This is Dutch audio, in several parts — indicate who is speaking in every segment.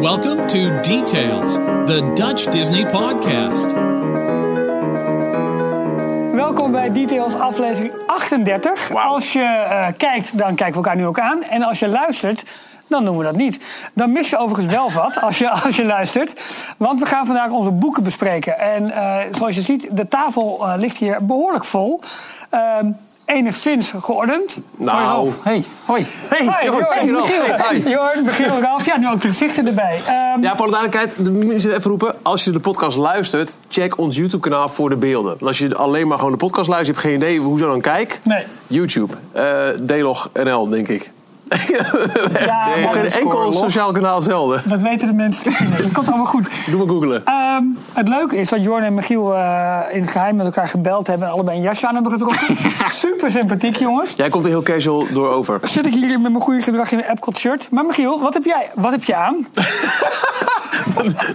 Speaker 1: Welcome to Details, the Dutch Disney podcast.
Speaker 2: Welkom bij Details aflevering 38. Als je eh, kijkt, dan kijken we elkaar nu ook aan. En als je luistert, dan doen we dat niet. Dan mis je overigens wel wat als je, als je luistert. Want we gaan vandaag onze boeken bespreken. En eh, zoals je ziet, de tafel eh, ligt hier behoorlijk vol. Ehm, enigszins geordend.
Speaker 3: Nou.
Speaker 2: Hoi, Ralf. Hey. Hoi. Hey,
Speaker 3: Jorn.
Speaker 2: Jorn.
Speaker 3: Hey, Ralf.
Speaker 2: Michiel.
Speaker 3: Hey, hi.
Speaker 2: Jorn, Michiel, Ralf. Ja, nu ook de gezichten erbij. Ehm,
Speaker 3: Ja, voor de duidelijkheid, de mensen even roepen. Als je de podcast luistert, check ons YouTube-kanaal voor de beelden. Want Als je alleen maar gewoon de podcast luistert, je hebt geen idee hoe ze dan kijkt.
Speaker 2: Nee.
Speaker 3: YouTube, eh Delog NL, denk ik.
Speaker 2: Ja,
Speaker 3: Op geen enkel sociaal kanaal hetzelfde.
Speaker 2: Dat weten de mensen. Dat komt allemaal goed.
Speaker 3: Doe maar googelen.
Speaker 2: Ehm, het leuke is dat Jorn en Michiel eh, in het geheim met elkaar gebeld hebben en allebei een jasje aan hebben getrokken. Super sympathiek, jongens.
Speaker 3: Jij komt er heel casual door over.
Speaker 2: Zit ik hier met mijn goede gedrag in een Epcot shirt. Maar Michiel, wat heb jij, wat heb je aan?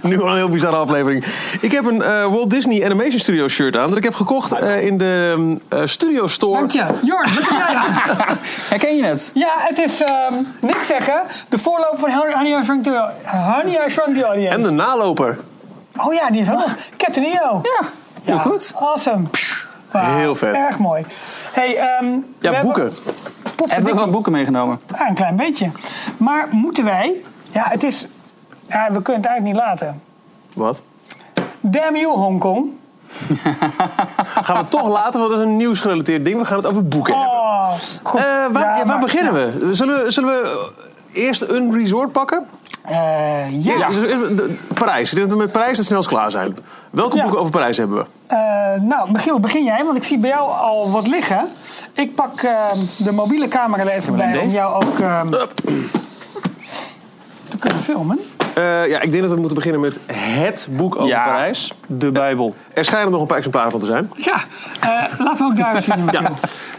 Speaker 3: nu al een heel bizarre aflevering. Ik heb een eh, Walt Disney Animation Studio shirt aan. Dat ik heb gekocht eh, in de eh, studio store.
Speaker 2: Dank je. Jorn, wat heb jij aan?
Speaker 4: Herken je het?
Speaker 2: Ja, het is ehm, niks zeggen. De voorloper van Honey, Honey, I Shrunk the, Honey, I Shrunk the Audience.
Speaker 3: En de naloper.
Speaker 2: Oh ja, die is ook nog. Captain EO.
Speaker 4: Ja, heel goed.
Speaker 2: Awesome. Wauw,
Speaker 3: Heel vet.
Speaker 2: Erg mooi. Hey, ehm, we
Speaker 3: Ja,
Speaker 2: hebben-
Speaker 3: boeken.
Speaker 4: Hebben we wat boeken meegenomen?
Speaker 2: Ja, Nou, een klein beetje. Maar moeten wij... Ja, het is... Ja, we kunnen het eigenlijk niet laten.
Speaker 3: Wat?
Speaker 2: Damn you, Hongkong.
Speaker 3: Gaan we het toch laten, want dat is een nieuwsgerelateerd ding. We gaan het over boeken hebben.
Speaker 2: Oh, goed.
Speaker 3: Eh, waar
Speaker 2: Ja,
Speaker 3: ja, waar
Speaker 2: maar-
Speaker 3: beginnen we? Zullen, we- zullen we eerst een resort pakken?
Speaker 2: Eh, ja.
Speaker 3: Eerst- eerst- de- Parijs. Ik denk dat we met Parijs het snelst klaar zijn. Welke
Speaker 2: Ja.
Speaker 3: boeken over Parijs hebben we?
Speaker 2: Eh, nou, Michiel, begin jij, want ik zie bij jou al wat liggen. Ik pak ehm, de mobiele camera er even bij om
Speaker 4: deze?
Speaker 2: jou ook ehm,
Speaker 3: Hup.
Speaker 2: te kunnen filmen.
Speaker 3: Eh, ja, ik denk dat we moeten beginnen met het boek over
Speaker 4: Ja.
Speaker 3: Parijs.
Speaker 4: De Bijbel.
Speaker 3: Er schijnen nog een paar exemplaren van te zijn.
Speaker 2: Ja, eh, laten we ook daar eens zien, Michiel.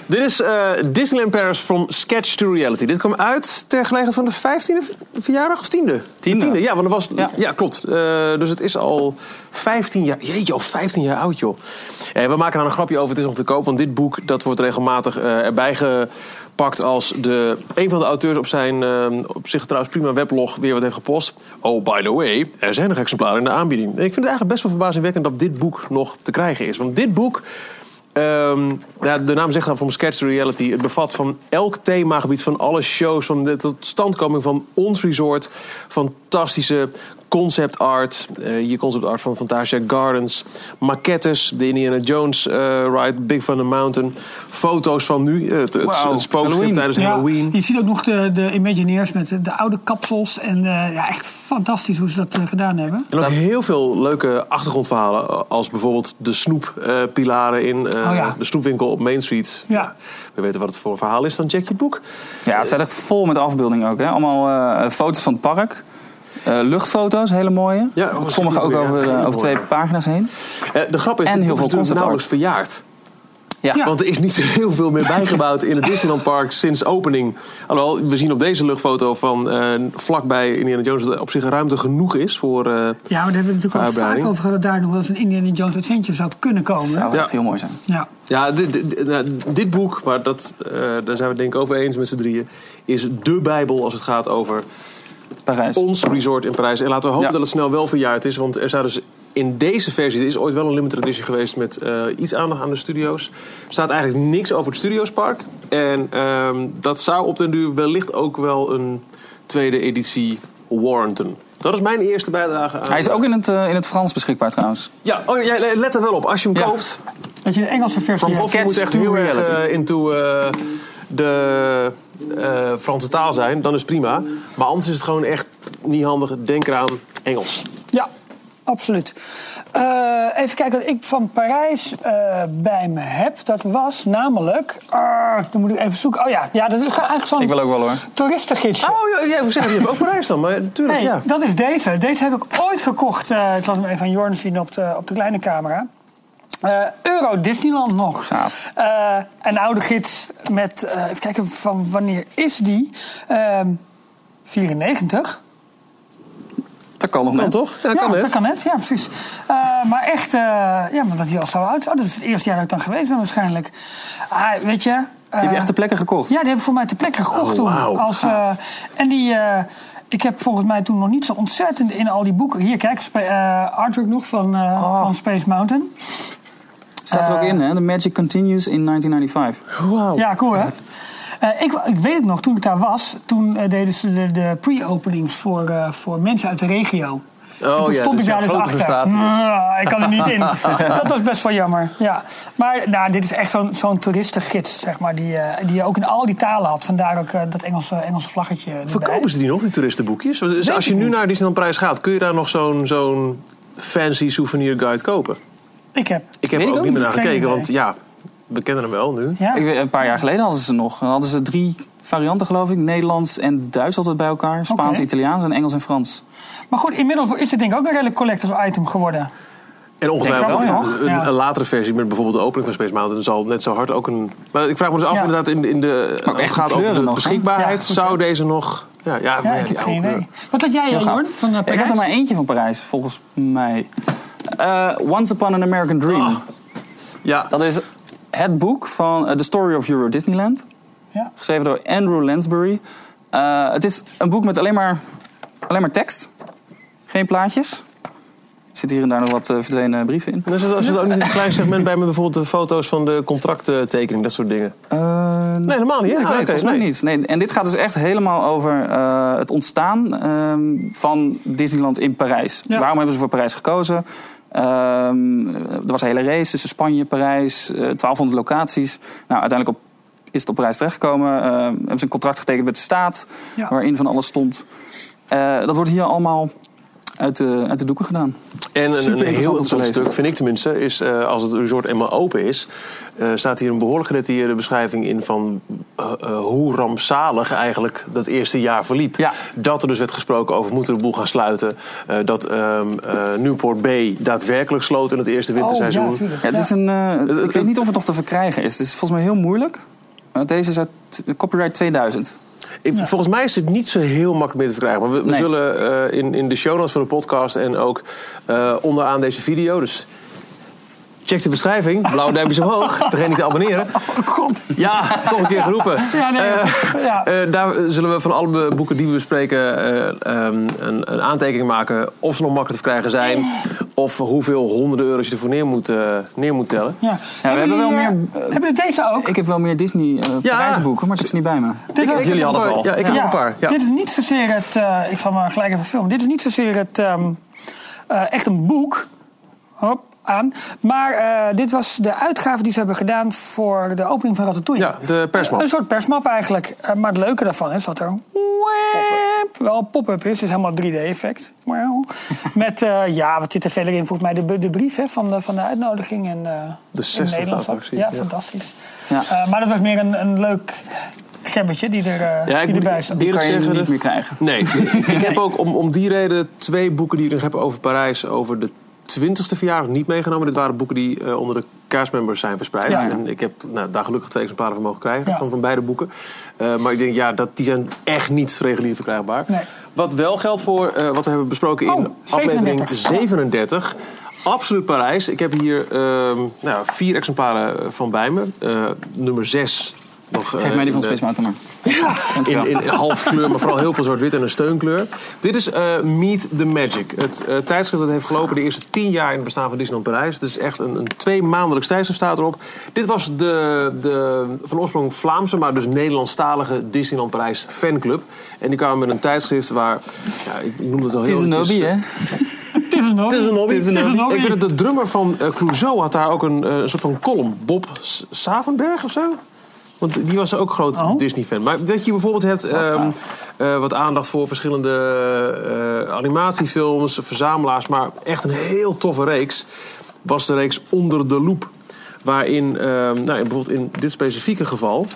Speaker 3: Dit is eh, Disneyland Paris From Sketch to Reality. Dit kwam uit ter gelegenheid van de 15e verjaardag of 10e?
Speaker 4: Tiende.
Speaker 3: ja, want dat was, ja.
Speaker 4: Ja.
Speaker 3: klopt. Eh, dus het is al 15 jaar. Jeetje, al 15 jaar oud, joh. Eh, we maken daar een grapje over. Het is nog te koop, want dit boek dat wordt regelmatig eh, erbij gepakt als de, een van de auteurs op zijn eh, op zich trouwens prima weblog weer wat heeft gepost. Oh, by the way, er zijn nog exemplaren in de aanbieding. Ik vind het eigenlijk best wel verbazingwekkend dat dit boek nog te krijgen is. Want dit boek Ehm, ja, de naam zegt dan van Sketch to Reality. Het bevat van elk themagebied, van alle shows, van de totstandkoming van ons resort. Fantastische concept art. eh, je concept art van Fantasia Gardens. Maquettes, de Indiana Jones eh, ride, Big Thunder Mountain. Foto's van nu, eh, het, het,
Speaker 4: Wauw,
Speaker 3: het spookschip
Speaker 4: Halloween.
Speaker 3: tijdens
Speaker 2: Ja,
Speaker 3: Halloween.
Speaker 2: Je ziet ook nog de, de Imagineers met de, de oude kapsels. En eh, ja, echt fantastisch hoe ze dat eh, gedaan hebben.
Speaker 3: En ook heel veel leuke achtergrondverhalen. eh, Als bijvoorbeeld de snoeppilaren in eh,
Speaker 2: Oh ja.
Speaker 3: de snoepwinkel op Main Street.
Speaker 2: Ja.
Speaker 3: We weten wat het voor een verhaal is, dan check je het boek.
Speaker 4: Ja, het staat echt vol met afbeeldingen ook. Hè? Allemaal eh, foto's van het park. Eh, luchtfoto's, hele mooie.
Speaker 3: Ja,
Speaker 4: Ook
Speaker 3: dat is
Speaker 4: Sommige
Speaker 3: goed
Speaker 4: ook
Speaker 3: weer.
Speaker 4: over,
Speaker 3: Ja,
Speaker 4: eh,
Speaker 3: heel
Speaker 4: over twee
Speaker 3: mooi.
Speaker 4: pagina's heen.
Speaker 3: Eh, de grap is,
Speaker 4: En
Speaker 3: het
Speaker 4: heel
Speaker 3: boek
Speaker 4: veel
Speaker 3: is natuurlijk
Speaker 4: concept
Speaker 3: nauwelijks verjaard.
Speaker 4: Ja,
Speaker 2: Ja.
Speaker 3: Want er is niet zo heel veel meer bijgebouwd in het Disneyland Park sinds opening. Alhoewel, we zien op deze luchtfoto van eh, vlakbij Indiana Jones dat er op zich ruimte genoeg is voor... eh,
Speaker 2: Ja, maar daar hebben we het natuurlijk al vaak
Speaker 3: Uitbreiding.
Speaker 2: over gehad... dat daar nog wel eens een Indiana Jones Adventure zou kunnen komen.
Speaker 4: zou
Speaker 3: Ja.
Speaker 4: echt heel mooi zijn.
Speaker 2: Ja.
Speaker 3: ja, dit, dit, nou, dit boek, maar dat, eh, daar zijn we het denk ik over eens met z'n drieën, is de bijbel als het gaat over
Speaker 4: Parijs.
Speaker 3: ons resort in Parijs. En laten we hopen
Speaker 4: Ja.
Speaker 3: dat het snel wel verjaard is. Want er staat dus in deze versie, er is ooit wel een limited edition geweest met eh, iets aandacht aan de studio's. Er staat eigenlijk niks over het Studiospark. En ehm, dat zou op den duur wellicht ook wel een tweede editie warranten. Dat is mijn eerste bijdrage aan...
Speaker 4: Hij is ook in het, eh, in het Frans beschikbaar trouwens.
Speaker 3: Ja, oh, jij let er wel op. Als je hem
Speaker 4: Ja.
Speaker 3: koopt,
Speaker 2: Dat je de Engelse versie
Speaker 4: Van
Speaker 2: hebt.
Speaker 3: of je
Speaker 4: Sketch
Speaker 3: moet echt
Speaker 4: to
Speaker 3: heel erg
Speaker 4: reality.
Speaker 3: eh, into eh, de eh, Franse taal zijn, dan is het prima. Maar anders is het gewoon echt niet handig. Denk eraan Engels.
Speaker 2: Ja, absoluut. Eh, even kijken wat ik van Parijs eh, bij me heb. Dat was namelijk... eh, dan moet ik even zoeken. Oh ja, ja dat is eigenlijk zo'n
Speaker 4: Ik wil ook wel hoor.
Speaker 2: toeristengidsje.
Speaker 3: Oh, ja, ja, ik zeg, je hebt ook Parijs dan, maar natuurlijk,
Speaker 2: Nee,
Speaker 3: ja.
Speaker 2: dat is deze. Deze heb ik ooit gekocht. eh, ik laat hem even aan Jorn zien op de, op de kleine camera. Eh, Euro Disneyland nog.
Speaker 4: Gaaf.
Speaker 2: Eh, een oude gids met... eh, even kijken, van wanneer is die? Ehm 94.
Speaker 4: Dat kan nog
Speaker 3: Kan
Speaker 4: net.
Speaker 3: toch? Ja, kan
Speaker 2: ja,
Speaker 3: het.
Speaker 2: dat kan net. Ja, precies. Eh, maar echt, eh, ja, maar dat hij al zo oud... Oh, dat is het eerste jaar dat ik dan geweest ben waarschijnlijk. Ah, weet je... eh,
Speaker 4: Die heb je echt de plekken gekocht.
Speaker 2: ja, die heb ik voor mij ter plekke gekocht
Speaker 3: Oh,
Speaker 2: toen.
Speaker 3: wauw, wat
Speaker 2: Als, eh, en die, eh, Ik heb volgens mij toen nog niet zo ontzettend in al die boeken. Hier, kijk, spa- eh, artwork nog van, eh, van Space Mountain.
Speaker 4: Staat er ook in, hè? The Magic Continues in 1995.
Speaker 3: Wauw.
Speaker 2: Ja, cool hè? Eh, ik, ik weet het nog, toen ik daar was, toen eh, deden ze de, de pre-openings voor, eh, voor mensen uit de regio.
Speaker 3: Oh
Speaker 2: en toen
Speaker 3: ja,
Speaker 2: stond
Speaker 3: dus
Speaker 2: ik daar
Speaker 3: een
Speaker 2: dus
Speaker 3: grote
Speaker 2: achter.
Speaker 3: frustratie.
Speaker 2: Mm, ik kan er niet in. Dat was best wel jammer. Ja. Maar nou, dit is echt zo'n zo'n toeristengids, zeg maar, die, eh, die je ook in al die talen had. Vandaar ook eh, dat Engelse, Engelse vlaggetje. erbij.
Speaker 3: Verkopen ze die nog, die toeristenboekjes? Want Dus als je nu naar Disneyland Parijs gaat, kun je daar nog zo'n zo'n fancy souvenir guide kopen?
Speaker 2: Ik heb.
Speaker 3: Ik heb
Speaker 4: Weet
Speaker 3: er
Speaker 4: ik
Speaker 3: ook
Speaker 4: ook
Speaker 3: niet meer naar
Speaker 2: niet. Geen
Speaker 3: gekeken,
Speaker 2: idee.
Speaker 3: want ja, we kennen hem wel nu.
Speaker 2: Ja.
Speaker 4: Ik weet, een paar jaar geleden hadden ze nog. Dan hadden ze drie varianten, geloof ik. Nederlands en Duits altijd bij elkaar. Spaans,
Speaker 2: Oké.
Speaker 4: Italiaans en Engels en Frans.
Speaker 2: Maar goed, inmiddels is het denk ik ook een redelijk collectors item geworden.
Speaker 3: En
Speaker 2: Denk
Speaker 3: ongetwijfeld
Speaker 2: ik wel,
Speaker 3: een-
Speaker 2: toch?
Speaker 3: een,
Speaker 2: Ja.
Speaker 3: een latere versie met bijvoorbeeld de opening van Space Mountain zal net zo hard ook een... Maar ik vraag me dus af
Speaker 2: Ja.
Speaker 3: inderdaad in, in de... Als het
Speaker 4: echt
Speaker 3: gaat
Speaker 4: de
Speaker 3: over de
Speaker 4: kleuren nog, hè?
Speaker 3: beschikbaarheid,
Speaker 2: Ja, goed,
Speaker 3: zou deze nog... Ja, ja, maar
Speaker 2: Ja,
Speaker 3: ja, eh,
Speaker 2: ik
Speaker 3: die
Speaker 2: heb geen
Speaker 3: oude
Speaker 2: idee. Wat had jij,
Speaker 4: Heel
Speaker 2: Jorn?
Speaker 4: gaaf.
Speaker 2: Van eh,
Speaker 4: ik had
Speaker 2: Parijs?
Speaker 4: er maar eentje van Parijs, volgens mij. Eh, Once Upon an American Dream.
Speaker 3: Ah. kleur. Ja,
Speaker 4: Dat is het boek van eh, The Story of Euro Disneyland.
Speaker 2: Ja.
Speaker 4: Geschreven door Andrew Lansbury. Eh, het is een boek met alleen maar, alleen maar tekst. Geen plaatjes. Er zitten hier en daar nog wat eh, verdwenen brieven in.
Speaker 3: er zit, er zit ook niet een klein segment bij met bijvoorbeeld de foto's van de contracttekening, dat soort dingen.
Speaker 4: Eh,
Speaker 3: Nee, helemaal niet.
Speaker 4: Ja,
Speaker 3: Ja,
Speaker 4: ik weet het
Speaker 3: oké,
Speaker 4: volgens mij
Speaker 3: nee.
Speaker 4: niet. Nee, en dit gaat dus echt helemaal over eh, het ontstaan ehm, van Disneyland in Parijs.
Speaker 2: Ja.
Speaker 4: Waarom hebben ze voor Parijs gekozen? Ehm, er was een hele race tussen Spanje, Parijs, eh, 1200 locaties. Nou, uiteindelijk op, is het op Parijs terechtgekomen. Ehm, hebben ze een contract getekend met de staat,
Speaker 2: Ja.
Speaker 4: waarin van alles stond. Eh, dat wordt hier allemaal uit de, uit de doeken gedaan.
Speaker 3: En een-
Speaker 4: Super
Speaker 3: een, heel
Speaker 4: interessant om te
Speaker 3: interessant
Speaker 4: lezen.
Speaker 3: stuk, vind ik tenminste, is eh, als het resort eenmaal open is, eh, staat hier een behoorlijk gedetailleerde beschrijving in van eh, eh, hoe rampzalig eigenlijk dat eerste jaar verliep.
Speaker 4: Ja.
Speaker 3: Dat er dus werd gesproken over moeten we de boel gaan sluiten. eh, dat ehm, eh, Newport B daadwerkelijk sloot in het eerste winterseizoen.
Speaker 2: Oh, ja, tuurlijk.
Speaker 4: Ja, het
Speaker 2: Ja.
Speaker 4: is een, eh,
Speaker 3: het-
Speaker 4: ik weet niet of het nog te verkrijgen is. Het is volgens mij heel moeilijk. Eh, Deze is uit eh, copyright 2000.
Speaker 3: Ik- Volgens mij is het niet zo heel makkelijk meer te verkrijgen. Maar we, we
Speaker 4: Nee.
Speaker 3: zullen eh, in, in de show notes van de podcast en ook eh, onderaan deze video. Dus check de beschrijving. Blauwe duimpjes omhoog. Vergeet niet te abonneren.
Speaker 2: Oh, god.
Speaker 3: Ja, toch een keer geroepen.
Speaker 2: Ja, nee,
Speaker 3: Eh,
Speaker 2: ja.
Speaker 3: eh, daar zullen we van alle boeken die we bespreken eh, ehm, een, een aantekening maken. Of ze nog makkelijk te verkrijgen zijn. Of hoeveel honderden euro's je ervoor neer moet, eh, neer moet tellen.
Speaker 2: Ja.
Speaker 4: we hebben wel
Speaker 2: jullie, eh,
Speaker 4: meer, eh,
Speaker 2: hebben jullie deze ook?
Speaker 4: Ik heb wel meer Disney eh prijsboeken, maar ik heb ze niet bij me.
Speaker 2: Dit
Speaker 3: Ik-
Speaker 2: ook-
Speaker 3: jullie hadden ze al. Ja, ik heb
Speaker 2: Ja.
Speaker 3: er een paar. Ja.
Speaker 2: Dit is niet zozeer het. eh, ik zal maar gelijk even filmen. Dit is niet zozeer het. ehm, eh, echt een boek. Hop, aan. Maar eh, dit was de uitgave die ze hebben gedaan voor de opening van Ratatouille.
Speaker 3: Ja, de persmap.
Speaker 2: Een soort persmap eigenlijk. Eh, maar het leuke daarvan is dat er. Wep, wel een pop-up is. Het is helemaal 3D-effect. Wauw. Met, eh, ja, wat zit er verder in? Volgens mij de, de brief hè, van, de, van de uitnodiging. En, eh,
Speaker 3: De
Speaker 2: in
Speaker 3: 60e
Speaker 2: Nederland.
Speaker 3: attractie,
Speaker 2: Ja,
Speaker 3: ja.
Speaker 2: fantastisch.
Speaker 4: Ja.
Speaker 2: Eh, maar dat was meer een, een leuk gebbetje die, er, eh,
Speaker 3: Ja, ik
Speaker 2: die
Speaker 3: moet
Speaker 2: erbij zat.
Speaker 3: eerlijk
Speaker 4: kan je
Speaker 3: zeggen,
Speaker 4: niet
Speaker 3: dat-
Speaker 4: meer krijgen.
Speaker 3: Nee, ik heb ook om, om die reden twee boeken die ik nog heb over Parijs over de 20ste verjaardag niet meegenomen. Dit waren boeken die eh, onder de kaasmembers zijn verspreid.
Speaker 2: Ja.
Speaker 3: En ik heb nou, daar gelukkig twee exemplaren van mogen krijgen,
Speaker 2: Ja.
Speaker 3: van, van beide boeken. Eh, maar ik denk, ja, dat, die zijn echt niet regulier verkrijgbaar.
Speaker 2: Nee.
Speaker 3: Wat wel geldt voor eh, wat we hebben besproken
Speaker 2: Oh,
Speaker 3: in aflevering
Speaker 2: 37.
Speaker 3: 37. Absoluut Parijs. Ik heb hier ehm, nou, vier exemplaren eh, van bij me. Eh, nummer 6. Nog,
Speaker 4: Geef
Speaker 3: eh,
Speaker 4: mij die
Speaker 3: in
Speaker 4: van
Speaker 3: de-
Speaker 4: Space Mountain
Speaker 3: in,
Speaker 4: maar.
Speaker 3: in half kleur, maar vooral heel veel zwart-wit en een steunkleur. Dit is eh, Meet the Magic. Het eh, tijdschrift dat heeft gelopen de eerste tien jaar in het bestaan van Disneyland Parijs. Het is echt een, een tweemaandelijks tijdschrift staat erop. Dit was de, de van oorsprong Vlaamse, maar dus Nederlandstalige Disneyland Parijs fanclub. En die kwamen met een tijdschrift waar, ja, ik noemde het al
Speaker 4: Het
Speaker 3: heel
Speaker 4: is een hobby, hè?
Speaker 2: Het is een hobby.
Speaker 3: het is een hobby.
Speaker 2: Het is een hobby.
Speaker 3: Ik weet dat de drummer van eh, Clouseau had daar ook een, eh, een soort van column. Bob S- Savenberg of zo? Want die was ook groot
Speaker 2: Oh.
Speaker 3: Disney-fan. Maar dat je bijvoorbeeld hebt ehm, eh, wat aandacht voor verschillende eh, animatiefilms, verzamelaars. Maar echt een heel toffe reeks was de reeks Onder de Loep. Waarin, ehm, nou, in- bijvoorbeeld in dit specifieke geval...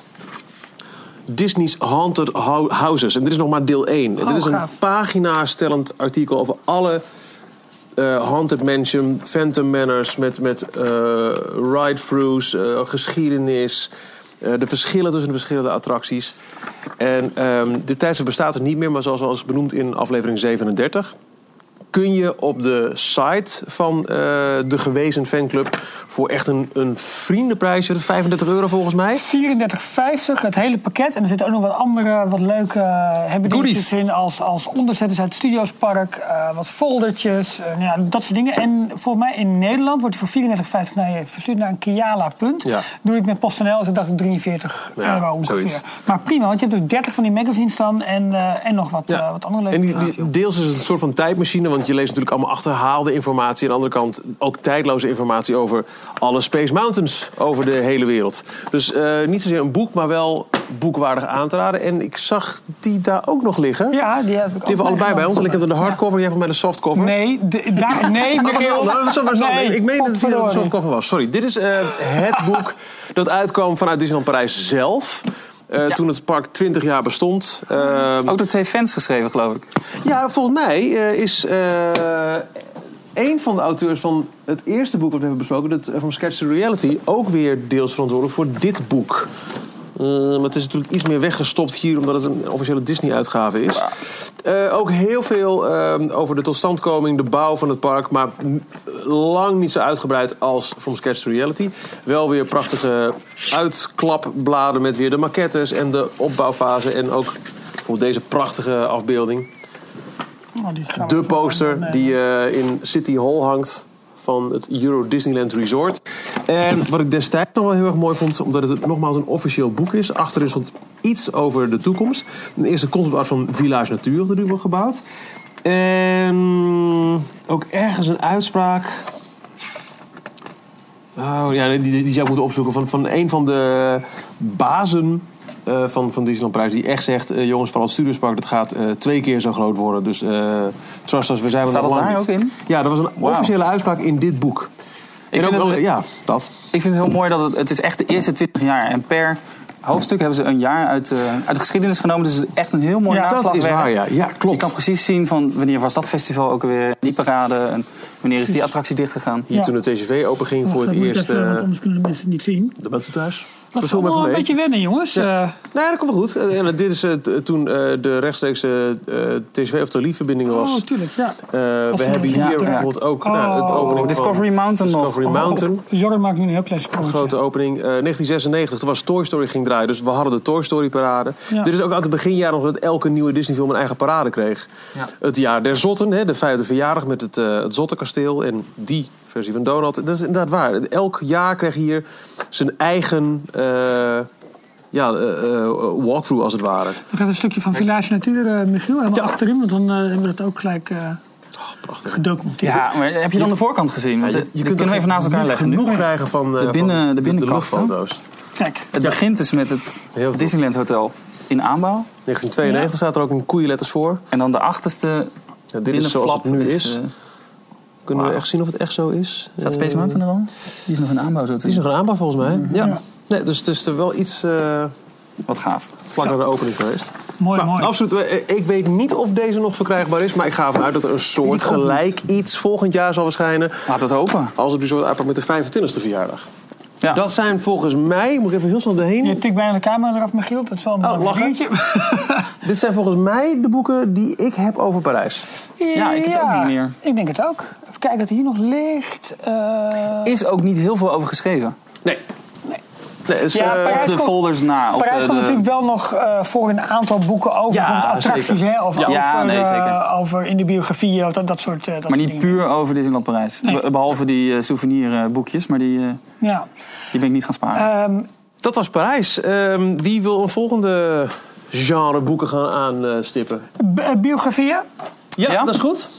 Speaker 3: Disney's Haunted Hou- Houses. En dit is nog maar deel 1. En
Speaker 2: Oh,
Speaker 3: dit is een
Speaker 2: gaaf.
Speaker 3: pagina-stellend artikel over alle eh, Haunted Mansion, Phantom Manors met, met eh, ride-throughs, eh, geschiedenis. eh, de verschillen tussen de verschillende attracties. En ehm dit tijdstip bestaat er niet meer, maar zoals al is benoemd in aflevering 37. kun je op de site van eh, de gewezen fanclub voor echt een, een vriendenprijsje, dat is 35 euro volgens mij.
Speaker 2: 34,50 het hele pakket. En er zitten ook nog wat andere, wat leuke eh, hebben dingetjes in. Als, als onderzetters uit Studiospark, eh wat foldertjes, eh, nou ja, dat soort dingen. En volgens mij in Nederland wordt die voor 34,50 naar je verstuurd naar een Kiala punt.
Speaker 3: Ja.
Speaker 2: Doe ik met PostNL, is het dacht ik 43
Speaker 3: Ja,
Speaker 2: euro ongeveer.
Speaker 3: zoiets.
Speaker 2: Maar prima, want je hebt dus 30 van die magazines dan en, eh, en nog wat,
Speaker 3: Ja.
Speaker 2: eh, wat andere leuke
Speaker 3: en die,
Speaker 2: dingetjes.
Speaker 3: die- deels is het een soort van tijdmachine, want je leest natuurlijk allemaal achterhaalde informatie. Aan de andere kant ook tijdloze informatie over alle Space Mountains over de hele wereld. Dus eh, niet zozeer een boek, maar wel boekwaardig aan te raden. En ik zag die daar ook nog liggen.
Speaker 2: Ja, die heb ik
Speaker 3: Die hebben we allebei bij ons. Ik heb de hardcover, jij hebt bij de softcover.
Speaker 2: Nee, de- daar, nee,
Speaker 3: Oh, was het
Speaker 2: Michiel.
Speaker 3: wel? Nou, dat is wel- dat is wel-
Speaker 2: Nee,
Speaker 3: ik meen dat het hier dat het
Speaker 2: potverdorie.
Speaker 3: zo'n koffer was. Sorry, dit is eh, het boek dat uitkwam vanuit Disneyland Parijs zelf. Eh, Toen het park 20 jaar bestond. Eh,
Speaker 4: Ook door twee fans geschreven, geloof ik.
Speaker 3: ja, volgens mij eh, is eh een van de auteurs van het eerste boek dat we hebben besproken, dat, eh, van Sketch to Reality, ook weer deels verantwoordelijk voor dit boek. Eh, maar het is natuurlijk iets meer weggestopt hier, omdat het een officiële Disney-uitgave is. Eh, ook heel veel eh, over de totstandkoming, de bouw van het park. Maar n- lang niet zo uitgebreid als From Sketch to Reality. Wel weer prachtige uitklapbladen met weer de maquettes en de opbouwfase. En ook bijvoorbeeld deze prachtige afbeelding.
Speaker 2: Oh, die gaan we
Speaker 3: De
Speaker 2: even-
Speaker 3: poster
Speaker 2: nee.
Speaker 3: die eh, in City Hall hangt van het Euro Disneyland Resort. En wat ik destijds nog wel heel erg mooi vond, omdat het nogmaals een officieel boek is. Achterin stond iets over de toekomst. Een eerste conceptart van Village Natuur, dat nu wordt gebouwd. En ook ergens een uitspraak. Oh ja, die, die zou ik moeten opzoeken van, van een van de bazen eh, van, van Disneyland Parijs. Die echt zegt, eh, jongens, van het Studiospark, dat gaat eh, twee keer zo groot worden. Dus eh trust us, we zijn er
Speaker 4: Staat
Speaker 3: nog
Speaker 4: dat
Speaker 3: lang
Speaker 4: daar
Speaker 3: niet.
Speaker 4: ook in?
Speaker 3: Ja, dat was een
Speaker 4: Wauw.
Speaker 3: officiële uitspraak in dit boek.
Speaker 4: Ik
Speaker 3: En
Speaker 4: vind
Speaker 3: ook-
Speaker 4: het-
Speaker 3: ja, dat.
Speaker 4: Ik vind het heel mooi dat het, het is echt de eerste 20 jaar En per hoofdstuk hebben ze een jaar uit, eh, uit de geschiedenis genomen. Dus het is echt een heel mooi
Speaker 2: Ja, dat
Speaker 3: Dat
Speaker 4: naslagwerk.
Speaker 3: is waar, ja. Ja,
Speaker 4: Je kan
Speaker 3: klopt.
Speaker 4: precies zien van wanneer was dat festival ook weer, die parade. En wanneer is die attractie dichtgegaan.
Speaker 3: Hier
Speaker 2: Ja.
Speaker 3: toen de TGV openging voor het eerst.
Speaker 2: Even, want
Speaker 3: eh
Speaker 2: anders kunnen de mensen het niet zien.
Speaker 3: de mensen thuis.
Speaker 2: Dat is
Speaker 3: Persoon
Speaker 2: allemaal
Speaker 3: even
Speaker 2: een
Speaker 3: mee.
Speaker 2: beetje wennen, jongens. Eh,
Speaker 3: Nou ja, dat komt wel goed. En, eh, dit is eh, t- toen eh, de rechtstreekse eh, TGV of TLI-verbinding was.
Speaker 2: oh, tuurlijk, ja.
Speaker 3: Eh, we
Speaker 2: van
Speaker 3: hebben
Speaker 2: de
Speaker 3: hier
Speaker 4: theater.
Speaker 3: bijvoorbeeld ook nou, het
Speaker 2: Oh.
Speaker 3: opening van
Speaker 4: Discovery Mountain nog.
Speaker 3: Discovery Mountain.
Speaker 2: Jordan maakt nu een heel klein sprongetje.
Speaker 3: Grote opening. Eh, 1996, toen was Toy Story ging draaien. Dus we hadden de Toy Story parade.
Speaker 2: Ja.
Speaker 3: Dit is ook uit het beginjaar nog dat elke nieuwe Disney film een eigen parade kreeg. Het jaar der Zotten, hè, de vijfde verjaardag met het, eh, het Zottenkasteel. En die versie van Donald. Dat is inderdaad waar. Elk jaar kreeg hier zijn eigen... eh, ja, eh, eh, walkthrough als het ware.
Speaker 2: Nog even een stukje van Village Natuur, eh, Michiel, helemaal achterin. Want dan eh, hebben we dat ook gelijk eh,
Speaker 3: Oh,
Speaker 2: gedocumenteerd.
Speaker 4: Ja, maar heb je dan de voorkant gezien? Want
Speaker 3: Ja,
Speaker 4: eh, die kunnen we even naast elkaar
Speaker 3: niet
Speaker 4: leggen. nu.
Speaker 3: genoeg krijgen van, eh,
Speaker 4: De binnen-
Speaker 3: van
Speaker 4: de binnenkant, hè?
Speaker 3: luchtfoto's.
Speaker 2: Kijk,
Speaker 4: Het begint dus met het
Speaker 3: Heel goed.
Speaker 4: Disneyland Hotel in aanbouw.
Speaker 3: 1992 staat er ook in koeienletters voor.
Speaker 4: En dan de achterste
Speaker 3: Ja, dit is zoals
Speaker 4: binnenflap
Speaker 3: het nu is.
Speaker 4: eh,
Speaker 3: Kunnen we
Speaker 4: Wauw.
Speaker 3: echt zien of het echt zo is?
Speaker 4: staat Space
Speaker 3: Eh,
Speaker 4: Mountain er dan? Die is nog in aanbouw zo te
Speaker 3: Die is
Speaker 4: zien.
Speaker 3: nog een aanbouw volgens mij. Ja. Nee, dus het is er wel iets eh,
Speaker 4: Wat gaaf.
Speaker 3: vlak naar de opening geweest.
Speaker 2: mooi,
Speaker 3: Maar
Speaker 2: mooi.
Speaker 3: absoluut. eh, Ik weet niet of deze nog verkrijgbaar is. Maar ik ga ervan uit dat er een soort gelijk iets volgend jaar zal verschijnen.
Speaker 4: Laten we het hopen.
Speaker 3: Als het dus wordt uitpakt met de 25e verjaardag.
Speaker 4: Ja.
Speaker 3: Dat zijn volgens mij, moet ik even heel snel erheen.
Speaker 2: Je tikt bijna de camera eraf, Michiel. Dat is wel een
Speaker 3: Oh,
Speaker 2: belangrijk
Speaker 3: lachen.
Speaker 2: dingetje.
Speaker 3: Dit zijn volgens mij de boeken die ik heb over Parijs.
Speaker 4: Ja, ik heb het ook niet meer.
Speaker 2: Ik denk het ook. Even kijken wat hier nog ligt. Eh,
Speaker 4: is ook niet heel veel over geschreven.
Speaker 3: Nee. Nee, het is,
Speaker 2: Ja,
Speaker 3: eh,
Speaker 2: Parijs-
Speaker 4: de
Speaker 2: komt-
Speaker 4: folders na. Of
Speaker 2: Parijs
Speaker 4: eh,
Speaker 2: komt
Speaker 4: de-
Speaker 2: natuurlijk wel nog eh, voor een aantal boeken over.
Speaker 3: Ja,
Speaker 2: bijvoorbeeld attracties,
Speaker 3: zeker.
Speaker 2: hè? Of
Speaker 4: Ja.
Speaker 2: over,
Speaker 4: Ja, nee,
Speaker 2: eh,
Speaker 4: zeker.
Speaker 2: over in de biografieën, dat, dat soort eh, dat
Speaker 4: maar
Speaker 2: soort
Speaker 4: niet
Speaker 2: dingen.
Speaker 4: puur over Disneyland Parijs.
Speaker 2: Nee.
Speaker 4: Be- Behalve die eh souvenirboekjes, maar die, eh,
Speaker 2: Ja.
Speaker 4: die ben ik niet gaan sparen.
Speaker 2: Ehm,
Speaker 3: Dat was Parijs. Ehm, wie wil een volgende genre boeken gaan aanstippen?
Speaker 2: b- eh, biografieën,
Speaker 3: Ja,
Speaker 4: Ja?
Speaker 3: dat is goed.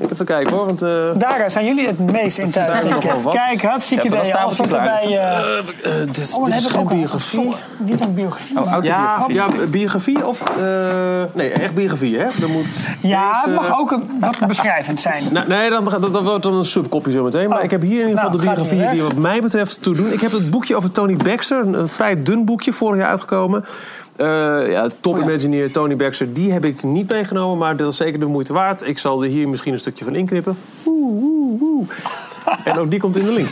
Speaker 3: Ik even kijken hoor, want... eh,
Speaker 2: daar eh, zijn jullie het meest in thuis.
Speaker 3: daar
Speaker 2: denk
Speaker 3: nog
Speaker 2: ik.
Speaker 3: wel wat.
Speaker 2: Kijk, hartstikke
Speaker 4: Ja,
Speaker 2: idee.
Speaker 4: dat staan we
Speaker 2: Alles wat
Speaker 4: natuurlijk
Speaker 2: erbij... eh,
Speaker 3: dit is,
Speaker 2: oh, dan
Speaker 3: dus dit
Speaker 2: heb
Speaker 3: is
Speaker 2: ik
Speaker 3: geen
Speaker 2: ook al
Speaker 3: biografie.
Speaker 2: verzonnen. Dit is een biografie.
Speaker 4: Oh,
Speaker 3: Ja,
Speaker 4: autobiografie.
Speaker 3: ja, biografie of... eh, nee, echt biografie, hè? Dan moet
Speaker 2: ja, het
Speaker 3: deze-
Speaker 4: eh,
Speaker 2: mag ook een, wat beschrijvend zijn.
Speaker 3: Nou, nee, dan, dat, dat wordt dan een subkopje zo meteen. Maar
Speaker 2: Oh.
Speaker 3: ik heb hier in ieder geval
Speaker 2: Nou,
Speaker 3: de
Speaker 2: gaat
Speaker 3: biografieën
Speaker 2: u
Speaker 3: die
Speaker 2: weg.
Speaker 3: wat mij betreft toe doen. Ik heb het boekje over Tony Baxter, een, een vrij dun boekje, vorig jaar uitgekomen. Eh, ja, top
Speaker 2: Oh
Speaker 3: Imagineer Tony Baxter, die heb ik niet meegenomen, maar dat is zeker de moeite waard. Ik zal er hier misschien een stukje van inknippen. Oeh, oeh, oeh. En ook die komt in de link.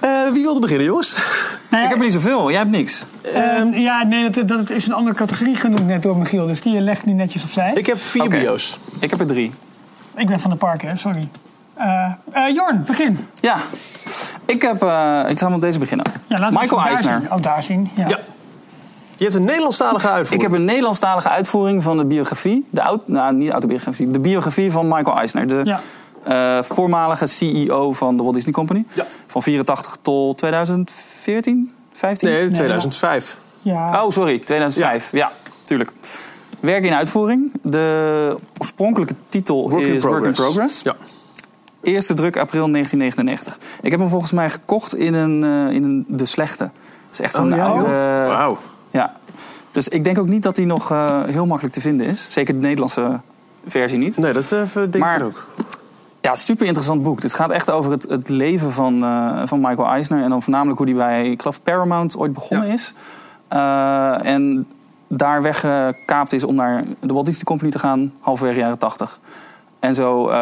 Speaker 3: Eh, wie wilde beginnen, jongens?
Speaker 2: Nou ja,
Speaker 4: Ik heb er niet zoveel. Jij hebt niks.
Speaker 2: Ehm, ja, nee, dat, dat is een andere categorie genoemd net door Michiel. Dus die legt nu eh, netjes opzij.
Speaker 3: Ik heb vier
Speaker 4: Oké.
Speaker 3: bio's.
Speaker 4: Ik heb er drie.
Speaker 2: Ik ben van de park, hè, sorry. Eh, eh, Jorn, begin.
Speaker 4: Ja, ik, heb, eh, ik zal met deze beginnen.
Speaker 2: Ja, laten we
Speaker 4: Michael
Speaker 2: het daar
Speaker 4: Eisner.
Speaker 2: Zien. Oh, daar zien. Ja.
Speaker 3: Ja. Je hebt een Nederlandstalige
Speaker 4: Ik
Speaker 3: uitvoering.
Speaker 4: heb een Nederlandstalige uitvoering van de biografie. De au- nou, niet autobiografie. De biografie van Michael Eisner. De
Speaker 2: Ja.
Speaker 4: eh, voormalige CEO van de Walt Disney Company.
Speaker 3: Ja.
Speaker 4: Van 84 tot 2014, 15?
Speaker 3: Nee, 2005.
Speaker 2: Ja.
Speaker 4: Oh, sorry, 2005. Ja, tuurlijk. Werk in uitvoering. De oorspronkelijke titel
Speaker 3: Work in
Speaker 4: is Work in
Speaker 3: Progress.
Speaker 4: Progress.
Speaker 3: Ja.
Speaker 4: Eerste druk april 1999. Ik heb hem volgens mij gekocht in, een, eh, in een De Slechte. Dat is echt zo'n
Speaker 3: Oh, ja,
Speaker 4: oude...
Speaker 3: joh. Wauw.
Speaker 4: Ja. Dus ik denk ook niet dat die nog eh, heel makkelijk te vinden is. Zeker de Nederlandse versie niet.
Speaker 3: Nee, dat eh, denk
Speaker 4: Maar-
Speaker 3: ik er ook.
Speaker 4: Ja, super interessant boek. Dit gaat echt over het, het leven van, eh, van Michael Eisner. En dan voornamelijk hoe die bij, ik geloof, Paramount ooit begonnen is. Eh, en daar weggekaapt is om naar de Walt Disney Company te gaan, halverwege jaren 80. En zo, eh,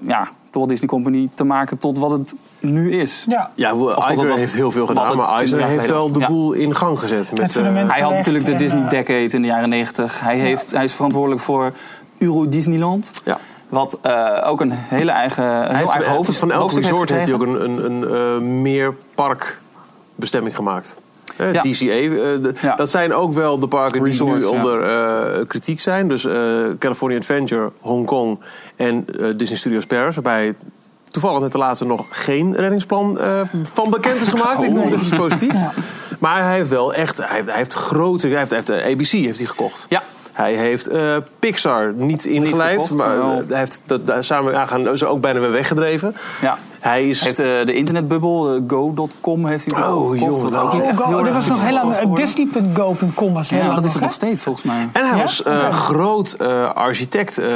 Speaker 4: ja, de Walt Disney Company te maken tot wat het nu is.
Speaker 2: ja.
Speaker 3: Ja, wel,
Speaker 4: dat
Speaker 3: Eisner
Speaker 4: wat-
Speaker 3: heeft heel veel
Speaker 4: wat
Speaker 3: gedaan,
Speaker 4: het
Speaker 3: maar
Speaker 4: 20
Speaker 3: Eisner
Speaker 4: jaar
Speaker 3: heeft
Speaker 4: geleden
Speaker 3: wel de
Speaker 4: was. Ja.
Speaker 3: boel in gang gezet. Met, eh,
Speaker 2: fundament.
Speaker 4: Hij had natuurlijk de
Speaker 2: En,
Speaker 4: Disney
Speaker 2: eh,
Speaker 4: Decade in de jaren 90. Hij, heeft, hij is verantwoordelijk voor Euro Disneyland.
Speaker 3: ja.
Speaker 4: Wat eh, ook een hele eigen, een
Speaker 3: Hij
Speaker 4: heel
Speaker 3: heeft
Speaker 4: eigen
Speaker 3: van-
Speaker 4: hoofd,
Speaker 3: van elk
Speaker 4: hoofdstuk
Speaker 3: resort heeft hij
Speaker 4: gekregen.
Speaker 3: ook een, een, een eh, meer parkbestemming gemaakt. Eh,
Speaker 4: Ja.
Speaker 3: DCA, eh, de-
Speaker 4: Ja.
Speaker 3: dat zijn ook wel de parken
Speaker 4: Resorts,
Speaker 3: die nu
Speaker 4: ja.
Speaker 3: onder eh, kritiek zijn. Dus eh, California Adventure, Hong Kong en eh, Disney Studios Paris. Waarbij toevallig net de laatste nog geen reddingsplan eh, van bekend is gemaakt. Ik
Speaker 4: Oh.
Speaker 3: noem het even positief. Maar hij heeft wel echt, hij heeft, hij heeft grote, hij heeft, hij heeft eh, ABC heeft hij gekocht.
Speaker 4: Ja.
Speaker 3: Hij heeft eh, Pixar niet ingeleid,
Speaker 4: gekocht,
Speaker 3: maar
Speaker 4: maar wel-
Speaker 3: eh, hij heeft dat daar samen aangaan, ze ook bijna weer weggedreven.
Speaker 4: Ja.
Speaker 3: Hij is.
Speaker 4: Hij heeft eh, de internetbubbel, eh, go.com heeft hij toen
Speaker 3: Oh,
Speaker 4: ook gekocht.
Speaker 3: joh,
Speaker 4: wat ook
Speaker 3: oh.
Speaker 4: niet echt
Speaker 2: Go,
Speaker 4: heel
Speaker 2: dit
Speaker 4: erg
Speaker 2: was
Speaker 4: goed
Speaker 2: nog heel lang.
Speaker 4: was
Speaker 2: eh,
Speaker 4: geworden.
Speaker 2: Disney.go.com was heel
Speaker 4: Ja,
Speaker 2: lang
Speaker 4: maar
Speaker 2: nog,
Speaker 4: dat is het
Speaker 2: hè?
Speaker 4: nog steeds volgens mij.
Speaker 3: en hij
Speaker 2: Ja?
Speaker 3: was eh,
Speaker 2: Oké.
Speaker 3: groot eh, architect. eh,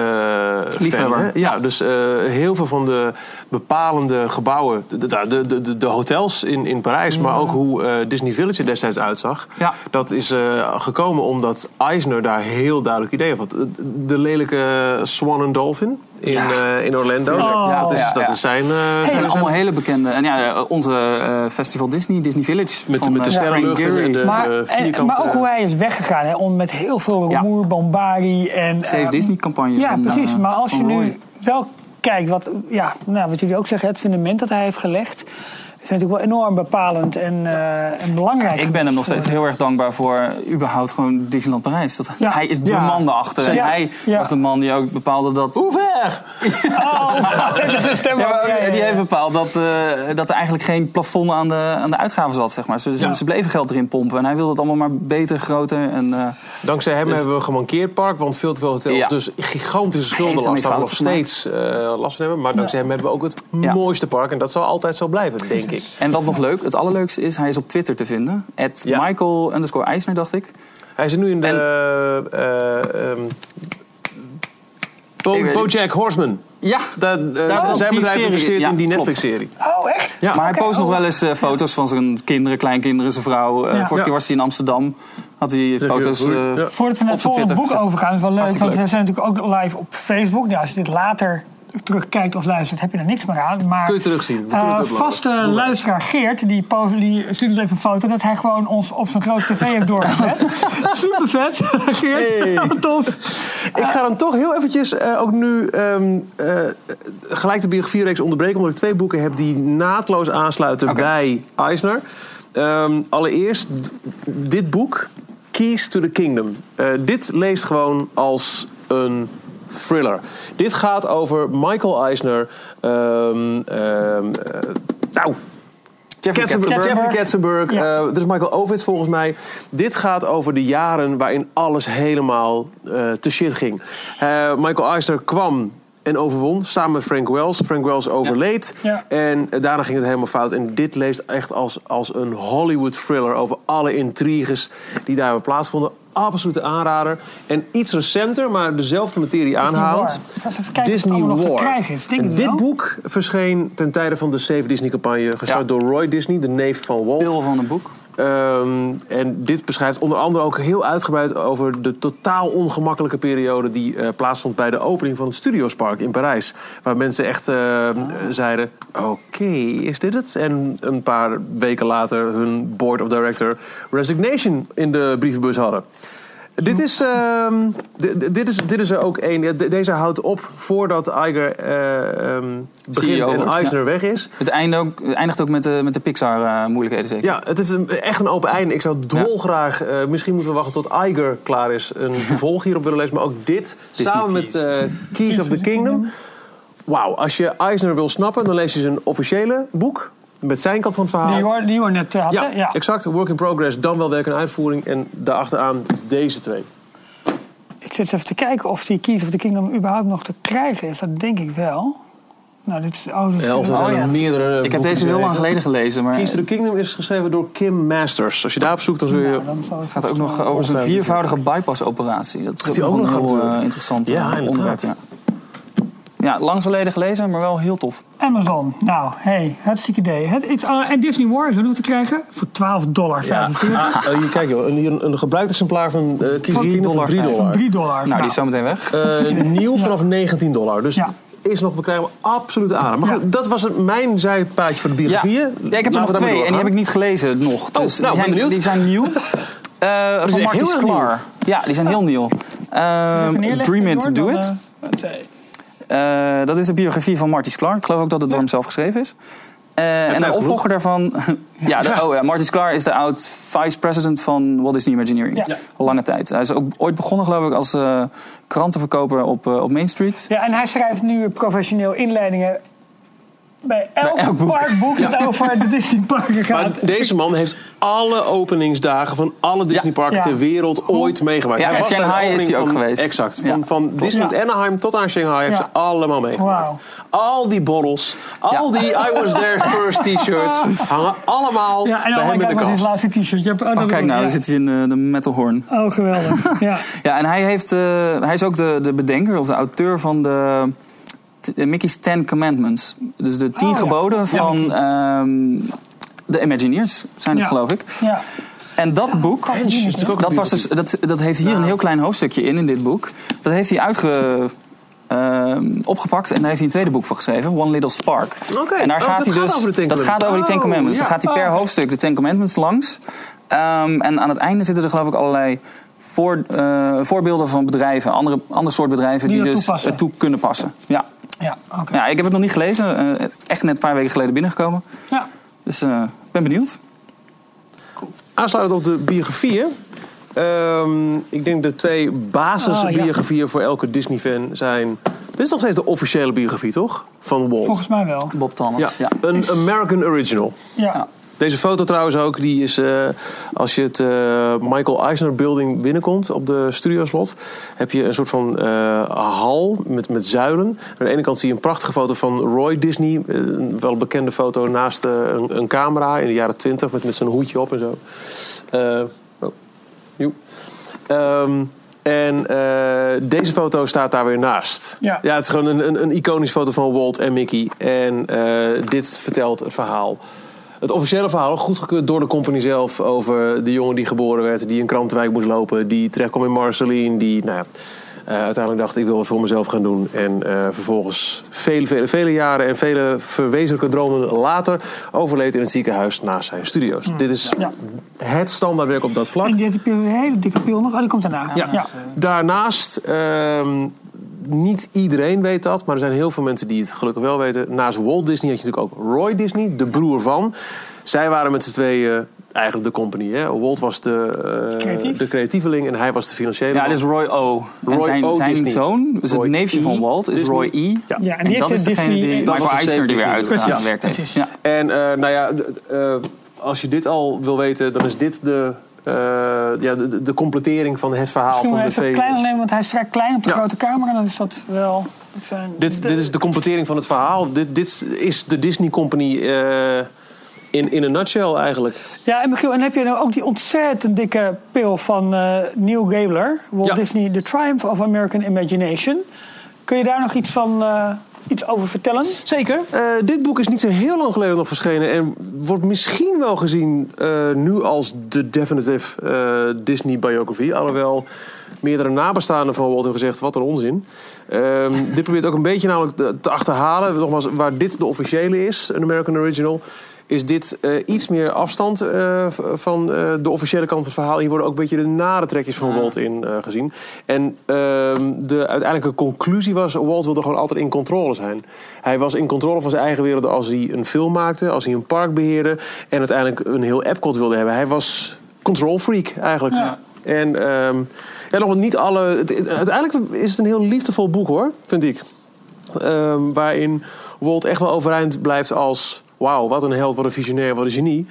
Speaker 4: Liefhebber.
Speaker 3: fan, hè? ja, dus eh, heel veel van de bepalende gebouwen. De, de, de, de, de hotels in, in Parijs, maar ook hoe eh, Disney Village er destijds uitzag.
Speaker 4: Ja.
Speaker 3: Dat is eh, gekomen omdat Eisner daar heel duidelijk idee had. De, de lelijke Swan and Dolphin in,
Speaker 4: Ja.
Speaker 3: eh, in Orlando.
Speaker 2: Oh.
Speaker 3: Dat, is,
Speaker 4: Ja,
Speaker 3: dat
Speaker 4: ja.
Speaker 3: is zijn. eh,
Speaker 4: Het
Speaker 3: zijn-
Speaker 4: zijn dus allemaal hele bekende. En ja, eh, onze eh, Festival Disney, Disney Village.
Speaker 3: Met,
Speaker 4: van,
Speaker 3: met de
Speaker 4: eh, Frank
Speaker 3: sterrenluchten
Speaker 4: Gehry.
Speaker 3: en de,
Speaker 2: Maar,
Speaker 3: de
Speaker 2: en-
Speaker 3: vierkante...
Speaker 2: maar ook hoe hij is weggegaan, hè, om met heel veel
Speaker 4: Ja.
Speaker 2: rumoer, bombari en...
Speaker 4: Save
Speaker 2: eh,
Speaker 4: Disney campagne.
Speaker 2: Ja,
Speaker 4: van,
Speaker 2: precies.
Speaker 4: eh,
Speaker 2: Maar als je
Speaker 4: van Roy.
Speaker 2: nu wel kijkt, wat, ja, nou, wat jullie ook zeggen, het fundament dat hij heeft gelegd, is natuurlijk wel enorm bepalend en, eh, en belangrijk.
Speaker 4: Ik ben hem nog
Speaker 2: voor-
Speaker 4: steeds heel erg dankbaar voor eh, überhaupt gewoon Disneyland Parijs. Dat,
Speaker 2: Ja.
Speaker 4: Hij is de
Speaker 3: Ja.
Speaker 4: man daarachter. En
Speaker 2: Ja.
Speaker 4: hij
Speaker 2: Ja.
Speaker 4: was de man die ook bepaalde dat...
Speaker 3: Hoe ver?
Speaker 2: Oh, dit is een stem. eh,
Speaker 4: Ja,
Speaker 2: ook.
Speaker 4: maar
Speaker 2: Ja, ja, ja.
Speaker 4: Die heeft bepaald dat, eh, dat er eigenlijk geen plafond aan de, aan de uitgaven zat, zeg maar. Ze, ze-
Speaker 2: Ja.
Speaker 4: ze bleven geld erin pompen en hij wilde het allemaal maar beter, groter. En, eh,
Speaker 3: Dankzij hem hebben we gemankeerd park, want veel te veel hotels.
Speaker 4: Ja.
Speaker 3: Dus gigantische
Speaker 4: Hij heeft
Speaker 3: schuldenlast
Speaker 4: ermee
Speaker 3: waar we nog
Speaker 4: fouten gemaakt.
Speaker 3: steeds eh, last van hebben. Maar dankzij hem hebben we ook het
Speaker 4: Ja.
Speaker 3: mooiste park. En dat zal altijd zo blijven, denk ik.
Speaker 4: en wat nog leuk, het allerleukste is, hij is op Twitter te vinden. At
Speaker 3: Ja.
Speaker 4: Michael underscore Eisner, dacht ik.
Speaker 3: Hij zit nu in de...
Speaker 4: En-
Speaker 3: eh, ehm, Bo-
Speaker 4: Ik weet-
Speaker 3: Bojack Horseman.
Speaker 4: Ja,
Speaker 3: Dat, eh,
Speaker 4: klopt.
Speaker 3: zijn
Speaker 4: Die
Speaker 3: bedrijf
Speaker 4: serie,
Speaker 3: investeert
Speaker 4: ja,
Speaker 3: in die
Speaker 4: klopt.
Speaker 3: Netflix-serie.
Speaker 2: Oh, echt?
Speaker 3: Ja.
Speaker 4: maar hij
Speaker 2: Oké,
Speaker 4: post nog
Speaker 2: oh.
Speaker 4: wel eens eh, foto's van zijn kinderen, kleinkinderen, zijn vrouw. Eh
Speaker 2: Ja.
Speaker 4: Vorige keer
Speaker 3: Ja.
Speaker 4: was hij in Amsterdam, had hij foto's...
Speaker 3: goed.
Speaker 4: eh,
Speaker 3: Ja.
Speaker 2: Voordat we naar
Speaker 4: op
Speaker 2: het
Speaker 4: zijn
Speaker 2: volgende boek
Speaker 4: Twitter gezet.
Speaker 2: overgaan, is wel leuk.
Speaker 4: Hartstikke
Speaker 2: Want we zijn natuurlijk ook live op Facebook. Nou, als je dit later terugkijkt of luistert, heb je er niks meer aan. Maar,
Speaker 3: Kun je terugzien. We kunnen het
Speaker 2: eh,
Speaker 3: uploaden.
Speaker 2: vaste
Speaker 3: Doe maar.
Speaker 2: luisteraar Geert, die, post, die stuurt ons even een foto... dat hij gewoon ons op zijn grote tv heeft doorgezet. Super vet, Geert. Tof.
Speaker 3: Ik ga dan toch heel eventjes eh, ook nu ehm, eh, gelijk de biografiereeks onderbreken... omdat ik twee boeken heb die naadloos aansluiten bij Eisner. Ehm, allereerst d- dit boek, Keys to the Kingdom. Eh, dit leest gewoon als een thriller. Dit gaat over Michael Eisner... ehm, ehm, eh, nou,
Speaker 4: Jeffrey
Speaker 3: Katzenberg.
Speaker 4: Katzenberg.
Speaker 3: Jeffrey Katzenberg.
Speaker 2: Ja.
Speaker 3: eh, dit is Michael Ovitz volgens mij. Dit gaat over de jaren waarin alles helemaal eh, te shit ging. Eh, Michael Eisner kwam en overwon samen met Frank Wells. Frank Wells overleed.
Speaker 2: Ja.
Speaker 3: En eh, daarna ging het helemaal fout. En dit leest echt als, als een Hollywood thriller over alle intriges die daar weer plaatsvonden. Absolute aanrader. En iets recenter, maar dezelfde materie
Speaker 2: Disney
Speaker 3: aanhaalt.
Speaker 2: War. Ik was even kijken of het allemaal nog te krijgen is. Denk
Speaker 3: En
Speaker 2: het
Speaker 3: dit
Speaker 2: wel.
Speaker 3: boek verscheen ten tijde van de Save Disney campagne, gestart
Speaker 4: Ja.
Speaker 3: door Roy Disney, de neef van Walt.
Speaker 4: Pil van een boek.
Speaker 3: Ehm, en dit beschrijft onder andere ook heel uitgebreid over de totaal ongemakkelijke periode die eh, plaatsvond bij de opening van het Studiospark in Parijs. Waar mensen echt ehm, eh, zeiden: Oké, is dit het? En een paar weken later hun board of director resignation in de brievenbus hadden. Dit is, ehm, d- d- dit, is, dit is er ook één. Ja, de- Deze houdt op voordat Iger eh, ehm, begint
Speaker 4: CEO
Speaker 3: en
Speaker 4: wordt,
Speaker 3: Eisner weg is.
Speaker 4: Het einde ook- het eindigt ook met de, met de Pixar-moeilijkheden, zeker.
Speaker 3: Ja, het is een, echt een open einde. Ik zou dolgraag... eh, misschien moeten we wachten tot Iger klaar is. Een vervolg hierop willen lezen. Maar ook dit,
Speaker 4: Disney
Speaker 3: samen met
Speaker 4: Keys.
Speaker 3: eh, Keys of the Kingdom. Wauw, als je Eisner wil snappen, dan lees je zijn officiële boek. Met zijn kant van het verhaal.
Speaker 2: Die hoor, die hoor net eh, had,
Speaker 3: Ah. Ja,
Speaker 2: hè? ja.
Speaker 3: exact. Work in progress, dan wel werk en uitvoering. En daarachteraan deze twee.
Speaker 2: Ik zit even te kijken of die Keys of the Kingdom überhaupt nog te krijgen is. Dat denk ik wel. Nou, dit is... Oh, dat is-
Speaker 3: of er
Speaker 2: oh,
Speaker 3: zijn
Speaker 2: ja.
Speaker 3: er meerdere
Speaker 4: Ik heb deze heel lang geleden gelezen, maar
Speaker 3: Keys to
Speaker 4: het
Speaker 3: the Kingdom is geschreven door Kim Masters. Als je daarop zoekt, dan zul je...
Speaker 2: Nou, Dan zal ik-
Speaker 4: gaat ook nog
Speaker 3: oh,
Speaker 4: over zijn viervoudige bypass-operatie. Dat is
Speaker 3: die
Speaker 4: ook
Speaker 3: ook
Speaker 4: nog een
Speaker 3: nog
Speaker 4: heel
Speaker 3: gaat,
Speaker 4: eh,
Speaker 3: eh,
Speaker 4: interessant
Speaker 3: ja,
Speaker 4: eh,
Speaker 3: inderdaad.
Speaker 4: onderwerp. Ja. ja, lang geleden gelezen, maar wel heel tof.
Speaker 2: Amazon. Nou, hey, hartstikke idee. Het, het, ah, en Disney War is ook nog te krijgen voor 12 dollar.
Speaker 3: Ja. Ah, eh, hier, kijk joh, een, hier een, een gebruikt exemplaar van eh Keys to the Kingdom voor 3 dollar.
Speaker 2: 3 dollar.
Speaker 4: Nou, die is zo meteen weg.
Speaker 3: Eh, nieuw vanaf 19 dollar. Dus
Speaker 2: Ja.
Speaker 3: is nog bekrijgbaar. Absoluut aan. Maar
Speaker 2: Ja.
Speaker 3: goed, dat was het, mijn zijpaadje voor de
Speaker 4: Ja.
Speaker 3: biografieën.
Speaker 4: Ja, ik heb er nog twee en die heb ik niet gelezen nog. Dus
Speaker 3: nou,
Speaker 4: die,
Speaker 3: ben
Speaker 4: zijn,
Speaker 3: benieuwd.
Speaker 4: die zijn nieuw. Eh van
Speaker 3: echt
Speaker 4: Marcus
Speaker 3: heel erg Oh.
Speaker 4: Sklar. Ja, die zijn heel nieuw. Eh, Dream It, Do It.
Speaker 2: eh,
Speaker 4: Eh, dat is de biografie van Marty Sklar. Ik geloof ook dat het door hem zelf geschreven is. Eh, en de
Speaker 3: tijd
Speaker 4: opvolger daarvan... ja, de, oh ja, Marty Sklar is de oud vice-president van Walt Disney Imagineering.
Speaker 2: Ja. Ja.
Speaker 4: Lange tijd. Hij is ook ooit begonnen, geloof ik, als eh, krantenverkoper op, eh, op Main Street.
Speaker 2: Ja, en hij schrijft nu professioneel inleidingen bij elk,
Speaker 4: elk boek.
Speaker 2: parkboek dat over de Disney parken
Speaker 3: Maar
Speaker 2: gaat.
Speaker 3: deze man heeft alle openingsdagen van alle Disneyparken
Speaker 2: Ja.
Speaker 3: ter wereld ooit meegemaakt.
Speaker 4: Ja,
Speaker 3: Hij
Speaker 4: en
Speaker 3: was bij de
Speaker 4: Shanghai is
Speaker 3: opening
Speaker 4: hij ook
Speaker 3: van-
Speaker 4: geweest.
Speaker 3: Exact.
Speaker 4: Ja.
Speaker 3: Van, van Disneyland
Speaker 2: Ja.
Speaker 3: Anaheim tot aan Shanghai heeft
Speaker 2: Ja.
Speaker 3: ze allemaal meegemaakt.
Speaker 2: Wauw.
Speaker 3: Al die borrels, al die I was there first t-shirts hangen allemaal
Speaker 2: ja, en
Speaker 3: bij
Speaker 2: oh
Speaker 3: hem
Speaker 2: my
Speaker 3: in
Speaker 2: god, wat
Speaker 3: de
Speaker 2: is het
Speaker 3: kast.
Speaker 2: laatste t-shirt. Je hebt- dat
Speaker 4: Oh,
Speaker 2: bedoel
Speaker 4: kijk
Speaker 2: ik,
Speaker 4: nou,
Speaker 2: ja.
Speaker 4: daar zit hij in eh, de metalhoorn.
Speaker 2: Oh, geweldig. ja.
Speaker 4: Ja, en hij, heeft, eh, hij is ook de, de bedenker of de auteur van de t- eh, Mickey's Ten Commandments. Dus de tien
Speaker 2: Oh, ja.
Speaker 4: geboden van ehm, de Imagineers, zijn het
Speaker 2: Ja.
Speaker 4: geloof ik.
Speaker 2: ja.
Speaker 4: En dat boek,
Speaker 2: is natuurlijk ook
Speaker 4: dat, was dus, dat, dat heeft hier een heel klein hoofdstukje in, in dit boek. Dat heeft hij uitge, ehm, opgepakt en daar heeft hij een tweede boek van geschreven, One Little Spark.
Speaker 3: Oké,
Speaker 4: En daar
Speaker 3: oh,
Speaker 4: gaat
Speaker 3: dat
Speaker 4: hij
Speaker 3: gaat
Speaker 4: dus,
Speaker 3: over de Ten
Speaker 4: dat
Speaker 3: Commandments.
Speaker 4: gaat over die Ten
Speaker 3: Oh,
Speaker 4: Commandments.
Speaker 3: ja.
Speaker 4: Dan gaat hij per hoofdstuk de Ten Commandments langs. Ehm, en aan het einde zitten er geloof ik allerlei voor, eh, voorbeelden van bedrijven, andere, ander soort bedrijven
Speaker 2: Die
Speaker 4: die,
Speaker 2: dat
Speaker 4: dus
Speaker 2: toepassen.
Speaker 4: eh, toe kunnen passen. Ja.
Speaker 2: Ja, oké.
Speaker 4: ja, ik heb het nog niet gelezen. Eh, het is echt net een paar weken geleden binnengekomen.
Speaker 2: Ja.
Speaker 4: Dus eh, ik ben benieuwd.
Speaker 3: Aansluitend op de biografieën. ehm, ik denk de twee basisbiografieën
Speaker 2: Oh,
Speaker 3: voor elke Disney-fan zijn... Dit is nog steeds de officiële biografie, toch? Van Walt.
Speaker 2: Volgens mij wel.
Speaker 4: Bob Thomas.
Speaker 3: Ja,
Speaker 4: ja.
Speaker 3: een American Original.
Speaker 2: Ja.
Speaker 3: Deze foto trouwens ook, die is eh, als je het eh, Michael Eisner Building binnenkomt op de studioslot, heb je een soort van eh, hal met, met zuilen. Aan de ene kant zie je een prachtige foto van Roy Disney, eh, een wel bekende foto naast eh, een, een camera in de jaren twintig met, met zijn hoedje op en zo. Eh, oh, joep. Ehm, en eh, deze foto staat daar weer naast.
Speaker 2: Ja.
Speaker 3: het is gewoon een, een, een iconische foto van Walt en Mickey. En eh, dit vertelt het verhaal. Het officiële verhaal, goedgekeurd door de company zelf... over de jongen die geboren werd, die een krantenwijk moest lopen... die terecht kwam in Marceline, die nou ja, eh, uiteindelijk dacht... ik wil wat voor mezelf gaan doen. En eh, vervolgens vele, vele, vele jaren en vele verwezenlijke dromen later... overleed in het ziekenhuis naast zijn studio's. Dit is
Speaker 2: Ja.
Speaker 3: het standaardwerk op dat vlak.
Speaker 2: En die heeft een hele dikke pil nog. Oh, die komt daarna.
Speaker 3: Ja. Daarnaast, ehm, niet iedereen weet dat, maar er zijn heel veel mensen die het gelukkig wel weten. Naast Walt Disney had je natuurlijk ook Roy Disney, de broer van. Zij waren met z'n tweeën eigenlijk de company. Hè? Walt was de, eh,
Speaker 2: Creatief.
Speaker 3: de creatieveling en hij was de financiële.
Speaker 4: Ja,
Speaker 3: man.
Speaker 4: dit is Roy O. en
Speaker 3: Roy
Speaker 4: zijn,
Speaker 3: O.
Speaker 4: zijn
Speaker 3: Disney.
Speaker 4: zoon, dus
Speaker 3: Roy
Speaker 4: het neefje
Speaker 3: E.
Speaker 4: van Walt, is
Speaker 3: Disney.
Speaker 4: Roy E.
Speaker 3: Ja.
Speaker 2: Ja, en die
Speaker 4: en dat
Speaker 2: heeft
Speaker 4: is
Speaker 2: de
Speaker 4: degene
Speaker 2: Disney-
Speaker 4: die
Speaker 2: Dat
Speaker 3: was
Speaker 4: Michael
Speaker 3: de
Speaker 4: Eisner
Speaker 3: zeven
Speaker 4: die weer
Speaker 3: Disney.
Speaker 4: uitgewerkt
Speaker 2: Precies.
Speaker 4: heeft. Ja.
Speaker 3: En eh, nou ja, d- eh, als je dit al wil weten, dan is dit de, eh, ja, de- de, de completering van het verhaal
Speaker 2: Misschien
Speaker 3: van
Speaker 2: wel
Speaker 3: de
Speaker 2: even
Speaker 3: twee.
Speaker 2: klein alleen, want hij is vrij klein op de
Speaker 3: Ja.
Speaker 2: grote camera. Dan is dat wel... dat zijn-
Speaker 3: Dit, dit is de completering van het verhaal. Dit, dit is de Disney Company eh, in, in een nutshell eigenlijk.
Speaker 2: Ja, en Michiel, en heb je nou ook die ontzettend dikke pil van eh, Neil Gabler, Walt
Speaker 3: Ja.
Speaker 2: Disney, The Triumph of American Imagination. Kun je daar nog iets van eh, iets over vertellen?
Speaker 3: Zeker. Eh, dit boek is niet zo heel lang geleden nog verschenen. En wordt misschien wel gezien eh, nu als de definitive eh, Disney biografie. Alhoewel meerdere nabestaanden van Walt hebben gezegd, wat een onzin. Ehm, dit probeert ook een beetje namelijk te- te achterhalen. Nogmaals, waar dit de officiële is, een American Original... is dit eh, iets meer afstand eh, v- van eh, de officiële kant van het verhaal. Hier worden ook een beetje de nare trekjes van Walt in eh, gezien. En ehm, de uiteindelijke conclusie was, Walt wilde gewoon altijd in controle zijn. Hij was in controle van zijn eigen wereld als hij een film maakte, als hij een park beheerde. En uiteindelijk een heel Epcot wilde hebben. Hij was control freak eigenlijk. En ehm, ja, nog niet alle. het- het- uiteindelijk is het een heel liefdevol boek hoor, vind ik. Ehm, waarin Walt echt wel overeind blijft als... wauw, wat een held, wat een visionair, wat een genie.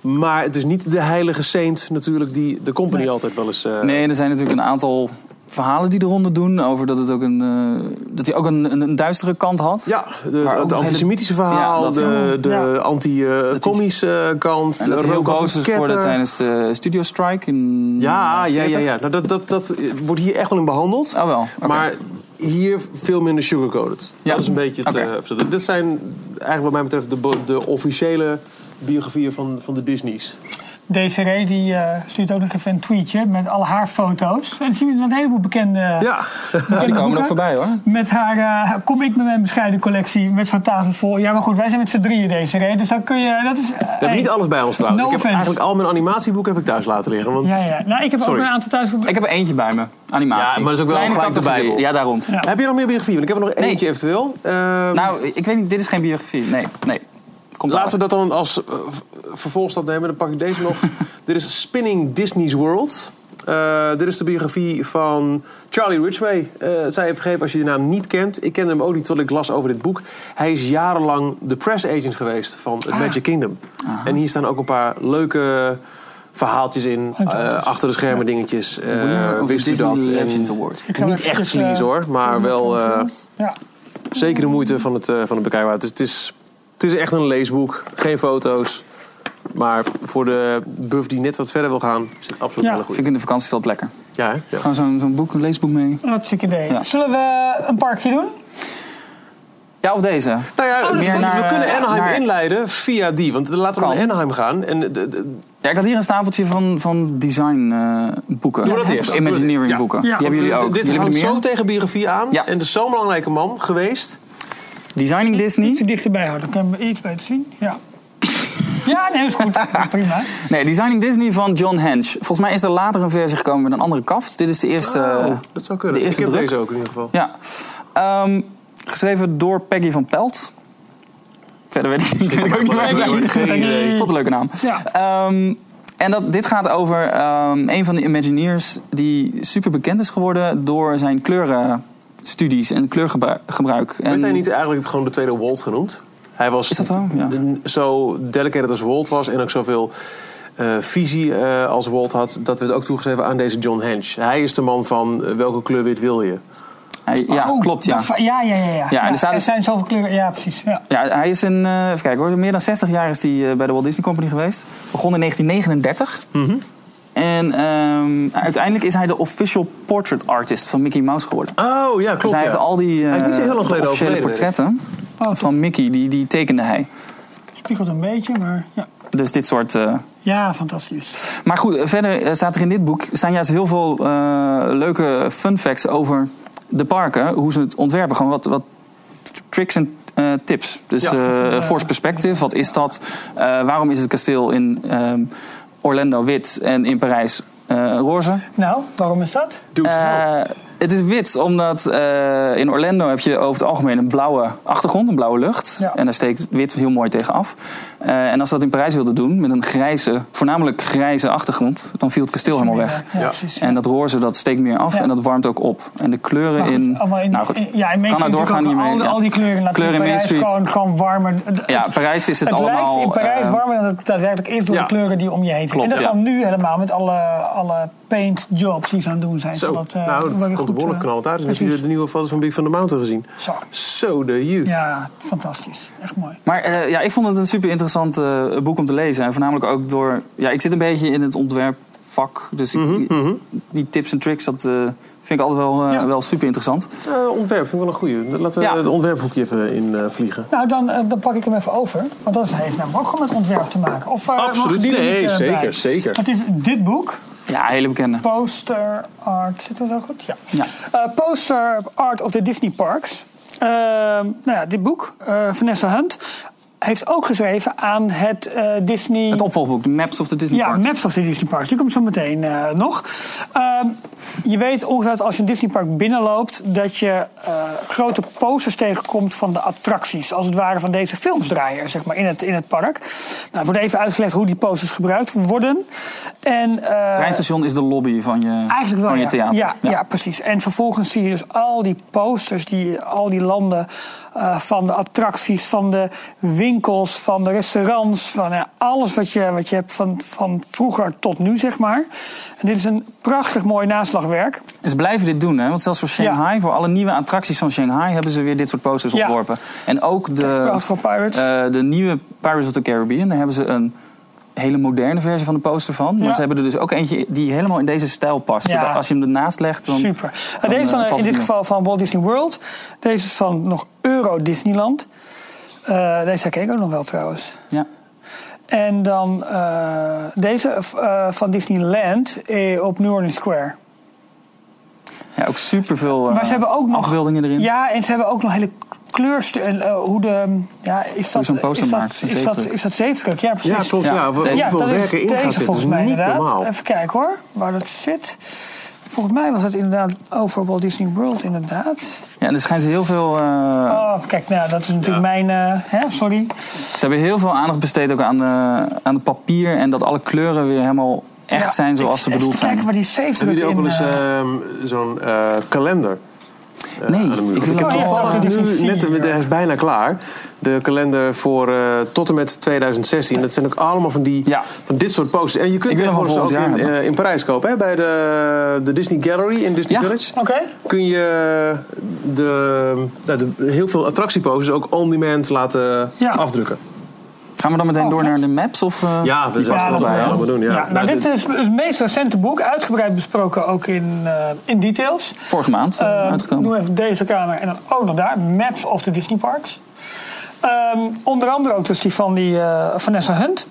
Speaker 3: Maar het is niet de heilige saint natuurlijk die de company altijd wel eens... eh,
Speaker 4: Nee, er zijn natuurlijk een aantal verhalen die eronder doen. Over dat, het ook een, eh, dat hij ook een, een, een duistere kant had.
Speaker 3: Ja, de-
Speaker 4: ook nog
Speaker 3: het
Speaker 4: hele-
Speaker 3: antisemitische verhaal,
Speaker 4: Ja, dat-
Speaker 3: de, de
Speaker 2: Ja.
Speaker 3: anti-commische kant,
Speaker 4: En dat
Speaker 3: de
Speaker 4: hij heel
Speaker 3: rook
Speaker 4: boos
Speaker 3: als een
Speaker 4: is geworden
Speaker 3: ketter.
Speaker 4: tijdens de studio strike in
Speaker 3: Ja, ja, ja,
Speaker 4: 40.
Speaker 3: ja. Nou, dat, dat, dat eh, wordt hier echt wel in behandeld.
Speaker 4: Oh wel, oké.
Speaker 3: Maar hier veel minder sugarcoated.
Speaker 4: Ja.
Speaker 3: Dat is een beetje het
Speaker 4: Oké.
Speaker 3: eh, verschil. Dit zijn eigenlijk wat mij betreft de, bo- de officiële biografieën van, van de Disney's.
Speaker 2: DCR die, eh, stuurt ook nog even een tweetje met al haar foto's. En dan zien jullie een heleboel bekende,
Speaker 3: Ja,
Speaker 2: bekende
Speaker 4: Die komen
Speaker 2: boeken.
Speaker 4: er voorbij hoor.
Speaker 2: Met haar eh, kom ik met mijn bescheiden collectie met van tafel vol. Ja, maar goed, wij zijn met z'n drieën deze reden. Dus dan kun je. Dat is, eh,
Speaker 3: ik heb
Speaker 2: hey.
Speaker 3: niet alles bij ons trouwens.
Speaker 2: No
Speaker 3: ik heb
Speaker 2: offense.
Speaker 3: eigenlijk al mijn animatieboeken heb ik thuis laten liggen. Want
Speaker 2: Ja, ja. Nou, ik heb
Speaker 3: Sorry.
Speaker 2: ook een aantal thuis.
Speaker 4: Ik heb er eentje bij me. Animatie.
Speaker 3: Ja, maar dat is ook wel
Speaker 4: Kleine
Speaker 3: gelijk de
Speaker 4: categorie.
Speaker 3: Bijbel.
Speaker 4: Ja, daarom.
Speaker 2: Ja.
Speaker 3: Heb je nog meer biografieën? Want ik heb er nog
Speaker 4: Nee.
Speaker 3: eentje eventueel. Ehm,
Speaker 4: Nou, ik weet niet, dit is geen biografie. Nee, nee. Komt
Speaker 3: laten we
Speaker 4: later.
Speaker 3: dat dan als eh, v- vervolgstap nemen. Dan pak ik deze nog. Dit is Spinning Disney's World. Eh, dit is de biografie van Charlie Ridgway. Eh het zij vergeven als je de naam niet kent. Ik kende hem ook niet tot ik las over dit boek. Hij is jarenlang de press agent geweest van
Speaker 4: Ah.
Speaker 3: het Magic Kingdom. En hier staan ook een paar leuke verhaaltjes in.
Speaker 2: Anekdotes.
Speaker 3: eh, achter de schermen dingetjes. Eh,
Speaker 4: Winner of the
Speaker 3: wist u
Speaker 4: Disney
Speaker 3: dat? En
Speaker 4: Legend Award.
Speaker 2: Ik ga
Speaker 3: niet
Speaker 2: even,
Speaker 3: echt
Speaker 2: eh,
Speaker 3: sleaze hoor, maar wel eh,
Speaker 2: Ja.
Speaker 3: zeker de moeite van het, eh, van het bekijken. waard. Dus het is, het is echt een leesboek, geen foto's. Maar voor de buff die net wat verder wil gaan, is het absoluut
Speaker 2: Ja.
Speaker 3: wel een
Speaker 4: Vind
Speaker 3: goede.
Speaker 4: ik in de vakantie altijd lekker.
Speaker 3: Ja, hè? Ja.
Speaker 4: Gewoon zo'n zo'n boek, een leesboek mee.
Speaker 2: Hartstikke idee.
Speaker 4: Ja.
Speaker 2: Zullen we eh, een parkje doen?
Speaker 4: Ja, of deze.
Speaker 3: Nou ja,
Speaker 4: dat
Speaker 3: dus
Speaker 4: is
Speaker 3: we-
Speaker 4: goed.
Speaker 3: we
Speaker 4: Oh, Naar,
Speaker 3: kunnen
Speaker 4: eh,
Speaker 3: Anaheim
Speaker 4: naar-
Speaker 3: inleiden via die. Want laten we
Speaker 4: Kan.
Speaker 3: naar Anaheim gaan. En de- de- de-
Speaker 4: Ja, ik had hier een stapeltje van, van design eh, boeken.
Speaker 3: Doe dat eerst.
Speaker 4: Of Imagineering
Speaker 3: Ja.
Speaker 4: boeken.
Speaker 2: Ja.
Speaker 4: Die hebben jullie ook.
Speaker 3: dit
Speaker 4: jullie
Speaker 3: houdt
Speaker 4: hebben
Speaker 3: zo
Speaker 4: er meer?
Speaker 3: tegen biografie aan.
Speaker 4: Ja.
Speaker 3: En er is zo'n belangrijke man geweest.
Speaker 4: Designing Disney.
Speaker 2: Ietsje dichterbij houden, dan kunnen we iets beter zien. Ja. Ja, nee, is goed. Ja, prima.
Speaker 4: Nee, Designing Disney van John Hench. Volgens mij is er later een versie gekomen met een andere kaft. Dit is de eerste.
Speaker 3: Oh, dat zou kunnen.
Speaker 4: eh, de
Speaker 3: Ik
Speaker 4: eerste
Speaker 3: heb
Speaker 4: druk.
Speaker 3: deze ook in ieder geval.
Speaker 4: Ja. Ehm, geschreven door Peggy van Pelt. Verder weet ik, weet ik ook niet waar
Speaker 3: Peggy,
Speaker 4: zijn.
Speaker 3: geen idee.
Speaker 4: Ik vond het een leuke naam.
Speaker 2: Ja.
Speaker 4: Ehm, en dat, dit gaat over ehm, een van de Imagineers die super bekend is geworden door zijn kleurenstudies en kleurgebruik. En
Speaker 3: Werd hij niet eigenlijk gewoon de tweede Walt genoemd? Hij was
Speaker 4: Is dat zo? Ja.
Speaker 3: n- zo dedicated als Walt was en ook zoveel eh, visie eh, als Walt had, dat werd ook toegeschreven aan deze John Hench. Hij is de man van eh, welke kleurwit wil je?
Speaker 4: hij, ja,
Speaker 2: Oh,
Speaker 4: klopt. Ja.
Speaker 2: dat va- Ja, ja, ja. ja.
Speaker 4: en er staat dus-
Speaker 2: zijn zoveel kleuren. Ja, precies. Ja.
Speaker 4: Ja, hij is een, eh, even kijken hoor, meer dan 60 jaar is hij eh, bij de Walt Disney Company geweest. Begon in 1939. En ehm, uiteindelijk is hij de official portrait artist van Mickey Mouse geworden.
Speaker 3: Oh ja, klopt.
Speaker 4: dus hij heeft al die eh,
Speaker 3: Hij is niet zo heel lang geleden
Speaker 4: officiële
Speaker 3: overleden,
Speaker 4: portretten
Speaker 2: Oh, het
Speaker 4: van Mickey, die, die tekende hij.
Speaker 2: spiegelt een beetje, maar ja.
Speaker 4: Dus dit soort... eh,
Speaker 2: Ja, fantastisch.
Speaker 4: Maar goed, eh, verder eh, staat er in dit boek staan juist heel veel eh, leuke fun facts over de parken. Hoe ze het ontwerpen. Gewoon wat, wat t- tricks en eh, tips. Dus
Speaker 3: Ja.
Speaker 4: eh Force Perspective, wat is dat? Eh, waarom is het kasteel in ehm, Orlando wit en in Parijs eh, roze?
Speaker 2: Nou, waarom is dat?
Speaker 3: Doe het wel.
Speaker 4: Eh, het is wit, omdat eh, in Orlando heb je over het algemeen een blauwe achtergrond, een blauwe lucht.
Speaker 2: Ja.
Speaker 4: En daar steekt wit heel mooi tegen af. Eh, en als ze dat in Parijs wilden doen, met een grijze, voornamelijk grijze achtergrond, dan viel het kasteel helemaal weg.
Speaker 2: Ja,
Speaker 3: Ja.
Speaker 2: precies.
Speaker 4: En dat roze, dat steekt meer af
Speaker 2: eh, Ja.
Speaker 4: en dat warmt ook op. En de kleuren
Speaker 2: Maar goed,
Speaker 4: in...
Speaker 2: Oh, allemaal in,
Speaker 4: nou goed,
Speaker 2: in- ja, in Main
Speaker 4: kan daar
Speaker 2: Street
Speaker 4: doorgaan
Speaker 2: natuurlijk
Speaker 4: niet
Speaker 2: ook Al,
Speaker 4: mee. ja.
Speaker 2: al die kleuren laten
Speaker 4: Kleuren in
Speaker 2: in
Speaker 4: Main
Speaker 2: Parijs
Speaker 4: Street.
Speaker 2: gewoon, gewoon warmer. D-
Speaker 4: Ja, Parijs is het,
Speaker 2: Het
Speaker 4: allemaal...
Speaker 2: lijkt in Parijs
Speaker 4: eh,
Speaker 2: warmer dan het daadwerkelijk is door
Speaker 3: Ja.
Speaker 2: de kleuren die om je heen
Speaker 4: Klopt,
Speaker 2: zitten. En
Speaker 4: ja.
Speaker 2: dat gaan nu helemaal met alle, alle paint jobs die ze aan het doen zijn.
Speaker 3: Zo,
Speaker 2: zodat, eh,
Speaker 3: nou,
Speaker 2: we
Speaker 3: dat
Speaker 2: weer
Speaker 3: komt er
Speaker 2: goed,
Speaker 3: behoorlijk
Speaker 2: eh,
Speaker 3: knallend uit. Dus
Speaker 2: precies.
Speaker 3: natuurlijk de nieuwe foto's van Big van de Mountain gezien.
Speaker 2: Zo.
Speaker 3: Zo de you.
Speaker 2: Ja, fantastisch. Echt mooi.
Speaker 4: Maar eh, ja, ik vond het een super interessant eh, boek om te lezen. En voornamelijk ook door. Ja, ik zit een beetje in het ontwerpvak. Dus ik-
Speaker 2: Mhm,
Speaker 4: die tips en tricks, dat eh, vind ik altijd wel, eh,
Speaker 2: Ja.
Speaker 4: wel super interessant.
Speaker 3: Eh, ontwerp vind ik wel een goeie. Laten we
Speaker 4: Ja.
Speaker 3: het ontwerphoekje even in eh, vliegen.
Speaker 2: Nou, dan, eh, dan pak ik hem even over. Want dat heeft namelijk ook gewoon met ontwerp te maken. Of, eh,
Speaker 3: Absoluut.
Speaker 2: mag die er
Speaker 3: Nee,
Speaker 2: niet, eh,
Speaker 3: zeker,
Speaker 2: bij?
Speaker 3: zeker.
Speaker 2: Het is dit boek.
Speaker 4: Ja, hele bekende.
Speaker 2: Poster art. Zit dat zo goed? Ja.
Speaker 4: Ja.
Speaker 2: Eh, poster art of the Disney Parks. Ehm, nou ja, dit boek, eh, Vanessa Hunt. heeft ook geschreven aan het eh, Disney...
Speaker 4: Het opvolgboek, de Maps of the Disney
Speaker 2: ja,
Speaker 4: Park.
Speaker 2: Maps eh, of the Disney Park. Die komt zo meteen eh, nog. Ehm, je weet ongetwijfeld als je een Disney Park binnenloopt... dat je eh, grote posters tegenkomt van de attracties. Als het ware van deze filmsdraaier, zeg maar, in het, in het park. Nou, wordt even uitgelegd hoe die posters gebruikt worden. En, eh,
Speaker 4: Treinstation is de lobby van je,
Speaker 2: Eigenlijk wel,
Speaker 4: van je
Speaker 2: ja.
Speaker 4: theater.
Speaker 2: Ja, ja. precies. En vervolgens zie je dus al die posters, die, al die landen eh, van de attracties, van de winkels, van de restaurants, van eh, alles wat je, wat je hebt van, van vroeger tot nu, zeg maar. En dit is een prachtig mooi naslagwerk.
Speaker 4: En ze blijven dit doen, hè? want zelfs voor Shanghai, voor alle nieuwe attracties van Shanghai, hebben ze weer dit soort posters
Speaker 2: Ja.
Speaker 4: opgeworpen. En ook de,
Speaker 2: Proud for Pirates.
Speaker 4: eh, de nieuwe Pirates of the Caribbean, daar hebben ze een hele moderne versie van de poster van. Maar
Speaker 2: Ja.
Speaker 4: ze hebben er dus ook eentje die helemaal in deze stijl past.
Speaker 2: Ja.
Speaker 4: Dus als je hem ernaast legt, dan.
Speaker 2: Super.
Speaker 4: dan,
Speaker 2: deze is
Speaker 4: eh,
Speaker 2: dan
Speaker 4: valt
Speaker 2: in dit
Speaker 4: het
Speaker 2: geval van Walt Disney World. Deze is van nog Euro Disneyland. Eh, deze herken ik ook nog wel trouwens.
Speaker 4: mee. Ja.
Speaker 2: En dan eh, deze eh, van Disneyland eh, op New Orleans Square.
Speaker 4: ja, ook super veel
Speaker 2: Maar ze hebben ook nog-
Speaker 4: afbeeldingen erin.
Speaker 2: Ja, en ze hebben ook nog hele kleurstukken. hoe de. Ja, is dat,
Speaker 4: zo'n poster
Speaker 2: is dat,
Speaker 4: maakt, zo'n
Speaker 2: is dat,
Speaker 4: zeefdruk.
Speaker 2: is dat zeefdruk? Ja, precies.
Speaker 3: Ja, klopt.
Speaker 4: Ja,
Speaker 3: Ja, wat-
Speaker 4: deze-
Speaker 2: Ja,
Speaker 3: hoeveel
Speaker 2: dat is
Speaker 3: werken in
Speaker 2: deze
Speaker 3: gaan zitten. Dat
Speaker 2: volgens
Speaker 3: is
Speaker 2: mij
Speaker 3: niet
Speaker 2: inderdaad. eh,
Speaker 3: normaal.
Speaker 2: Even kijken hoor, waar dat zit. Volgens mij was dat inderdaad over Walt Disney World inderdaad.
Speaker 4: Ja, en er schijnt heel veel. eh,
Speaker 2: Oh, kijk, nou, dat is natuurlijk mijn... eh, hè, sorry.
Speaker 4: Ze hebben heel veel aandacht besteed ook aan, eh, aan het papier en dat alle kleuren weer helemaal echt
Speaker 2: Ja,
Speaker 4: zijn zoals ze
Speaker 2: even
Speaker 4: bedoeld zijn.
Speaker 2: kijken waar die zeefdruk
Speaker 3: Hebben
Speaker 2: in...
Speaker 3: jullie ook wel eens
Speaker 2: eh,
Speaker 3: ehm, zo'n eh, kalender? eh,
Speaker 4: Nee,
Speaker 3: aan de muur? Want
Speaker 4: ik wil
Speaker 3: ik heb
Speaker 4: hem
Speaker 2: wel- Oh ja,
Speaker 3: toevallig
Speaker 2: dat is
Speaker 3: nu,
Speaker 2: een
Speaker 3: net,
Speaker 2: vier.
Speaker 3: de- hij is bijna klaar, de kalender voor eh, tot en met 2016. Dat zijn ook allemaal van, die,
Speaker 4: Ja.
Speaker 3: van dit soort posters. En je
Speaker 4: Ik
Speaker 3: kunt
Speaker 4: wil hem
Speaker 3: tegenwoordig ze
Speaker 4: wel
Speaker 3: ook
Speaker 4: volgend
Speaker 3: in,
Speaker 4: jaar
Speaker 3: eh, in Parijs kopen. Hè? Bij de, de Disney Gallery in Disney
Speaker 4: Ja.
Speaker 3: Village
Speaker 2: Oké.
Speaker 3: kun je eh, de, nou, de- heel veel attractieposters ook on-demand laten
Speaker 2: Ja.
Speaker 3: afdrukken.
Speaker 4: Gaan we dan meteen
Speaker 2: Oh,
Speaker 4: door
Speaker 2: vet.
Speaker 4: naar de maps? Of, eh,
Speaker 3: Ja, dat is
Speaker 2: Ja,
Speaker 3: wel
Speaker 2: dat
Speaker 3: blij.
Speaker 2: wel.
Speaker 3: Ja, we doen. Ja.
Speaker 2: Ja, nou, dit is het meest recente boek, uitgebreid besproken ook in, eh, in details.
Speaker 4: Vorige maand eh,
Speaker 2: Eh,
Speaker 4: uitgekomen.
Speaker 2: Noem even deze kamer en dan ook nog daar. Maps of the Disney Parks. Ehm, onder andere ook dus die van die, eh, Vanessa Hunt.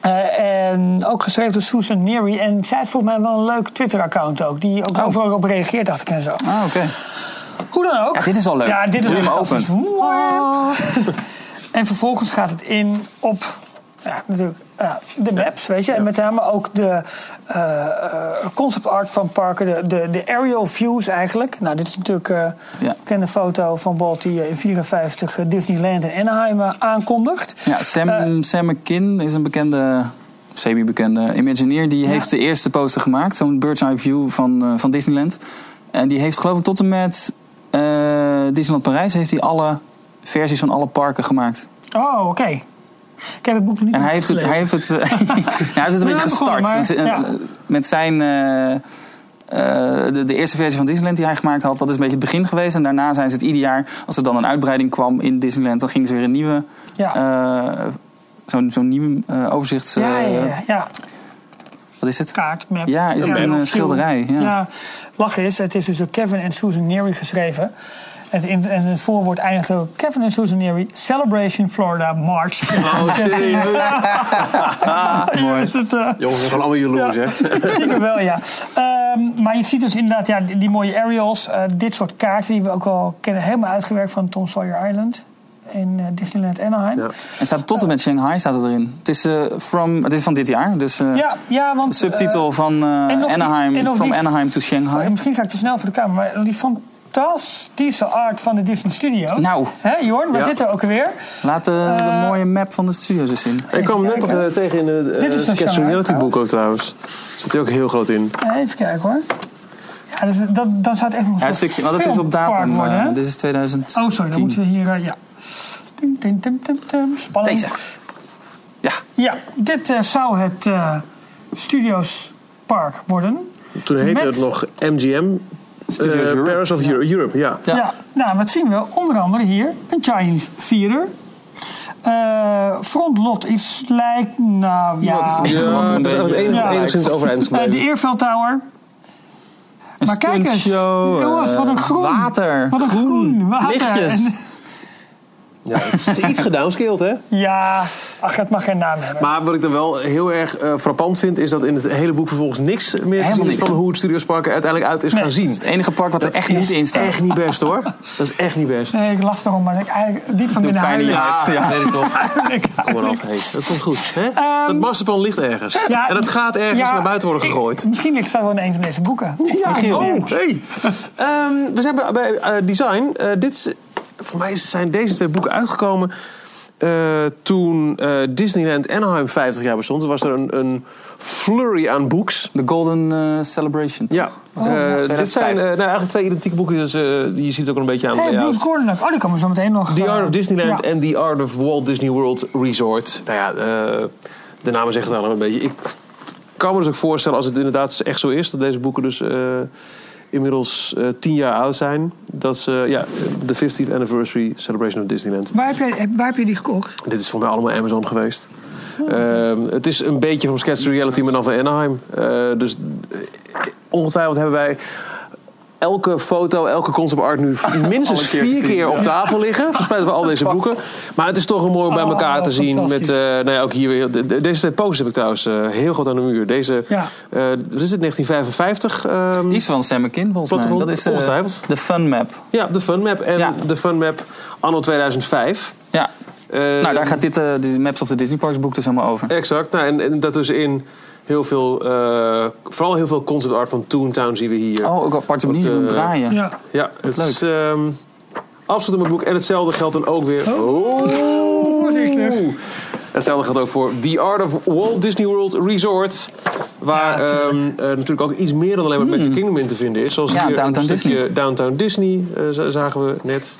Speaker 2: Eh, en ook geschreven door Susan Neary. En zij heeft volgens mij wel een leuk Twitter-account ook. Die ook
Speaker 4: Oh.
Speaker 2: overal op reageert, dacht ik en zo.
Speaker 4: Ah, oké.
Speaker 2: Hoe dan ook.
Speaker 4: Ja, dit is al leuk.
Speaker 2: Ja, dit is
Speaker 4: Hoe je hem
Speaker 2: al fantastisch.
Speaker 4: opent. Oh.
Speaker 2: Wow. en vervolgens gaat het in op ja, natuurlijk, ja, de maps, weet je. En met name ook de eh, eh, concept art van parken, de, de, de aerial views eigenlijk. Nou, dit is natuurlijk eh,
Speaker 4: Ja.
Speaker 2: een bekende foto van Walt die eh, in 54 Disneyland in Anaheim eh, aankondigt.
Speaker 4: Ja, Sam,
Speaker 2: Eh,
Speaker 4: Sam McKinn is een bekende, semi-bekende Imagineer. Die heeft de eerste poster gemaakt, zo'n bird's eye view van, eh, van Disneyland. En die heeft geloof ik tot en met eh, Disneyland Parijs heeft hij alle versies van alle parken gemaakt.
Speaker 2: oh, oké. Ik heb het boek nog niet
Speaker 4: En hij heeft het, hij
Speaker 2: gelezen.
Speaker 4: heeft het, eh, ja, hij heeft het een beetje gestart.
Speaker 2: begonnen, maar-
Speaker 4: Dus, eh,
Speaker 2: ja.
Speaker 4: Met zijn, eh, eh, de, de eerste versie van Disneyland die hij gemaakt had, dat is een beetje het begin geweest. En daarna zijn ze het ieder jaar, als er dan een uitbreiding kwam in Disneyland, dan gingen ze weer een nieuwe,
Speaker 2: Ja.
Speaker 4: eh, zo'n zo'n nieuw eh, overzichts... eh,
Speaker 2: ja, ja, ja, ja.
Speaker 4: Wat is het?
Speaker 2: kaart, map.
Speaker 4: Ja, is het een,
Speaker 2: map.
Speaker 4: eh, schilderij, ja.
Speaker 2: lachen is, het is dus door Kevin en Susan Neary geschreven. Het in, en het voorwoord eindigt door Kevin en Susan Neary. Celebration Florida March.
Speaker 3: Oh, serieus?
Speaker 2: Mooi. Is het, eh,
Speaker 3: Jongens, we zijn allemaal jaloers,
Speaker 2: Ja.
Speaker 3: hè?
Speaker 2: Stiekem wel, ja. Ehm, maar je ziet dus inderdaad ja, die, die mooie aerials. eh, dit soort kaarten die we ook al kennen. Helemaal uitgewerkt van Tom Sawyer Island. In eh, Disneyland Anaheim. Ja,
Speaker 3: Ja.
Speaker 4: Het staat tot en met Shanghai staat het erin. Het is, eh, from, het is van dit jaar, dus eh,
Speaker 2: ja, want...
Speaker 4: subtitel van eh,
Speaker 2: en nog die-
Speaker 4: Anaheim,
Speaker 2: en nog
Speaker 4: From
Speaker 2: die-
Speaker 4: Anaheim to
Speaker 2: eh,
Speaker 4: Shanghai.
Speaker 2: misschien ga ik te snel voor de camera. Maar die fantastische art van de Disney Studio.
Speaker 4: Nou.
Speaker 2: Hè, Jorn, waar
Speaker 3: Ja.
Speaker 2: zitten we ook weer?
Speaker 4: Laat de, de
Speaker 2: Eh,
Speaker 4: mooie map van de studio's eens in.
Speaker 3: Ik kwam hem net
Speaker 2: kijken.
Speaker 3: eh, tegen in de
Speaker 2: Dit is een
Speaker 3: Sketch
Speaker 2: Shanghai
Speaker 3: Reality boek ook trouwens. Zit er ook heel groot in.
Speaker 2: Ja, Eh, even kijken hoor. Ja, dat, dat, dat zou het echt nog
Speaker 4: Ja, een
Speaker 2: een soort
Speaker 4: stukje, want het is op
Speaker 2: filmpark
Speaker 4: datum.
Speaker 2: worden,
Speaker 4: eh,
Speaker 2: hè?
Speaker 4: dit is 2000.
Speaker 2: oh, sorry, dan moeten we hier... eh, ja. Tim, tim, tim, tim, tim. Spannend.
Speaker 4: Deze. Ja,
Speaker 2: Ja, dit eh, zou het eh Studios Park worden.
Speaker 3: Toen heette
Speaker 2: Met-
Speaker 3: het nog MGM.
Speaker 4: Studios
Speaker 3: eh,
Speaker 4: Europe.
Speaker 3: Paris of Euro- Europe, ja.
Speaker 4: Ja.
Speaker 2: Ja. nou, wat zien we? Onder andere hier een Chinese theater. Eh frontlot is lijkt... Nou, ja...
Speaker 4: dat is het enige
Speaker 3: Ja,
Speaker 4: wat er een
Speaker 3: dat is
Speaker 4: beetje...
Speaker 3: het enige-
Speaker 4: lijkt.
Speaker 3: enigszins overeind
Speaker 2: eh,
Speaker 3: gebleven.
Speaker 2: de Eerveld Tower.
Speaker 4: Een
Speaker 2: Maar kijk eens,
Speaker 4: stuntshow,
Speaker 2: jongens,
Speaker 4: eh,
Speaker 2: wat een groen.
Speaker 4: Water.
Speaker 2: Wat een groen water.
Speaker 4: Lichtjes.
Speaker 2: En-
Speaker 3: Ja, het is iets gedownscaled, hè?
Speaker 2: Ja, ach, het mag geen naam hebben.
Speaker 3: Maar wat ik dan wel heel erg eh, frappant vind, is dat in het hele boek vervolgens niks meer te
Speaker 4: Helemaal
Speaker 3: zien is
Speaker 4: niks.
Speaker 3: van hoe het Studios Park er uiteindelijk uit is
Speaker 2: Nee.
Speaker 3: gaan zien.
Speaker 4: Het enige park wat er echt niet in staat.
Speaker 3: Echt niet best hoor. Dat is echt niet best.
Speaker 2: Nee, ik lach erom, maar ik eigenlijk diep van
Speaker 4: Doe
Speaker 2: binnen
Speaker 4: pijn
Speaker 2: huilen.
Speaker 4: in je hart. Ja.
Speaker 3: weet ik toch.
Speaker 2: Ik-
Speaker 3: Kom maar af, hey. Dat komt goed. Hè? dat masterplan ligt ergens.
Speaker 2: Ja,
Speaker 3: en dat gaat ergens
Speaker 2: ja,
Speaker 3: naar buiten worden gegooid.
Speaker 2: Misschien ligt dat wel in een van deze boeken. Ja,
Speaker 3: Oh, hey. Ehm, we zijn bij, bij eh, design. Eh, dit is, voor mij zijn deze twee boeken uitgekomen eh, toen eh, Disneyland Anaheim 50 jaar bestond. Er was er een, een flurry aan boeks.
Speaker 4: De Golden eh, Celebration.
Speaker 3: Ja,
Speaker 2: Oh, ja,
Speaker 3: Eh, dit
Speaker 4: 2005.
Speaker 3: zijn eh, nou, eigenlijk twee identieke boeken. Dus, eh, die je ziet het ook een beetje aan de
Speaker 2: Hey, Blue
Speaker 3: layout.
Speaker 2: Gordon ook. Oh, die komen we zo meteen nog.
Speaker 3: The
Speaker 2: eh,
Speaker 3: Art of Disneyland
Speaker 2: ja.
Speaker 3: en The Art of Walt Disney World Resort. Nou ja, eh, de namen zeggen het al een beetje. Ik kan me dus ook voorstellen als het inderdaad echt zo is... dat deze boeken dus eh, inmiddels eh, tien jaar oud zijn. Dat is eh, ja, de 50th Anniversary Celebration of Disneyland.
Speaker 2: Waar heb, jij, waar heb je die gekocht?
Speaker 3: Dit is voor mij allemaal Amazon geweest. Ehm, het is een beetje van Sketch to Reality, maar dan van Anaheim. Eh, dus eh, ongetwijfeld hebben wij elke foto, elke concept art nu minstens
Speaker 4: keer
Speaker 3: vier
Speaker 4: gezien,
Speaker 3: keer op tafel liggen. Verspreid over al deze boeken. Maar het is toch een mooi om bij
Speaker 2: Oh,
Speaker 3: elkaar te zien. Met,
Speaker 2: fantastisch.
Speaker 3: eh, nou ja, ook hier weer, de- de- deze twee posters heb ik trouwens eh, heel groot aan de muur. Deze,
Speaker 2: Ja.
Speaker 3: eh, wat is het, 1955? ehm,
Speaker 4: Die is van Sam McKin volgens mij.
Speaker 3: Plattegrond,
Speaker 4: Dat is eh,
Speaker 3: ongetwijfeld.
Speaker 4: de Fun Map.
Speaker 3: ja, de Fun Map. En
Speaker 4: Ja.
Speaker 3: de Fun Map anno 2005.
Speaker 4: Ja.
Speaker 3: Eh,
Speaker 4: nou, daar gaat dit eh, die Maps of the Disney Parks boek dus helemaal over.
Speaker 3: Exact. Nou, en, en daartussenin heel veel, eh, vooral heel veel concept art van Toontown zien we hier.
Speaker 4: Oh, ook aparte
Speaker 3: Op
Speaker 4: manieren
Speaker 3: de-
Speaker 4: om draaien.
Speaker 2: Ja.
Speaker 3: eh, ja, het is ehm, absoluut een mooi boek. En hetzelfde geldt dan ook weer. Oh.
Speaker 2: voorzichtig.
Speaker 3: Hetzelfde geldt ook voor The Art of Walt Disney World Resort. Waar
Speaker 2: Ja, tuurlijk. Hmm.
Speaker 3: ehm, eh, natuurlijk ook iets meer dan alleen maar Magic Kingdom in te vinden is. Zoals
Speaker 4: Ja,
Speaker 3: hier
Speaker 4: Downtown
Speaker 3: een stukje
Speaker 4: Disney.
Speaker 3: Downtown Disney eh, za- zagen we net.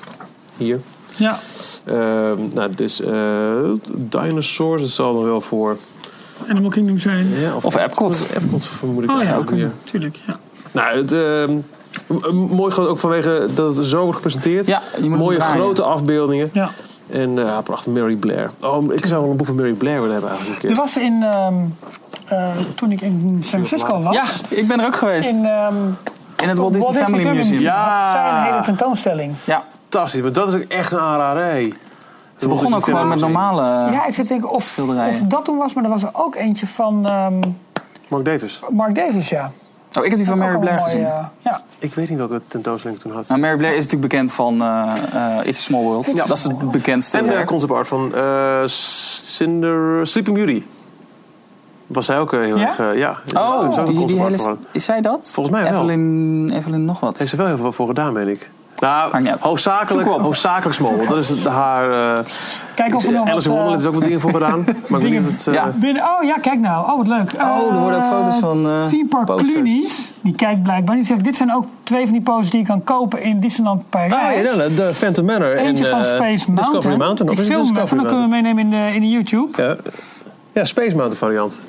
Speaker 3: Hier.
Speaker 2: Ja.
Speaker 3: Ehm nou, dit is eh, Dinosaurs. Dat zal er wel voor.
Speaker 2: Animal Kingdom zijn.
Speaker 3: Ja,
Speaker 4: Of Epcot.
Speaker 3: Epcot vermoed ik
Speaker 2: Oh
Speaker 3: dat
Speaker 2: ja,
Speaker 3: ook weer.
Speaker 2: Tuurlijk, ja.
Speaker 3: Nou, het, ehm, m- m- mooi gewoon ook vanwege dat het zo wordt gepresenteerd.
Speaker 4: Ja, je moet hem
Speaker 3: Mooie
Speaker 4: draaien.
Speaker 3: grote afbeeldingen.
Speaker 2: ja.
Speaker 3: En eh, ja, prachtig, Mary Blair. Oh, ik zou wel een boek van Mary Blair willen hebben eigenlijk een
Speaker 2: Er
Speaker 3: keer.
Speaker 2: was in... ehm, eh, toen ik in San Francisco was...
Speaker 4: Ja, ik ben er ook geweest.
Speaker 2: In,
Speaker 4: In,
Speaker 2: ehm
Speaker 4: het Walt Disney Family Museum.
Speaker 3: Museum.
Speaker 2: Ja.
Speaker 3: Ja.
Speaker 2: Had zij een hele tentoonstelling.
Speaker 4: Ja.
Speaker 3: Fantastisch, maar dat is ook echt een aanraderij.
Speaker 4: Ze begon ook gewoon met normale...
Speaker 2: ja, ik zit te denken of,
Speaker 4: schilderijen.
Speaker 2: of dat toen was, maar er was er ook eentje van ehm,
Speaker 3: Mark Davis.
Speaker 2: Mark Davis, ja.
Speaker 4: Oh, ik heb die van
Speaker 2: Ook
Speaker 4: Mary
Speaker 2: wel
Speaker 4: Blair
Speaker 2: mooi,
Speaker 4: gezien.
Speaker 2: eh, ja.
Speaker 3: Ik weet niet welke tentoonstelling ik toen had.
Speaker 4: Nou, Mary Blair is natuurlijk bekend van eh, eh, It's a Small World. Dat is het bekendste eh.
Speaker 3: en de
Speaker 4: werk.
Speaker 3: concept art van eh, Cinder... Sleeping Beauty. Was zij ook eh, heel
Speaker 2: Ja?
Speaker 3: erg... eh, ja. Daar is
Speaker 4: Oh,
Speaker 3: ook een
Speaker 4: die, die
Speaker 3: concept art
Speaker 4: hele...
Speaker 3: van.
Speaker 4: Is zij dat?
Speaker 3: Volgens mij wel.
Speaker 4: Evelyn, Evelyn nog wat.
Speaker 3: Heeft ze wel heel veel voor gedaan, meen ik.
Speaker 4: Maakt niet
Speaker 3: Nou,
Speaker 4: uit.
Speaker 3: hoofdzakelijk,
Speaker 4: Zoek op.
Speaker 3: hoofdzakelijk small. want Dat is het- haar... eh,
Speaker 2: Kijk of er nog
Speaker 3: Alice in
Speaker 2: wat, eh,
Speaker 3: Wonderland is ook wat dingen voor gedaan. Maar ik weet niet of het... eh,
Speaker 4: Ja.
Speaker 2: binnen- Oh ja, kijk nou. Oh, wat leuk.
Speaker 4: Oh, er worden ook foto's van, eh,
Speaker 2: Theme Park
Speaker 4: posters.
Speaker 2: Clunies. Die kijkt blijkbaar. Die zegt, dit zijn ook twee van die poses die je kan kopen in Disneyland Parijs.
Speaker 4: Oh,
Speaker 3: Ah, ja, nou, de Phantom Manor en
Speaker 2: Eentje van
Speaker 3: eh,
Speaker 2: Space Mountain.
Speaker 3: Discovery
Speaker 2: Ik
Speaker 3: Mountain. of is het
Speaker 2: film hem even,
Speaker 3: Discovery
Speaker 2: dan kunnen we meenemen in de, in de YouTube.
Speaker 3: Mountain? Ja. ja, Space Mountain variant.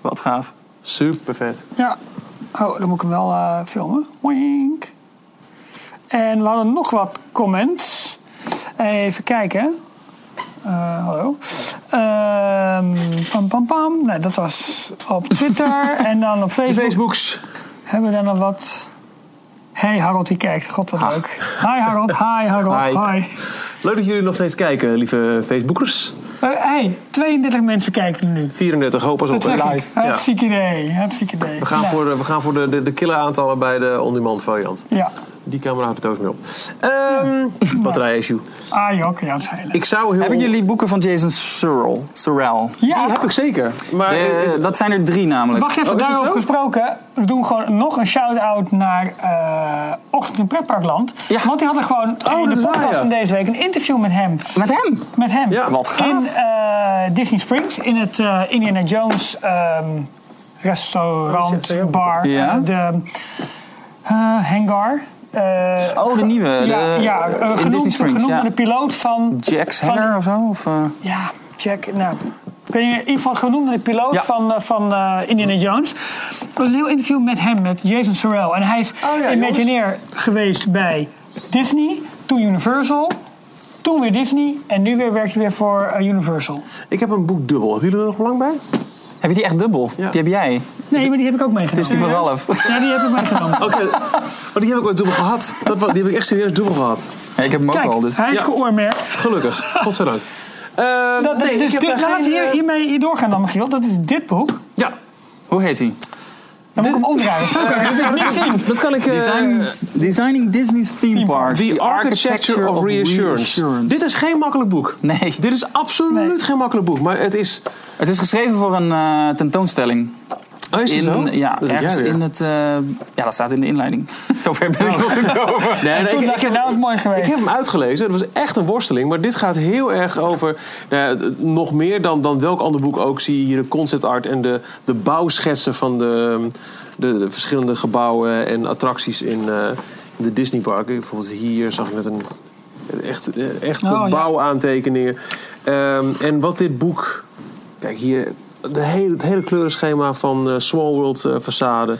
Speaker 4: Wat gaaf.
Speaker 3: Super vet.
Speaker 2: Ja. Oh, dan moet ik hem wel eh, filmen. Wink. En we hadden nog wat comments. Even kijken. Eh, hallo. Ehm, pam, pam, pam. Nee, dat was op Twitter. en dan op Facebook.
Speaker 3: Facebooks.
Speaker 2: Hebben we daar nog wat... Hey Harold, die kijkt. God, wat leuk. Hi Harold, hi Harold,
Speaker 3: Hi.
Speaker 2: hi.
Speaker 3: Leuk dat jullie nog steeds kijken, lieve Facebookers.
Speaker 2: Eh, hey, 32 mensen kijken er nu.
Speaker 3: 34, hoop pas op.
Speaker 2: Dat
Speaker 3: hè.
Speaker 2: zeg ik.
Speaker 3: Ja.
Speaker 2: Hartstikke idee, hartstikke idee.
Speaker 3: We gaan
Speaker 2: Nou,
Speaker 3: voor, de, we gaan voor de, de, de killer aantallen bij de on-demand variant.
Speaker 2: Ja.
Speaker 3: Die camera houdt het toos mee op. Ehm Batterij-issue.
Speaker 2: Ah, Jok, ja, dat is heel leuk.
Speaker 3: Ik zou heel...
Speaker 4: Hebben jullie boeken van Jason Searle? Searle.
Speaker 2: Ja,
Speaker 3: Die heb ik zeker. Maar
Speaker 4: De- dat zijn er drie namelijk.
Speaker 2: Wacht even,
Speaker 3: Oh, is dat
Speaker 2: daarover
Speaker 3: zo?
Speaker 2: gesproken. We doen gewoon nog een shout-out naar eh Ochtend in Pretparkland.
Speaker 4: Ja.
Speaker 2: Want die hadden gewoon in
Speaker 3: dat
Speaker 2: de
Speaker 3: is waar,
Speaker 2: podcast
Speaker 3: ja.
Speaker 2: van deze week een interview met hem.
Speaker 4: Met hem?
Speaker 2: Met hem.
Speaker 3: Ja.
Speaker 4: Wat gaaf.
Speaker 2: In eh, Disney Springs, in het eh, Indiana Jones ehm,
Speaker 3: Oh,
Speaker 2: restaurant,
Speaker 3: die zit-
Speaker 2: bar,
Speaker 4: Ja.
Speaker 2: eh, de eh, hangar. Eh,
Speaker 4: Oh, de nieuwe,
Speaker 2: ja,
Speaker 4: de-
Speaker 2: ja, eh,
Speaker 4: in
Speaker 2: genoemd,
Speaker 4: Disney Springs,
Speaker 2: genoemd
Speaker 4: ja.
Speaker 2: naar de piloot van...
Speaker 4: Jax
Speaker 2: van-
Speaker 4: Hanger of zo? Of, eh,
Speaker 2: ja, check. Nou, ik weet niet meer, in ieder geval genoemd de piloot
Speaker 4: Ja.
Speaker 2: van, eh, van eh, Indiana Jones. Er was een heel interview met hem, met Jason Sorrell. En hij is
Speaker 3: ja,
Speaker 2: Imagineer geweest bij Disney, toen Universal, toen weer Disney en nu weer werkt hij weer voor eh, Universal.
Speaker 3: Ik heb een boek dubbel. Hebben jullie er nog belang bij?
Speaker 4: heb je die echt dubbel?
Speaker 3: Ja.
Speaker 4: Die heb jij.
Speaker 2: Nee, maar die heb ik ook meegenomen.
Speaker 4: Het is die van Ralph.
Speaker 2: Ja, die heb ik meegenomen.
Speaker 3: Oké, maar die heb ik ooit dubbel gehad. Dat, wa- die heb ik echt serieus dubbel gehad.
Speaker 4: Ja, ik heb hem ook
Speaker 2: Kijk,
Speaker 4: al. Dus.
Speaker 2: hij is
Speaker 3: Ja.
Speaker 2: geoormerkt.
Speaker 3: Gelukkig, godzijdank. Eh,
Speaker 2: Dat, dat
Speaker 3: nee,
Speaker 2: is dus
Speaker 3: ik heb
Speaker 2: dit,
Speaker 3: daar
Speaker 2: laat
Speaker 3: geen,
Speaker 2: hier,
Speaker 3: eh,
Speaker 2: hiermee hier doorgaan dan, Michiel. Dat is dit boek.
Speaker 3: Ja,
Speaker 4: Hoe heet hij?
Speaker 2: Dan moet ik hem omdraaien. Zo kan ik het niet zien.
Speaker 3: dat kan ik... eh,
Speaker 4: Designing Disney's Theme Parks.
Speaker 3: The Architecture of Reassurance. Dit is geen makkelijk boek.
Speaker 4: Nee,
Speaker 3: Dit is absoluut
Speaker 2: Nee.
Speaker 3: geen makkelijk boek, maar het is...
Speaker 4: het is geschreven voor een eh, tentoonstelling.
Speaker 3: Oh, is het zo?
Speaker 4: In, ja,
Speaker 3: Dat heb jij
Speaker 4: ergens
Speaker 3: weer.
Speaker 4: in het... eh, ja, dat staat in de inleiding. Zover ben ik nog gekomen.
Speaker 3: Nee, nee,
Speaker 2: Toen
Speaker 3: ik-
Speaker 2: dacht
Speaker 3: ik
Speaker 2: je,
Speaker 3: heb-
Speaker 2: nou is mooi
Speaker 3: Ik
Speaker 2: geweest.
Speaker 3: heb hem uitgelezen. Het was echt een worsteling. Maar dit gaat heel erg over. nou ja, d- nog meer dan, dan welk ander boek ook. Zie je hier de concept art en de, de bouwschetsen van de, de, de verschillende gebouwen en attracties in, eh, in de Disneyparken. Bijvoorbeeld hier zag ik net een. Echt, echt
Speaker 2: Oh, ja.
Speaker 3: bouwaantekeningen. Ehm, en wat dit boek. Kijk hier. De hele, het hele kleurenschema van eh, Small World eh, façade.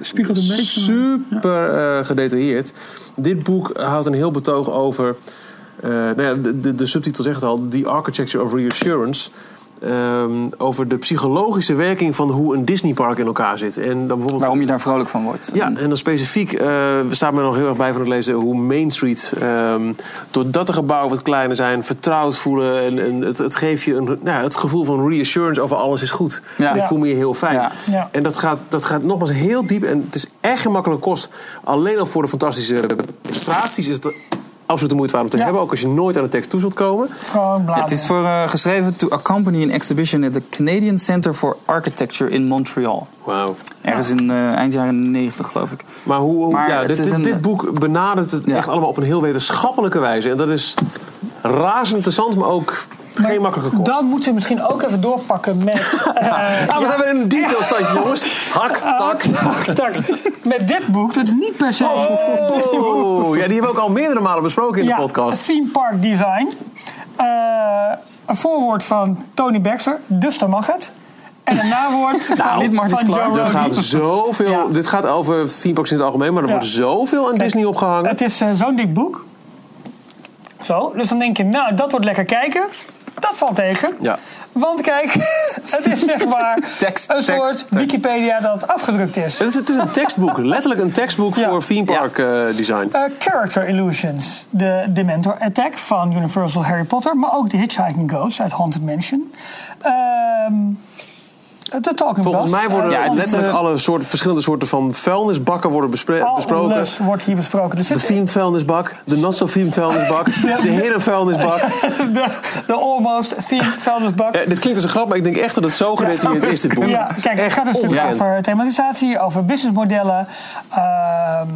Speaker 2: Spiegelt een beetje.
Speaker 3: Super eh, gedetailleerd. Dit boek houdt een heel betoog over. eh, nou ja, de, de, de subtitel zegt het al: The Architecture of Reassurance. Ehm, over de psychologische werking van hoe een Disneypark in elkaar zit. En dan bijvoorbeeld.
Speaker 4: Waarom je daar vrolijk van wordt.
Speaker 3: Ja, en dan specifiek, eh we staan me nog heel erg bij van het lezen hoe Main Street, ehm, doordat de gebouwen wat kleiner zijn, vertrouwd voelen. En, en het, het geeft je een, nou, ja, het gevoel van reassurance over alles is goed.
Speaker 4: Ja.
Speaker 3: En ik
Speaker 4: Ja.
Speaker 3: voel me hier heel fijn.
Speaker 4: Ja.
Speaker 2: Ja.
Speaker 3: En dat gaat, dat gaat nogmaals heel diep. En het is echt geen makkelijke kost. Alleen al voor de fantastische illustraties is het absoluut de moeite waard om te
Speaker 2: Ja.
Speaker 3: hebben. Ook als je nooit aan de tekst toe zult komen.
Speaker 2: Gewoon
Speaker 4: Ja, het
Speaker 2: bladeren.
Speaker 4: is voor, eh, geschreven to accompany an exhibition at the Canadian Center for Architecture in Montreal.
Speaker 3: Wauw.
Speaker 4: Ergens in eh, eind jaren 90, geloof ik.
Speaker 3: Maar, hoe, hoe-
Speaker 4: Maar
Speaker 3: ja,
Speaker 4: het
Speaker 3: dit,
Speaker 4: is
Speaker 3: dit,
Speaker 4: een-
Speaker 3: dit boek benadert het
Speaker 4: Ja.
Speaker 3: echt allemaal op een heel wetenschappelijke wijze. En dat is razend interessant, maar ook geen makkelijke kost.
Speaker 2: Dan moeten we misschien ook even doorpakken met... eh,
Speaker 3: Ah, we zijn weer in een detailstandje, jongens. Hak, tak.
Speaker 2: Ah, tak, tak. Met dit boek, dat is niet per se...
Speaker 3: Oh, ja, die hebben we ook al meerdere malen besproken in de podcast.
Speaker 2: Theme Park Design. Eh, een voorwoord van Tony Baxter, dus dan mag het. En een nawoord
Speaker 3: Nou,
Speaker 2: van,
Speaker 4: niet
Speaker 2: Nou,
Speaker 4: Marty
Speaker 2: van
Speaker 4: Sklar,
Speaker 2: Joe
Speaker 3: Er
Speaker 2: Rogan.
Speaker 3: gaat zoveel,
Speaker 2: Ja.
Speaker 3: Dit gaat over themeparks in het algemeen, maar er
Speaker 2: Ja.
Speaker 3: wordt zoveel aan Disney opgehangen.
Speaker 2: Het is eh, zo'n dik boek. Zo, dus dan denk je, nou, dat wordt lekker kijken. Dat valt tegen.
Speaker 3: Ja.
Speaker 2: Want kijk, het is zeg maar
Speaker 4: Tekst,
Speaker 2: een
Speaker 4: tekst,
Speaker 2: soort
Speaker 4: tekst.
Speaker 2: Wikipedia dat afgedrukt is.
Speaker 3: Het is, het is een tekstboek, letterlijk een tekstboek
Speaker 2: Ja.
Speaker 3: voor themepark eh, design.
Speaker 2: Eh, character Illusions, de Dementor Attack van Universal Harry Potter, maar ook The Hitchhiking Ghost uit Haunted Mansion. Ehm de Talking
Speaker 3: Volgens
Speaker 2: Bus,
Speaker 3: mij worden
Speaker 2: eh,
Speaker 4: Ja, het is,
Speaker 3: letterlijk
Speaker 4: eh,
Speaker 3: alle soorten, verschillende soorten van vuilnisbakken worden bespre- besproken.
Speaker 2: alles wordt hier besproken. Dus
Speaker 3: De
Speaker 2: het-
Speaker 3: themed vuilnisbak, de not so themed vuilnisbak, de herenvuilnisbak.
Speaker 2: de, de almost themed vuilnisbak.
Speaker 3: Eh, dit klinkt als een grap, maar ik denk echt dat het zo gedetailleerd is, dit boek.
Speaker 2: Ja,
Speaker 3: Het is
Speaker 2: kijk, dus het
Speaker 3: echt
Speaker 2: gaat een stuk
Speaker 3: ongekend.
Speaker 2: over thematisatie, over businessmodellen, ehm,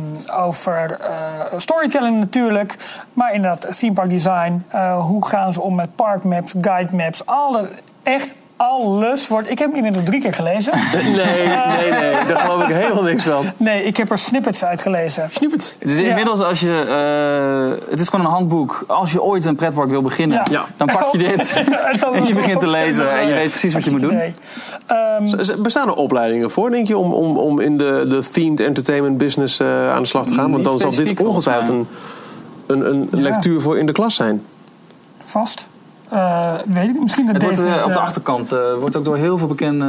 Speaker 2: over eh, storytelling natuurlijk. Maar inderdaad, theme park design, eh, hoe gaan ze om met parkmaps, guide maps, al dat, echt alles wordt... Ik heb hem inmiddels drie keer gelezen.
Speaker 3: Nee, nee, nee, daar geloof ik helemaal niks van.
Speaker 2: nee, ik heb er snippets uit gelezen.
Speaker 3: Snippet.
Speaker 4: Het is
Speaker 2: Ja.
Speaker 4: inmiddels als je... eh, het is gewoon een handboek. Als je ooit een pretpark wil beginnen,
Speaker 2: Ja.
Speaker 3: Ja.
Speaker 4: dan pak je dit. en je begint te lezen en je weet precies wat je moet doen.
Speaker 2: Nee. Ehm,
Speaker 3: Z- z- Dus, eh, Bestaan er opleidingen voor, denk je, om, om, om in de, de themed entertainment business eh, aan de slag te gaan? Want
Speaker 4: Niet
Speaker 3: dan zal dit
Speaker 4: specifiek, volgens
Speaker 3: ongetwijfeld
Speaker 4: mij.
Speaker 3: een, een, een lectuur voor in de klas zijn.
Speaker 2: vast. Eh, weet ik niet, misschien dat
Speaker 4: Het wordt
Speaker 2: deze...
Speaker 4: eh, op de
Speaker 2: eh,
Speaker 4: achterkant eh, wordt ook door heel veel bekende...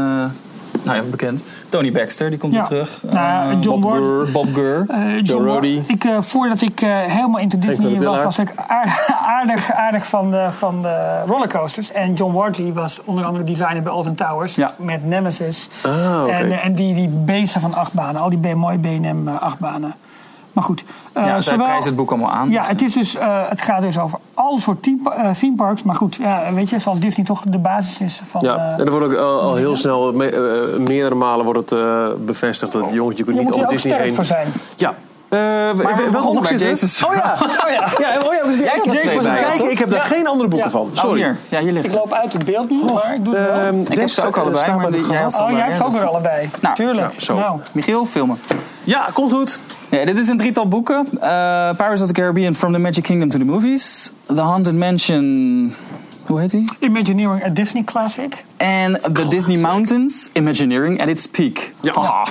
Speaker 4: nou ja, bekend. Tony Baxter, die komt
Speaker 2: Ja.
Speaker 4: weer terug.
Speaker 2: Nou,
Speaker 4: Eh,
Speaker 2: John
Speaker 4: Bob
Speaker 2: Boyd.
Speaker 4: Gurr. Bob Gurr.
Speaker 2: Eh,
Speaker 3: Joe
Speaker 2: John,
Speaker 3: Roddy.
Speaker 2: Ik, eh, voordat ik eh, helemaal into Disney
Speaker 3: Willard.
Speaker 2: was, was ik aar- aardig, aardig van, de, van de rollercoasters. En John Wardley was onder andere designer bij Alton Towers.
Speaker 4: Ja.
Speaker 2: Met Nemesis.
Speaker 3: Ah, oké.
Speaker 2: En, eh, en die, die beesten van achtbanen. Al die B- mooie BNM-achtbanen. Maar goed. eh,
Speaker 4: ja, zij
Speaker 2: zowel-
Speaker 4: prijzen het boek allemaal aan.
Speaker 2: ja,
Speaker 4: dus,
Speaker 2: het, is dus, eh, het gaat dus over al soort theme, eh, theme parks. Maar goed, ja, weet je, zoals Disney toch de basis is van...
Speaker 3: Ja,
Speaker 2: eh,
Speaker 3: en er wordt ook al, al heel snel, me- eh, meerdere malen wordt het eh, bevestigd dat jongens, je kunt
Speaker 2: je
Speaker 3: niet
Speaker 2: moet
Speaker 3: om
Speaker 2: hier ook
Speaker 3: Disney
Speaker 2: sterk
Speaker 3: heen.
Speaker 2: voor zijn.
Speaker 3: Ja. Eh
Speaker 4: we
Speaker 3: welk
Speaker 4: begonnen
Speaker 3: boek
Speaker 4: bij
Speaker 3: zit er?
Speaker 4: Jason's
Speaker 3: Oh ja.
Speaker 2: Oh ja,
Speaker 3: Ja, oh ja, we zitten-
Speaker 4: Jij
Speaker 3: ik
Speaker 4: hebt
Speaker 3: was even
Speaker 4: er twee
Speaker 3: aan het
Speaker 4: bij,
Speaker 3: kijken. Ik heb daar
Speaker 2: Ja.
Speaker 3: geen andere boeken
Speaker 2: Ja.
Speaker 3: van.
Speaker 4: Oh,
Speaker 3: Sorry.
Speaker 4: hier. Ja, hier ligt
Speaker 2: ik
Speaker 4: het.
Speaker 2: loop uit het beeld nu, maar ik doe het wel.
Speaker 3: Ehm,
Speaker 4: Ik heb
Speaker 3: dit
Speaker 4: ze ook
Speaker 3: staat-
Speaker 4: allebei,
Speaker 3: staat
Speaker 4: maar die-
Speaker 3: nog
Speaker 4: jij
Speaker 3: gehad.
Speaker 4: had-
Speaker 2: Oh, jij hebt ze ook
Speaker 4: dat
Speaker 2: weer
Speaker 4: is-
Speaker 2: allebei.
Speaker 4: Nou,
Speaker 2: Tuurlijk.
Speaker 3: ja, zo.
Speaker 2: Nou,
Speaker 4: Michiel, filmen.
Speaker 3: Ja, komt goed.
Speaker 4: Ja, dit is een drietal boeken. Eh, Pirates of the Caribbean, From the Magic Kingdom to the Movies. The Haunted Mansion... Hoe heet die?
Speaker 2: Imagineering a Disney Classic.
Speaker 4: En The Disney Mountains, Imagineering at its Peak. Ah,
Speaker 3: Ja.
Speaker 4: Haha.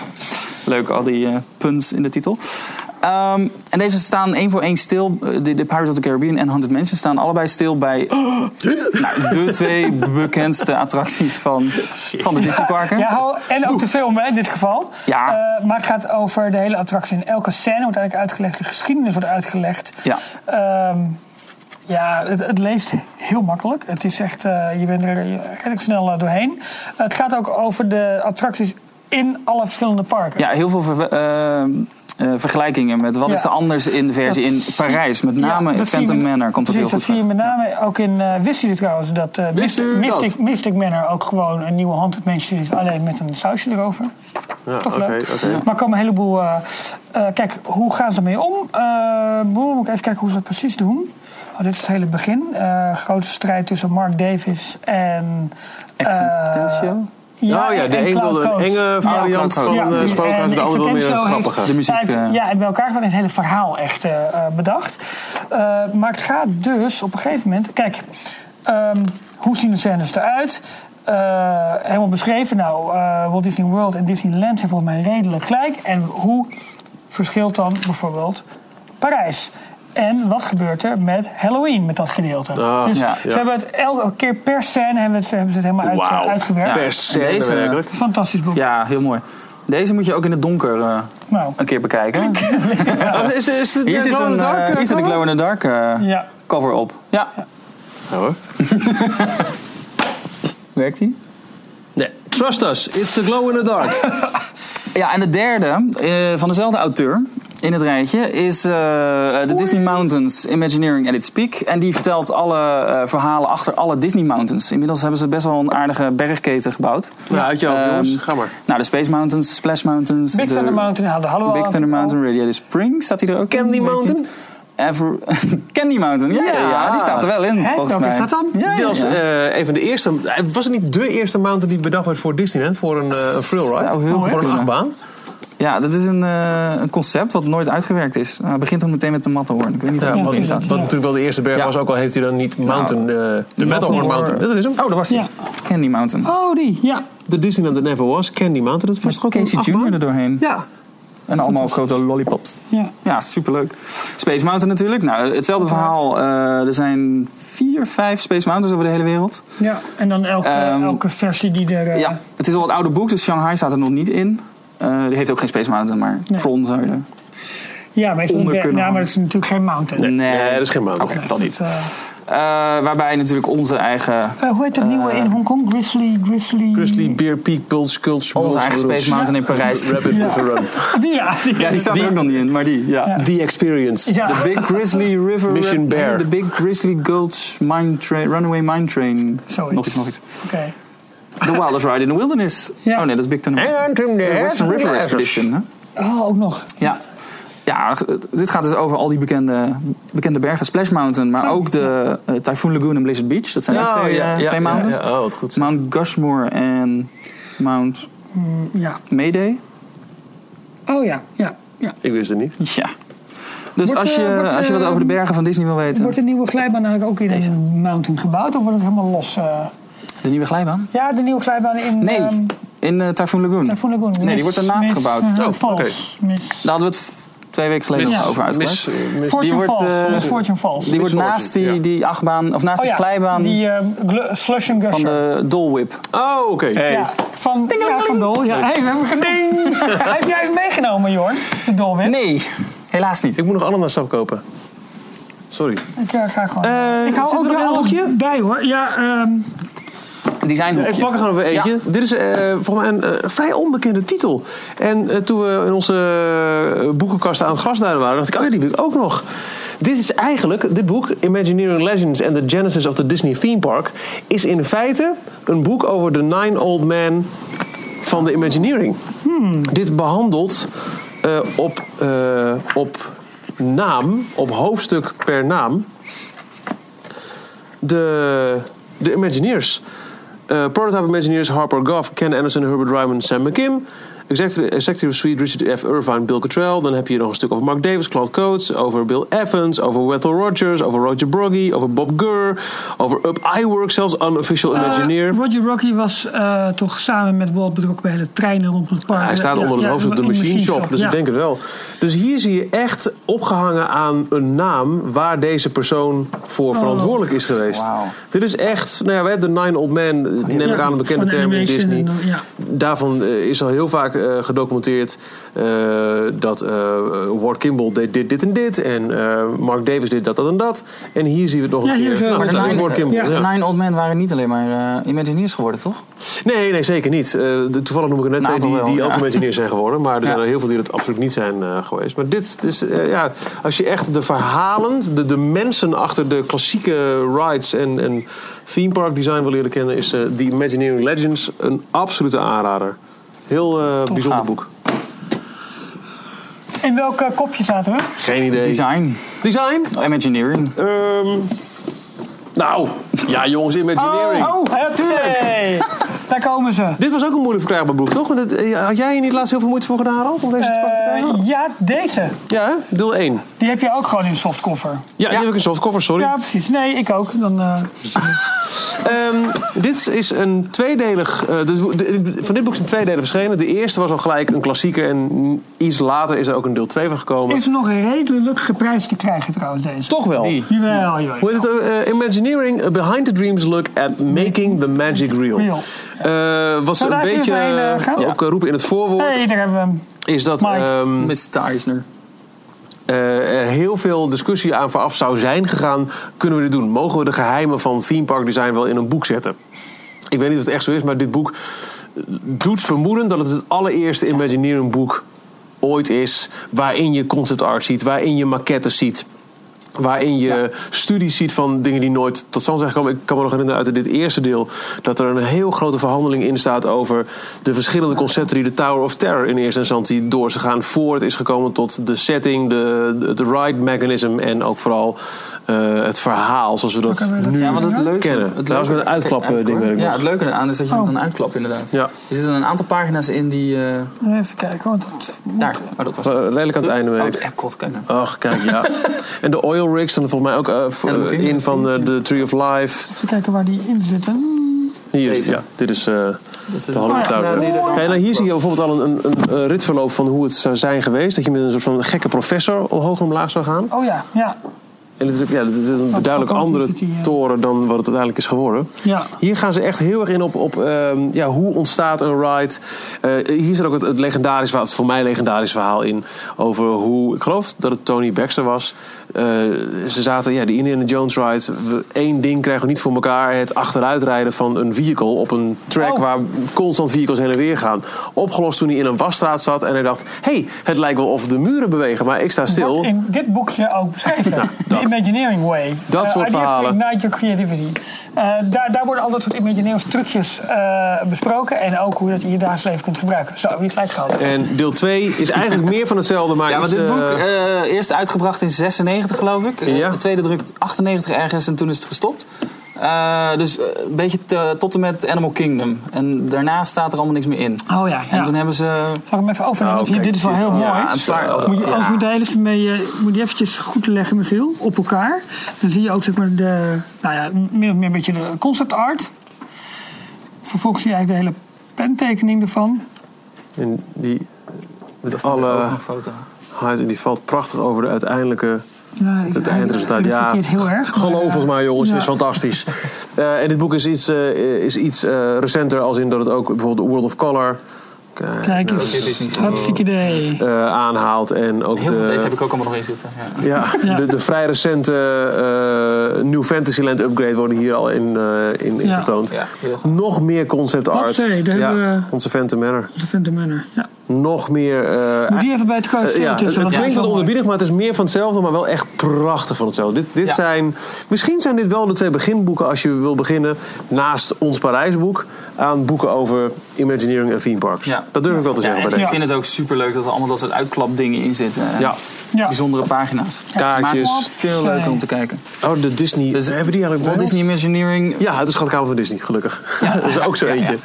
Speaker 4: Leuk, al die eh, puns in de titel. Eh, Ehm, en deze staan één voor één stil. Eh, De, de Pirates of the Caribbean en 100 Mansion staan allebei stil bij nou, de twee bekendste attracties van, van de Disneyparken.
Speaker 2: Ja, hou- en ook de film hè, in dit geval.
Speaker 4: Ja.
Speaker 2: Eh, maar het gaat over de hele attractie. In elke scène wordt eigenlijk uitgelegd. De geschiedenis wordt uitgelegd.
Speaker 4: Ja.
Speaker 2: Ehm, ja, het, het leest heel makkelijk. Het is echt, eh, je bent er redelijk snel eh, doorheen. Het gaat ook over de attracties in alle verschillende parken.
Speaker 4: Ja, heel veel ver- eh, eh, vergelijkingen met wat
Speaker 2: Ja.
Speaker 4: is er anders in de versie
Speaker 2: Dat
Speaker 4: in
Speaker 2: zie-
Speaker 4: Parijs. Met name
Speaker 2: Ja,
Speaker 4: in
Speaker 2: dat zie
Speaker 4: Phantom
Speaker 2: je met-
Speaker 4: Manor komt dat heel
Speaker 2: precies,
Speaker 4: goed
Speaker 2: dat zie je
Speaker 4: terug.
Speaker 2: met name ook in... eh wisten jullie trouwens dat eh,
Speaker 3: Wist u
Speaker 2: Mystic,
Speaker 3: dat?
Speaker 2: Mystic Manor ook gewoon een nieuwe Haunted Mansion is... alleen met een sausje erover?
Speaker 3: Ja,
Speaker 2: Toch
Speaker 3: oké,
Speaker 2: leuk.
Speaker 3: oké.
Speaker 2: Maar er komen een heleboel... eh, eh, kijk, hoe gaan ze ermee om? Eh, boem, moet ik even kijken hoe ze dat precies doen. Oh, dit is het hele begin. Eh, grote strijd tussen Mark Davis en... eh,
Speaker 4: Exitentio?
Speaker 3: Ja, Oh ja, de
Speaker 2: en
Speaker 3: een
Speaker 2: Cloud
Speaker 3: wilde een
Speaker 2: Coast.
Speaker 3: enge variant
Speaker 4: Cloud
Speaker 3: van
Speaker 4: Coast.
Speaker 3: ja,
Speaker 4: Ja, die-
Speaker 3: Spookhuis.
Speaker 2: en
Speaker 3: De andere wil meer een
Speaker 2: Extenso
Speaker 3: grappige.
Speaker 2: heeft
Speaker 4: De muziek,
Speaker 2: eigenlijk-
Speaker 4: eh.
Speaker 2: Ja, en bij elkaar gewoon het hele verhaal echt eh, eh, bedacht. Eh, maar het gaat dus op een gegeven moment... Kijk, ehm, hoe zien de scènes eruit? Eh, helemaal beschreven. Nou, eh, Walt Disney World en Disneyland zijn volgens mij redelijk gelijk. En hoe verschilt dan bijvoorbeeld Parijs? En wat gebeurt er met Halloween, met dat gedeelte?
Speaker 3: Ah,
Speaker 2: dus
Speaker 4: ja.
Speaker 2: ze hebben het elke keer per scène hebben we het, hebben ze het helemaal uit, eh,
Speaker 3: Wauw.
Speaker 2: uitgewerkt.
Speaker 3: Per scène
Speaker 4: Deze-
Speaker 3: werkelijk.
Speaker 2: Fantastisch boek.
Speaker 4: eh, Ja, heel mooi. Deze moet je ook in het donker eh,
Speaker 2: Nou,
Speaker 4: een keer bekijken.
Speaker 3: Oh, Is, is het
Speaker 4: Hier
Speaker 3: de
Speaker 4: zit,
Speaker 3: Glow in
Speaker 4: een,
Speaker 3: the
Speaker 4: eh,
Speaker 3: Dark, eh,
Speaker 4: hier zit een
Speaker 3: cover?
Speaker 4: Glow in the Dark eh,
Speaker 2: ja.
Speaker 4: cover op. Ja,
Speaker 3: Ja, hoor.
Speaker 4: werkt die?
Speaker 3: Nee. Trust us, it's a glow in the dark.
Speaker 4: Ja, en de derde eh, van dezelfde auteur in het rijtje is eh, de Disney Mountains Imagineering at its Peak. En die vertelt alle eh, verhalen achter alle Disney Mountains. Inmiddels hebben ze best wel een aardige bergketen gebouwd.
Speaker 3: Ja, uit je hoofd,
Speaker 4: Ehm,
Speaker 3: jongens. Ga maar.
Speaker 4: Nou, de Space Mountains, de Splash Mountains.
Speaker 2: Big
Speaker 4: de
Speaker 2: Thunder Mountain hadden we al.
Speaker 4: Big Thunder Mountain, Radiator Springs staat die er ook in?
Speaker 3: Oh, Candy
Speaker 4: Weet ik
Speaker 3: Mountain?
Speaker 4: niet. Ever, Candy Mountain, ja, ja.
Speaker 3: Ja.
Speaker 4: ja, die staat er wel in,
Speaker 2: Hè,
Speaker 4: volgens
Speaker 2: welke
Speaker 4: mij.
Speaker 2: is dat dan?
Speaker 4: Ja, ja,
Speaker 3: Die was
Speaker 4: ja.
Speaker 3: eh, een van de eerste. Was het niet de eerste mountain die bedacht werd voor Disneyland? Voor een, eh, een thrill ride?
Speaker 4: Zou heel goed
Speaker 3: voor een
Speaker 4: kunnen.
Speaker 3: achtbaan?
Speaker 4: Ja, dat is een, eh, een concept wat nooit uitgewerkt is. Nou, het begint dan meteen met de Matterhorn. Ik weet niet
Speaker 3: Ja,
Speaker 4: waar die
Speaker 3: wat,
Speaker 4: in staat.
Speaker 3: wat natuurlijk wel de eerste berg
Speaker 4: Ja.
Speaker 3: was, ook al heeft hij dan niet Mountain. eh, de Matterhorn Mountain. Dat is hem.
Speaker 4: Oh, daar was die.
Speaker 2: Ja.
Speaker 4: Candy Mountain.
Speaker 3: Oh, die, ja. De Disneyland that never was, Candy Mountain. Dat was toch ook een
Speaker 4: Casey
Speaker 3: achtbaan?
Speaker 4: Jr. er doorheen.
Speaker 3: Ja.
Speaker 4: En allemaal grote lollipops.
Speaker 2: Ja.
Speaker 4: Ja, superleuk. Space Mountain natuurlijk. Nou, hetzelfde verhaal. Eh, er zijn vier, vijf Space Mountains over de hele wereld.
Speaker 2: ja, en dan elke,
Speaker 4: Ehm,
Speaker 2: elke versie die er... eh,
Speaker 4: Ja, het is al het oude boek, dus Shanghai staat er nog niet in. Eh, die heeft ook geen Space Mountain, maar
Speaker 2: Nee.
Speaker 4: Tron zou je er...
Speaker 2: ja, maar, is het een
Speaker 4: onder
Speaker 2: berg?
Speaker 4: kunnen
Speaker 2: nou, maar
Speaker 4: hangen.
Speaker 2: het is natuurlijk geen mountain.
Speaker 3: nee, dat is geen mountain.
Speaker 4: Oké, dat niet.
Speaker 2: Het, eh,
Speaker 4: Eh, waarbij natuurlijk onze eigen,
Speaker 2: eh, hoe heet dat nieuwe in Hongkong? Grizzly, Grizzly...
Speaker 3: Grizzly, Beer Peak, Pulse, Skulls,
Speaker 4: onze eigen Space Mountain in Parijs.
Speaker 3: Rabbit with a Run.
Speaker 2: Die, ja, die,
Speaker 4: Ja, die staat er ook nog niet in, maar die, ja.
Speaker 3: The Experience.
Speaker 2: Ja.
Speaker 4: The Big Grizzly River
Speaker 3: Mission Bear.
Speaker 4: The Big Grizzly Gulch Mine Train, Runaway Mine Train.
Speaker 2: Zoiets.
Speaker 4: Nog iets, nog iets.
Speaker 2: Oké.
Speaker 4: The Wildest Ride in the Wilderness.
Speaker 2: Ja.
Speaker 4: Oh nee, dat is Big Thunder. Mountain.
Speaker 3: And in the
Speaker 4: De Western
Speaker 3: River
Speaker 4: River
Speaker 3: Express.
Speaker 4: Expedition. Hè?
Speaker 2: Oh, ook nog.
Speaker 4: Ja. Ja, g- dit gaat dus over al die bekende, bekende bergen. Splash Mountain, maar
Speaker 2: Oh,
Speaker 4: ook de eh, Typhoon Lagoon en Blizzard Beach. Dat zijn ook twee, eh, twee mountains.
Speaker 3: Ja, ja. Oh, wat goed.
Speaker 4: Mount Gushmore en Mount
Speaker 2: Ja.
Speaker 4: Mayday.
Speaker 2: Oh ja, ja, ja.
Speaker 3: Ik wist het niet.
Speaker 4: Ja. Dus
Speaker 2: Wordt,
Speaker 4: als, je,
Speaker 2: eh, wordt,
Speaker 4: als je wat
Speaker 2: eh,
Speaker 4: over de bergen van Disney wil weten,
Speaker 2: Wordt de nieuwe glijbaan eigenlijk ook in
Speaker 4: Deze.
Speaker 2: een mountain gebouwd? Of wordt het helemaal los? eh?
Speaker 4: de nieuwe glijbaan.
Speaker 2: Ja, de nieuwe glijbaan in...
Speaker 4: Nee,
Speaker 2: ehm,
Speaker 4: in eh, Typhoon Lagoon.
Speaker 2: Typhoon Lagoon.
Speaker 4: Nee, die
Speaker 2: Miss-
Speaker 4: wordt ernaast
Speaker 2: Miss,
Speaker 4: gebouwd. Oh,
Speaker 2: eh,
Speaker 3: oké.
Speaker 2: Falls. Miss...
Speaker 4: Daar hadden we het v- twee weken geleden
Speaker 2: Miss-
Speaker 4: nog over
Speaker 3: Miss,
Speaker 4: uitgelegd.
Speaker 3: eh, miss-
Speaker 2: Fortune
Speaker 4: wordt,
Speaker 2: Falls.
Speaker 4: eh,
Speaker 2: eh, Fortune Falls.
Speaker 4: Die wordt naast die,
Speaker 3: ja.
Speaker 4: die achtbaan, of naast
Speaker 2: oh
Speaker 4: die
Speaker 2: ja,
Speaker 4: glijbaan
Speaker 2: die eh, glu- slush and
Speaker 4: van
Speaker 2: gusher.
Speaker 4: de Dolwip.
Speaker 3: Oh, oké.
Speaker 2: Ja, van, ja, van Dol. Ja, hey, we hebben genoeg. Heb jij hem meegenomen, Jorn? De Dolwin?
Speaker 4: Nee, helaas niet.
Speaker 3: Ik moet nog ananasap kopen. Sorry.
Speaker 2: Ik eh, ga gewoon.
Speaker 3: Eh,
Speaker 2: ik
Speaker 3: zit
Speaker 2: hou
Speaker 3: er
Speaker 2: ook
Speaker 3: nog
Speaker 2: wel alles
Speaker 3: een hoekje?
Speaker 2: bij hoor. Ja, ehm,
Speaker 4: Die zijn
Speaker 3: Ik pak er gewoon even eentje. Dit is eh, volgens mij een eh, vrij onbekende titel. En eh, toen we in onze eh, boekenkast aan het grasduinen waren, dacht ik, oh ja, die heb ik ook nog. Dit is eigenlijk, dit boek, Imagineering Legends and the Genesis of the Disney Theme Park, is in feite een boek over de Nine Old Men van de Imagineering. Dit behandelt eh, op, eh, op naam, op hoofdstuk per naam, de, de Imagineers. Eh, prototype Imagineers Harper Goff, Ken Anderson, Herbert Ryman, Sam McKim. Executive, executive Suite, Richard F. Irvine, Bill Cottrell. Dan heb je nog een stuk over Mark Davis, Claude Coates, over Bill Evans, over Wethell Rogers, over Roger Broggy, over Bob Gurr, over Up iWork, zelfs Unofficial Imagineer.
Speaker 2: Eh, Roger Rocky was eh, toch samen met Walt betrokken bij hele treinen rondom het park.
Speaker 3: Ja, hij staat onder het
Speaker 2: ja,
Speaker 3: hoofd op de
Speaker 2: in
Speaker 3: machine shop, dus
Speaker 2: ja.
Speaker 3: ik denk het wel. Dus hier zie je echt opgehangen aan een naam waar deze persoon voor verantwoordelijk is geweest.
Speaker 4: Wauw.
Speaker 3: Dit is echt, nou ja, we hebben de Nine Old Men, eh, neem ik
Speaker 2: Ja,
Speaker 3: aan een bekende
Speaker 2: van
Speaker 3: term in
Speaker 2: animation
Speaker 3: Disney.
Speaker 2: en dan- ja.
Speaker 3: Daarvan eh, is al heel vaak eh, gedocumenteerd eh, dat eh Ward Kimball deed dit, dit en dit. En eh, Mark Davis deed dat, dat en dat. En hier zien we het nog
Speaker 2: Ja,
Speaker 3: een
Speaker 2: hier
Speaker 3: keer.
Speaker 2: is, eh,
Speaker 3: Nou,
Speaker 2: Ward
Speaker 3: dat is
Speaker 2: Kimball.
Speaker 3: Ward Kimball.
Speaker 4: De
Speaker 3: ja.
Speaker 4: Nine Old Men waren niet alleen maar eh, Imagineers geworden, toch?
Speaker 3: Nee, nee, zeker niet. Eh, de, toevallig noem ik er net
Speaker 4: Een
Speaker 3: twee die,
Speaker 4: aantal wel,
Speaker 3: die ook
Speaker 4: ja.
Speaker 3: een beetje neer zijn geworden. Maar er
Speaker 4: Ja.
Speaker 3: zijn er heel veel die dat absoluut niet zijn eh, geweest. Maar dit is, eh, ja, als je echt de verhalen, de, de mensen achter de klassieke rides en, en theme park design wil leren kennen, is eh The Imagineering Legends een absolute aanrader. Heel eh, bijzonder
Speaker 4: gaaf.
Speaker 3: boek.
Speaker 2: In welk eh, kopje zaten we?
Speaker 3: Geen idee.
Speaker 4: Design, Oh,
Speaker 3: Design?
Speaker 4: Imagineering.
Speaker 3: Ehm, nou, ja jongens,
Speaker 4: Oh,
Speaker 3: Imagineering.
Speaker 2: Oh, ja, tuurlijk. Daar komen ze.
Speaker 3: Dit was ook een moeilijk verkrijgbaar boek, toch? Want dit- eh, had jij hier niet laatst heel veel moeite voor gedaan, Ralf, om deze te pakken te
Speaker 2: Eh,
Speaker 3: krijgen?
Speaker 2: ja, deze.
Speaker 3: Ja, hè? deel 1.
Speaker 2: Die heb je ook gewoon in softcover.
Speaker 3: Ja, die heb ik een softcover, sorry.
Speaker 2: Ja, precies. Nee, ik ook. Dan, eh,
Speaker 3: Ehm, dit is een tweedelig... eh, dit boek- dit- van dit boek zijn twee delen verschenen. De eerste was al gelijk een klassieker. En iets later is er ook een deel 2 van gekomen.
Speaker 2: is nog redelijk geprijsd te krijgen trouwens deze.
Speaker 3: Toch wel.
Speaker 4: Die.
Speaker 2: Jawel, jawel.
Speaker 3: Hoe heet het? eh, eh, Imagineering, a Behind the Dreams Look at Making the Magic Real.
Speaker 2: Real.
Speaker 3: Eh, wat ze
Speaker 2: Zullen we daar
Speaker 3: een
Speaker 2: even
Speaker 3: beetje
Speaker 2: heen, eh,
Speaker 3: eh,
Speaker 2: gaan?
Speaker 3: ook eh, roepen in het voorwoord...
Speaker 2: hey, daar hebben we hem.
Speaker 3: is dat
Speaker 2: Mike.
Speaker 3: ehm,
Speaker 4: Mr. Eisner.
Speaker 3: eh, er heel veel discussie aan vooraf zou zijn gegaan. Kunnen we dit doen? Mogen we de geheimen van theme park design wel in een boek zetten? Ik weet niet of het echt zo is, maar dit boek doet vermoeden dat het het allereerste Imagineering boek ooit is. Waarin je concept art ziet, waarin je maquettes ziet. Waarin je studies ziet van dingen die nooit tot stand zijn gekomen. Ik kan me nog herinneren uit dit eerste deel dat er een heel grote verhandeling in staat over de verschillende concepten die de Tower of Terror in eerste instantie door ze gaan. Voor het is gekomen tot de setting, de, de, de ride mechanism en ook vooral eh, het verhaal zoals we dat
Speaker 2: Oké, maar dat-
Speaker 3: nu
Speaker 4: Ja, want het leuke...
Speaker 3: kennen.
Speaker 4: Het
Speaker 3: Daar was met een
Speaker 4: leuke-
Speaker 3: uitklap, eh,
Speaker 4: Kijk,
Speaker 3: ding werk ik
Speaker 4: Ja,
Speaker 3: nog.
Speaker 4: het leuke eraan is dat je het
Speaker 2: Oh.
Speaker 4: kan uitklappen, inderdaad.
Speaker 3: Ja.
Speaker 4: Er zitten een aantal pagina's in die... eh,
Speaker 2: Even kijken, want dat moet-
Speaker 4: daar. Oh, dat was
Speaker 3: Eh, redelijk aan het einde
Speaker 4: Oh,
Speaker 3: week.
Speaker 4: de Epcot, kijk nou.
Speaker 3: Ach, kijk, ja. en de oil rigs staan er volgens mij ook eh, voor-
Speaker 4: Ja, dat moet ik
Speaker 3: in
Speaker 4: niet
Speaker 3: van eh, de Tree of Life.
Speaker 2: Even kijken waar die in zitten.
Speaker 3: Hier,
Speaker 4: Deze.
Speaker 3: ja, dit is eh,
Speaker 4: is
Speaker 3: de Hollywood
Speaker 2: een-
Speaker 3: Tower.
Speaker 2: Ja, die er dan
Speaker 3: Kijk, nou, hier zie je bijvoorbeeld al een, een, een ritverloop van hoe het zou zijn geweest. Dat je met een soort van gekke professor omhoog en omlaag zou gaan.
Speaker 2: Oh ja, ja.
Speaker 3: En dit is, ook- ja, dit is een
Speaker 2: is
Speaker 3: duidelijk
Speaker 2: ook
Speaker 3: andere
Speaker 2: authenticity, ja.
Speaker 3: toren dan wat het uiteindelijk is geworden.
Speaker 2: Ja.
Speaker 3: Hier gaan ze echt heel erg in op, op ehm, ja, hoe ontstaat een ride. Eh, hier zit ook het, het legendarisch verhaal, het voor mij legendarisch verhaal in. Over hoe, ik geloof dat het Tony Baxter was. Eh, ze zaten, ja, die Indiana Jones ride. we- één ding krijgen we niet voor elkaar. Het achteruitrijden van een vehicle op een track
Speaker 2: Oh.
Speaker 3: waar constant vehicles heen en weer gaan. Opgelost toen hij in een wasstraat zat en hij dacht... hey, het lijkt wel of de muren bewegen, maar ik sta stil.
Speaker 2: Wordt in dit boekje ook beschreven. de Imagineering Way.
Speaker 3: Dat
Speaker 2: Eh,
Speaker 3: soort
Speaker 2: ideas
Speaker 3: verhalen.
Speaker 2: to ignite your creativity. Eh, daar, daar worden al dat soort Imagineering trucjes eh, besproken. En ook hoe je dat in je dagelijks leven kunt gebruiken. Zo, wie gelijk gehad.
Speaker 3: En deel 2 is eigenlijk meer van hetzelfde, maar
Speaker 4: Ja, want
Speaker 3: iets,
Speaker 4: dit boek,
Speaker 3: eh,
Speaker 4: eh, eerst uitgebracht in 96 geloof ik. Eh,
Speaker 3: Ja.
Speaker 4: de tweede druk 98 ergens en toen is het gestopt. Eh, dus eh, een beetje te- tot en met Animal Kingdom. En daarna staat er allemaal niks meer in.
Speaker 2: Oh ja,
Speaker 4: En
Speaker 2: ja.
Speaker 4: toen hebben ze...
Speaker 2: Zal ik hem even overnemen?
Speaker 3: Nou,
Speaker 2: want hier-
Speaker 3: kijk,
Speaker 2: dit is wel
Speaker 3: dit-
Speaker 2: heel mooi.
Speaker 4: Ja, een paar...
Speaker 2: Moet je,
Speaker 4: ja.
Speaker 2: Als moet je de hele mee, eh, moet je eventjes goed leggen, Michiel, op elkaar. Dan zie je ook zeg maar de, nou ja, min of meer een beetje de concept art. Vervolgens zie je eigenlijk de hele pentekening ervan.
Speaker 3: En die met
Speaker 4: Alle...
Speaker 3: alle
Speaker 4: Een foto.
Speaker 3: huid en die valt prachtig over de uiteindelijke
Speaker 2: Ja,
Speaker 3: het eindresultaat. Ja,
Speaker 2: het heel erg. maar,
Speaker 3: geloof
Speaker 2: eh,
Speaker 3: ons maar jongens, het is
Speaker 2: ja.
Speaker 3: fantastisch. Eh, en dit boek is iets, eh, is iets eh, recenter als in dat het ook bijvoorbeeld World of Color eh,
Speaker 2: Kijk
Speaker 4: dit is niet
Speaker 2: eens,
Speaker 4: zo-
Speaker 2: hartstikke idee.
Speaker 3: eh, aanhaalt en ook
Speaker 4: Heel veel van deze
Speaker 3: de,
Speaker 4: heb ik ook allemaal nog in zitten. Ja.
Speaker 3: ja,
Speaker 2: Ja.
Speaker 3: de, de vrij recente eh, New Fantasyland upgrade worden hier al in, eh, in, in
Speaker 2: Ja.
Speaker 3: getoond.
Speaker 4: Ja, heel goed.
Speaker 3: Nog meer concept art.
Speaker 2: Hopzee, daar hebben we-
Speaker 3: Onze Phantom Manor.
Speaker 2: De Phantom Manor. Ja.
Speaker 3: Nog meer eh,
Speaker 2: Moet die even bij het grote
Speaker 3: Eh,
Speaker 2: stil
Speaker 3: ja, het,
Speaker 2: tussen.
Speaker 3: het
Speaker 2: want
Speaker 3: klinkt
Speaker 2: dat
Speaker 3: wat
Speaker 2: is wel mooi.
Speaker 3: onderbiedig, maar het is meer van hetzelfde, maar wel echt prachtig van hetzelfde. Dit, dit
Speaker 4: Ja.
Speaker 3: zijn, misschien zijn dit wel de twee beginboeken als je wil beginnen, naast ons Parijsboek, aan boeken over Imagineering en theme parks.
Speaker 4: Ja.
Speaker 3: Dat durf ik wel te
Speaker 4: Ja,
Speaker 3: zeggen
Speaker 4: en
Speaker 3: bij
Speaker 4: ik
Speaker 3: deze.
Speaker 4: vind het ook superleuk dat er allemaal dat soort uitklapdingen in zitten. En
Speaker 3: Ja.
Speaker 2: Ja.
Speaker 4: Bijzondere pagina's. Maakt
Speaker 3: Kaartjes.
Speaker 4: het veel leuker om te kijken.
Speaker 3: Oh, de Disney.
Speaker 4: Dus-
Speaker 3: hebben die eigenlijk
Speaker 4: Walt
Speaker 3: bij ons?
Speaker 4: Disney Imagineering.
Speaker 3: Ja, het is Schatkamer van Disney, gelukkig. dat is ook zo
Speaker 4: Ja, ja.
Speaker 3: eentje.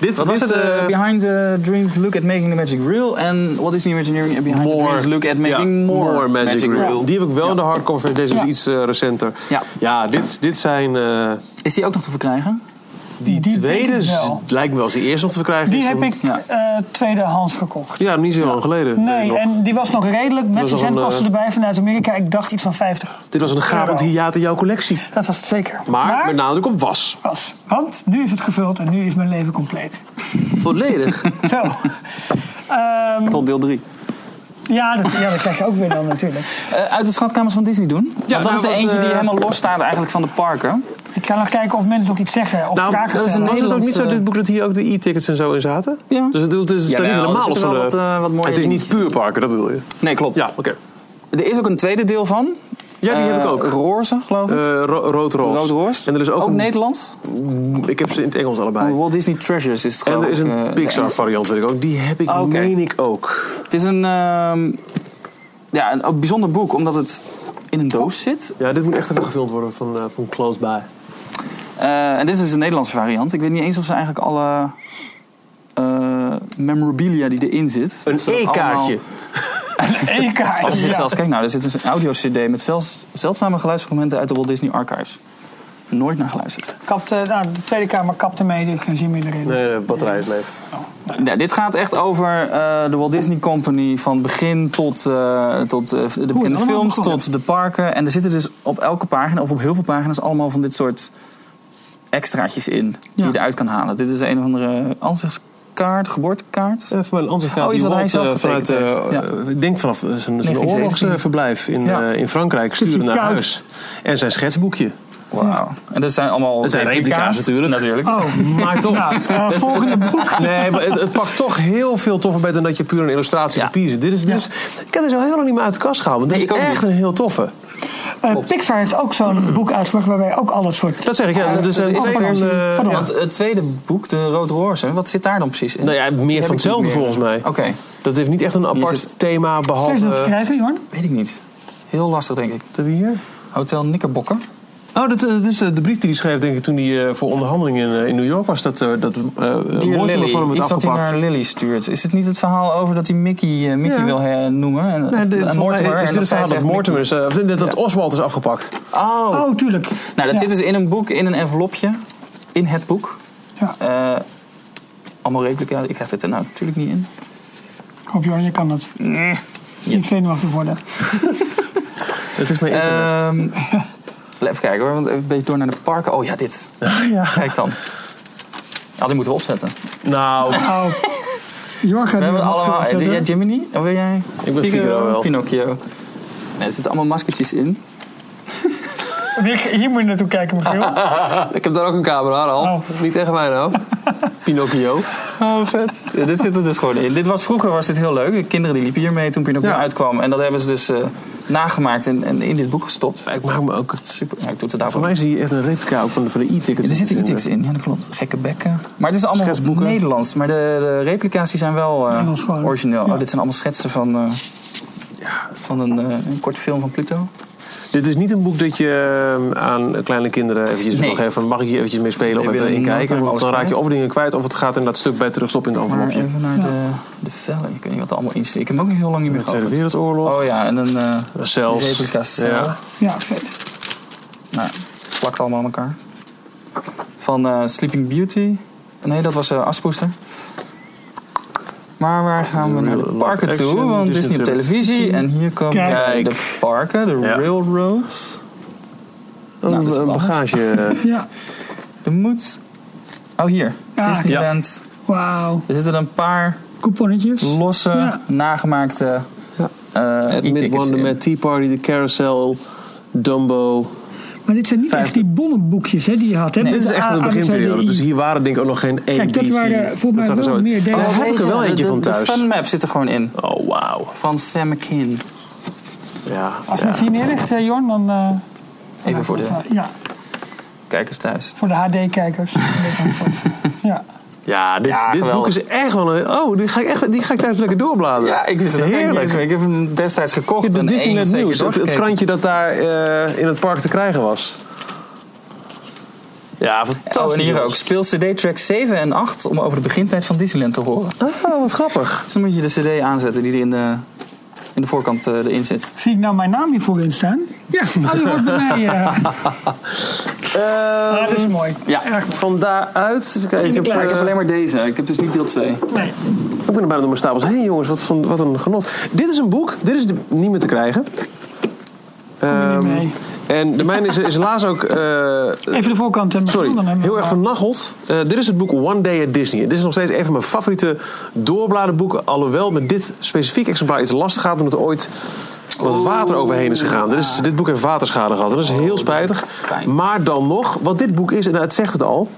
Speaker 3: Dit,
Speaker 4: Wat was
Speaker 3: dit,
Speaker 4: het? eh,
Speaker 3: eh,
Speaker 4: behind the Dreams Look at Making the Magic Real. En What is the Imagineering and Behind the
Speaker 3: More-
Speaker 4: Dreams Look at Making
Speaker 3: ja,
Speaker 4: more,
Speaker 3: Magic, Reel.
Speaker 4: Reel.
Speaker 3: Die heb ik wel in de hardcover versie. Deze is iets eh, recenter.
Speaker 4: Ja.
Speaker 3: dit, dit zijn... eh,
Speaker 4: Is die ook nog te verkrijgen?
Speaker 3: die,
Speaker 2: Die
Speaker 3: tweede
Speaker 2: denk ik
Speaker 3: is-
Speaker 2: wel.
Speaker 3: lijkt me wel als die eerste nog te verkrijgen.
Speaker 2: Die
Speaker 3: is.
Speaker 2: heb
Speaker 3: Dan-
Speaker 2: ik
Speaker 4: Ja.
Speaker 2: eh, tweedehands gekocht.
Speaker 3: Ja, niet zo heel lang geleden. weet ik
Speaker 2: Nee,
Speaker 3: nog.
Speaker 2: en die was nog redelijk met
Speaker 3: was
Speaker 2: de
Speaker 3: nog een, eh,
Speaker 2: zendkosten erbij vanuit Amerika. Ik dacht iets van 50.
Speaker 3: Dit was een gapend
Speaker 2: Euro.
Speaker 3: hiaat in jouw collectie.
Speaker 2: Dat was het zeker.
Speaker 3: Maar, met nadruk op was.
Speaker 2: pas. Want nu is het gevuld en nu is mijn leven compleet.
Speaker 3: Volledig.
Speaker 2: Zo. Ehm,
Speaker 4: Tot deel 3.
Speaker 2: ja, dat, ja, dat krijg je ook weer dan natuurlijk.
Speaker 4: Eh, uit de schatkamers van Disney doen. Ja, dat
Speaker 3: nou,
Speaker 4: is de
Speaker 3: want,
Speaker 4: eentje die
Speaker 3: eh,
Speaker 4: helemaal los staat eigenlijk van de parken.
Speaker 2: Ik ga nog kijken of mensen ook iets zeggen of
Speaker 3: nou,
Speaker 2: vragen
Speaker 3: dat is
Speaker 2: stellen.
Speaker 3: was het ook niet zo in
Speaker 4: Nederlandse-
Speaker 3: dit boek dat hier ook de e-tickets en zo in zaten?
Speaker 4: Ja.
Speaker 3: Dus het, het is daar niet
Speaker 4: Jawel,
Speaker 3: helemaal
Speaker 4: er
Speaker 3: los
Speaker 4: zitten
Speaker 3: van
Speaker 4: wel
Speaker 3: de-
Speaker 4: wat, eh, wat mooie
Speaker 3: Het is niet
Speaker 4: dingetjes.
Speaker 3: puur parken, dat bedoel je?
Speaker 4: Nee, klopt.
Speaker 3: Ja, oké.
Speaker 4: Er is ook een tweede deel van.
Speaker 3: Ja, die heb ik
Speaker 4: Eh,
Speaker 3: ook.
Speaker 4: Roze, geloof ik.
Speaker 3: Eh, ro- rood roos.
Speaker 4: Rood Roos.
Speaker 3: En er is ook, een-
Speaker 4: Nederlands.
Speaker 3: Ik heb ze in het Engels allebei.
Speaker 4: Walt Disney Treasures is het
Speaker 3: En
Speaker 4: geloof
Speaker 3: er is
Speaker 4: ik,
Speaker 3: een
Speaker 4: eh, de
Speaker 3: Pixar variant, weet ik ook. Die heb ik,
Speaker 4: Oh, oké.
Speaker 3: meen ik ook.
Speaker 4: Het is een, ehm, ja, een, een bijzonder boek, omdat het in een doos zit.
Speaker 3: Ja, dit moet echt even gefilmd worden van, eh, van Close By.
Speaker 4: Eh, en dit is een Nederlandse variant. Ik weet niet eens of ze eigenlijk alle eh, memorabilia die erin zit.
Speaker 3: Een
Speaker 4: of ze dat
Speaker 3: e-kaartje.
Speaker 4: allemaal-
Speaker 2: Eén kaartje,
Speaker 4: Er zit
Speaker 2: ja.
Speaker 4: zelfs, kijk nou, er zit een audio-cd met zelfs, zeldzame geluidsfragmenten uit de Walt Disney Archives. Nooit naar geluisterd.
Speaker 2: Kapte, nou, de Tweede Kamer kapte mee, die heeft geen zin meer erin.
Speaker 3: Nee, de batterij is leeg.
Speaker 4: Ja, dit gaat echt over eh, de Walt Disney Company van begin tot, eh, tot eh, de bekende
Speaker 2: allemaal
Speaker 4: films,
Speaker 2: begonnen.
Speaker 4: tot de parken. En er zitten dus op elke pagina, of op heel veel pagina's, allemaal van dit soort extraatjes in. Die
Speaker 2: Ja.
Speaker 4: je eruit kan halen. Dit is een of andere ansichtskaart, geboortekaart.
Speaker 3: Even bij een ansichtkaart.
Speaker 4: Oh, iets
Speaker 3: die
Speaker 4: wat hij
Speaker 3: Walt,
Speaker 4: zelf
Speaker 3: eh, vanuit,
Speaker 4: getekend heeft.
Speaker 3: eh,
Speaker 4: Ja.
Speaker 3: eh, Ik denk vanaf zijn- zijn,
Speaker 2: 1917.
Speaker 3: oorlogsverblijf in,
Speaker 2: Ja.
Speaker 3: eh, in Frankrijk sturen
Speaker 2: hij
Speaker 3: naar
Speaker 2: koud?
Speaker 3: huis. En zijn schetsboekje.
Speaker 4: Wauw. En dat zijn allemaal
Speaker 3: Dat zijn replica's natuurlijk.
Speaker 4: natuurlijk.
Speaker 2: Oh,
Speaker 3: Maar toch.
Speaker 2: nou, eh, volgende
Speaker 4: Ah.
Speaker 2: boek.
Speaker 3: Nee, maar het, het pakt toch heel veel toffer bij dan dat je puur een illustratie
Speaker 4: Ja.
Speaker 3: papier zit. Dit is, dit is, ik heb er zo heel lang niet meer uit de kast gehouden. want Dit
Speaker 4: Nee,
Speaker 3: is
Speaker 4: ik ook
Speaker 3: echt
Speaker 4: niet.
Speaker 3: een heel toffe.
Speaker 2: Eh, Pixar heeft ook zo'n boek uitgebracht waarbij ook al dat soort... Eh,
Speaker 3: Dat zeg ik, ja. dus Er zijn eh,
Speaker 4: is
Speaker 3: twee
Speaker 4: een
Speaker 3: van
Speaker 4: versie.
Speaker 3: de-
Speaker 2: Pardon.
Speaker 4: Want het tweede boek, de Rood Roorse, wat zit daar dan precies in?
Speaker 3: Nou ja, meer van hetzelfde volgens mij.
Speaker 4: Oké,
Speaker 3: Dat heeft niet echt een apart
Speaker 4: zit-
Speaker 3: thema,
Speaker 2: Zijn
Speaker 3: behalve...
Speaker 2: ze nog te krijgen, Jorn?
Speaker 4: weet ik niet. Heel lastig denk ik.
Speaker 3: Wat hebben we hier?
Speaker 4: Hotel Nikkerbokker.
Speaker 3: Oh, dat, eh, dat is eh, de brief die hij schreef, denk ik, toen hij eh, voor onderhandelingen in, eh, in New York was. Dat, eh dat eh,
Speaker 4: Dear
Speaker 3: mooiste
Speaker 4: Lily,
Speaker 3: van hem werd
Speaker 4: iets wat hij
Speaker 3: afgepakt.
Speaker 4: naar Lily stuurt. Is het niet het verhaal over dat hij Mickey, eh, Mickey
Speaker 3: Ja.
Speaker 4: wil hernoemen? En,
Speaker 3: Nee,
Speaker 4: en
Speaker 3: de, volgens mij
Speaker 4: Mortimer.
Speaker 3: is
Speaker 4: en
Speaker 3: dit het
Speaker 4: zij
Speaker 3: verhaal dat
Speaker 4: zegt
Speaker 3: Mortimer is, eh, of dat dat
Speaker 4: Ja.
Speaker 3: Oswald is afgepakt.
Speaker 4: Mickey. Oh.
Speaker 2: Oh, tuurlijk.
Speaker 4: Nou, dat
Speaker 2: Ja.
Speaker 4: zit dus in een boek, in een envelopje. In het boek.
Speaker 2: Ja.
Speaker 4: Eh, allemaal replica. Ik heb het er nou natuurlijk niet in.
Speaker 2: Ik hoop, Jorn, je kan dat.
Speaker 4: Nee.
Speaker 2: Niet zenuwachtig worden.
Speaker 3: Het is mijn internet.
Speaker 4: Ehm, even kijken hoor, want even een beetje door naar de parken. Oh ja, dit. Kijk dan. Ja, die moeten we opzetten.
Speaker 3: nou,
Speaker 2: Oh. Jorn gaat
Speaker 4: We
Speaker 2: nu
Speaker 4: hebben
Speaker 2: een
Speaker 4: allemaal...
Speaker 2: masker
Speaker 4: eh, Jij
Speaker 2: opzetten.
Speaker 4: Jiminy? Of wil jij?
Speaker 3: Ik ben Figaro wel.
Speaker 4: Pinocchio. Nee, er zitten allemaal maskertjes in.
Speaker 2: Hier- Hier moet je naartoe kijken, Michiel.
Speaker 3: ik heb daar ook een camera, Ralf. Niet tegen mij nou. Pinocchio.
Speaker 4: Oh, vet. Ja, dit zit er dus gewoon in. Dit was, vroeger was dit heel leuk. De kinderen die liepen hiermee toen Pinocchio
Speaker 3: Ja.
Speaker 4: uitkwam. En dat hebben ze dus eh, nagemaakt en, en in dit boek gestopt.
Speaker 3: Ik maak me Nou, ook... het-
Speaker 4: Super. Ja, ik doe het er daarvoor.
Speaker 3: Voor mij zie je echt een replica ook van de, van de e-tickets.
Speaker 4: Ja, er zitten
Speaker 3: in.
Speaker 4: iets in. Ja, dat klopt. Gekke bekken. Maar het is allemaal
Speaker 3: Schetsboeken.
Speaker 4: Nederlands. Maar de, de replica's die zijn wel eh,
Speaker 2: Engels gewoon.
Speaker 4: origineel.
Speaker 2: Ja.
Speaker 4: Oh, dit zijn allemaal schetsen van, eh, van een, eh, een kort film van Pluto.
Speaker 3: Dit is niet een boek dat je eh, aan kleine kinderen eventjes
Speaker 4: Nee.
Speaker 3: nog even... Mag ik hier eventjes mee spelen of
Speaker 4: Nee,
Speaker 3: even
Speaker 4: Willem,
Speaker 3: in
Speaker 4: nooit
Speaker 3: kijken?
Speaker 4: hebben
Speaker 3: Want
Speaker 4: we
Speaker 3: dan
Speaker 4: alles
Speaker 3: raak je
Speaker 4: kwijt.
Speaker 3: of dingen kwijt of het gaat in dat stuk bij terugstoppen in het
Speaker 4: Maar eh,
Speaker 3: envelopje.
Speaker 4: even naar de, de vellen. Ik weet niet wat er allemaal in zit. Ik heb hem ook heel lang niet meer
Speaker 3: De Tweede
Speaker 4: gehad.
Speaker 3: Wereldoorlog.
Speaker 4: Oh ja, en een eh
Speaker 3: Zelfs.
Speaker 4: replica cel.
Speaker 3: Ja.
Speaker 2: Ja, vet.
Speaker 4: Nou, plakt allemaal aan elkaar. Van eh, Sleeping Beauty. Nee, dat was eh Aspoester. Maar waar gaan we naar de
Speaker 3: Real
Speaker 4: parken
Speaker 3: life
Speaker 4: toe?
Speaker 3: action,
Speaker 4: Want
Speaker 3: Disney
Speaker 4: Disney op televisie. En hier komen
Speaker 2: Kijk.
Speaker 4: de parken, de
Speaker 3: Ja.
Speaker 4: railroads.
Speaker 3: Een,
Speaker 4: Nou, dat is wat
Speaker 3: een
Speaker 4: anders.
Speaker 3: bagage.
Speaker 2: Ja.
Speaker 4: Er moet... Oh, hier.
Speaker 2: Ja.
Speaker 4: Disneyland.
Speaker 2: Wauw.
Speaker 4: Er zitten een paar
Speaker 2: Couponnetjes.
Speaker 4: losse,
Speaker 2: Ja.
Speaker 4: nagemaakte
Speaker 3: Ja.
Speaker 4: eh
Speaker 3: Mid
Speaker 4: e-tickets
Speaker 3: Wonder,
Speaker 4: in.
Speaker 3: Mad Tea Party, de Carousel, Dumbo.
Speaker 2: Maar dit zijn niet echt die bonnenboekjes hè, die je had. Hè?
Speaker 3: Dit is echt
Speaker 2: A-
Speaker 3: de
Speaker 2: A-
Speaker 3: beginperiode.
Speaker 2: ABCDI.
Speaker 3: Dus hier waren denk ik ook nog geen één
Speaker 2: Kijk, dat
Speaker 3: DC.
Speaker 2: waren volgens mij
Speaker 3: zag er
Speaker 2: wel
Speaker 3: zo uit.
Speaker 2: meer
Speaker 3: Oh,
Speaker 2: deze.
Speaker 3: daar heb ik er wel
Speaker 4: De-
Speaker 3: eentje
Speaker 2: eh,
Speaker 3: van
Speaker 4: de, de
Speaker 3: thuis.
Speaker 4: funmap zit er gewoon in.
Speaker 3: Oh, wauw.
Speaker 4: Van Sam McKin.
Speaker 3: Ja,
Speaker 2: Als je
Speaker 3: ja.
Speaker 2: hem hier neerlegt, eh, Jorn, dan... eh,
Speaker 4: Even voor de
Speaker 2: Ja,
Speaker 4: kijkers thuis.
Speaker 2: voor de HD-kijkers. ja.
Speaker 3: Ja, dit,
Speaker 4: Ja,
Speaker 3: dit boek
Speaker 4: geweldig.
Speaker 3: is echt wel een... Oh, die ga ik, echt, die ga ik thuis lekker doorbladeren.
Speaker 4: Ja, ik wist het ook niet eens
Speaker 3: Heerlijk.
Speaker 4: meer. Ik heb hem destijds gekocht.
Speaker 3: Dit
Speaker 4: en
Speaker 3: dit is
Speaker 4: één
Speaker 3: in
Speaker 4: of
Speaker 3: het
Speaker 4: twee keer
Speaker 3: nieuws. Het, het
Speaker 4: doorgekeken.
Speaker 3: krantje dat daar eh, in het park te krijgen was. Ja, fantastisch.
Speaker 4: Oh, en hier ook.
Speaker 3: jongens.
Speaker 4: Speel CD-track 7 en 8 om over de begintijd van Disneyland te horen.
Speaker 3: Oh, wat grappig.
Speaker 4: Dus dan moet je de CD aanzetten die er in de, in de voorkant eh, erin zit.
Speaker 2: Zie ik nou mijn naam hier voorin staan? Ja, oh, die hoort bij mij. eh.
Speaker 4: Eh,
Speaker 2: Ah, dat is mooi.
Speaker 4: Ja.
Speaker 2: Erg mooi.
Speaker 3: Ehm, Van daaruit... Even kijken, ik, heb,
Speaker 4: Maar
Speaker 3: eh,
Speaker 4: ik heb alleen maar deze. Ik heb dus niet deel 2.
Speaker 2: Nee.
Speaker 3: Ik ben er bijna door mijn stapels heen, jongens. Wat, van, wat een genot. Dit is een boek. Dit is de- niet meer te krijgen. Ehm,
Speaker 2: niet mee.
Speaker 3: en de mijne is, is helaas ook... eh,
Speaker 2: Even de voorkant. eh,
Speaker 3: sorry,
Speaker 2: dan hebben we
Speaker 3: heel erg
Speaker 2: maar-
Speaker 3: vernacheld. Eh, dit is het boek One Day at Disney. Dit is nog steeds een van mijn favoriete doorbladerboeken. Alhoewel met dit specifiek exemplaar iets lastig gaat... omdat er ooit wat water overheen is gegaan. Dit, is, dit boek heeft waterschade gehad. Dat is
Speaker 2: Oh,
Speaker 3: heel spijtig.
Speaker 4: pijn.
Speaker 3: Maar dan nog, wat dit boek is, en het zegt het al...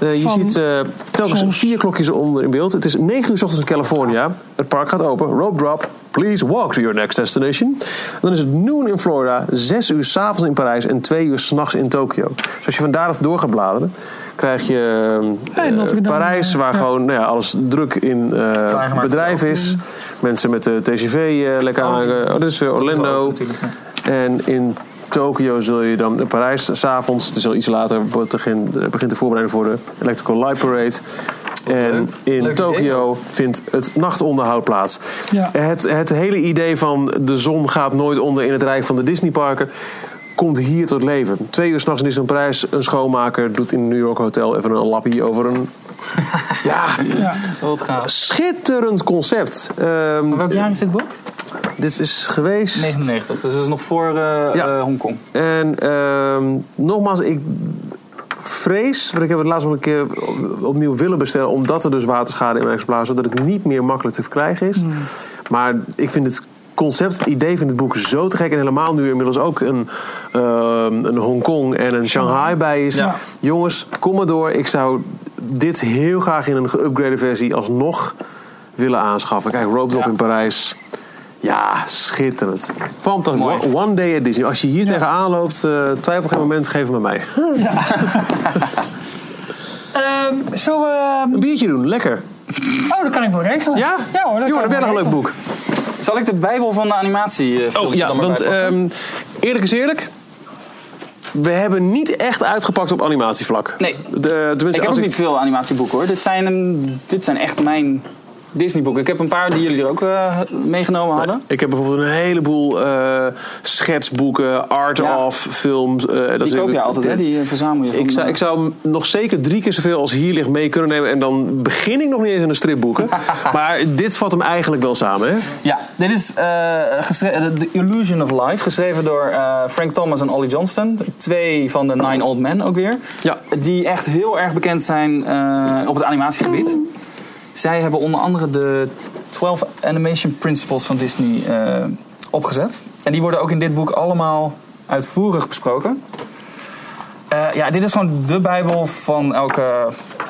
Speaker 3: eh, je
Speaker 2: Van-
Speaker 3: ziet eh, telkens
Speaker 2: Soms.
Speaker 3: vier klokjes onder in beeld. Het is 9 uur s ochtends in California. Het park gaat open. Rope drop. Please walk to your next destination. Dan is het noon in Florida, 6 uur s'avonds in Parijs en 2 uur s'nachts in Tokio. Dus als je van daaruit door gaat bladeren, krijg je eh,
Speaker 2: Hey, Notre Dame,
Speaker 3: Parijs,
Speaker 2: eh,
Speaker 3: waar gewoon nou ja, alles druk in eh,
Speaker 4: voor
Speaker 3: bedrijf is. Mensen met de TCV eh, lekker aan. eh, Oh, dit is weer Orlando.
Speaker 4: natuurlijk,
Speaker 3: En in Tokio zul je dan, in Parijs s'avonds, het is al iets later, wordt begin, begint de voorbereiding voor de Electrical Light Parade. En in
Speaker 4: Leuk
Speaker 3: Tokio vindt het nachtonderhoud plaats.
Speaker 2: Ja.
Speaker 3: Het, het hele idee van de zon gaat nooit onder in het rijk van de Disneyparken komt hier tot leven. Twee uur s'nachts in Disneyland Parijs, een schoonmaker doet in een New York hotel even een lappie over een... ja,
Speaker 4: Wat gaaf.
Speaker 3: schitterend concept. Ehm,
Speaker 4: Welk jaar is dit boek?
Speaker 3: dit is geweest...
Speaker 4: 99. Dus dat is nog voor eh,
Speaker 3: Ja.
Speaker 4: eh, Hongkong.
Speaker 3: En ehm, nogmaals, ik vrees, want ik heb het laatst nog een keer op- opnieuw willen bestellen, omdat er dus waterschade in mijn exemplaar is, zodat het niet meer makkelijk te verkrijgen is. Maar ik vind het concept, het idee van het boek zo te gek en helemaal nu inmiddels ook een, ehm, een Hongkong en een Shanghai bij is.
Speaker 2: Ja.
Speaker 3: Jongens, kom maar door. Ik zou dit heel graag in een geüpgrade versie alsnog willen aanschaffen. Kijk, Rope Drop in Parijs. Ja, schitterend. Fantastisch.
Speaker 4: Mooi.
Speaker 3: One- One day at Disney. Als je hier tegenaan loopt, eh, twijfel geen moment, geef hem aan mij.
Speaker 2: Ehm, zullen we...
Speaker 3: Een biertje doen, lekker.
Speaker 2: Oh, dat kan ik wel regelen.
Speaker 3: Ja?
Speaker 2: Ja hoor, dat
Speaker 3: Joh,
Speaker 2: kan ik
Speaker 3: dan heb jij
Speaker 2: wel
Speaker 3: nog een leuk
Speaker 2: regelen.
Speaker 3: boek.
Speaker 4: Zal ik de Bijbel van de animatie eh
Speaker 3: Oh ja, want ehm, eerlijk is eerlijk. We hebben niet echt uitgepakt op animatievlak.
Speaker 4: Nee.
Speaker 3: De, tenminste,
Speaker 4: Ik heb
Speaker 3: Dus als
Speaker 4: ook niet veel animatieboeken hoor. Dit zijn, een- dit zijn echt mijn Disneyboeken. Ik heb een paar die jullie er ook eh, meegenomen hadden.
Speaker 3: Ik heb bijvoorbeeld een heleboel eh, schetsboeken,
Speaker 4: Ja.
Speaker 3: art-of, films. eh, dat is
Speaker 4: Die koop je
Speaker 3: natuurlijk-
Speaker 4: altijd, hè? Die eh, verzamel je.
Speaker 3: Ik
Speaker 4: van,
Speaker 3: zou,
Speaker 4: eh,
Speaker 3: ik zou nog zeker drie keer zoveel als hier ligt mee kunnen nemen. En dan begin ik nog niet eens in een stripboeken. maar dit vat hem eigenlijk wel samen, hè?
Speaker 4: Ja, dit is eh, geschre- eh, The Illusion of Life, geschreven door eh, Frank Thomas en Ollie Johnston. Twee van de Nine Old Men ook weer.
Speaker 3: Ja.
Speaker 4: Die echt heel erg bekend zijn eh, op het animatiegebied. Zij hebben onder andere de 12 Animation Principles van Disney eh, opgezet. En die worden ook in dit boek allemaal uitvoerig besproken. Eh, ja, dit is gewoon de bijbel van elke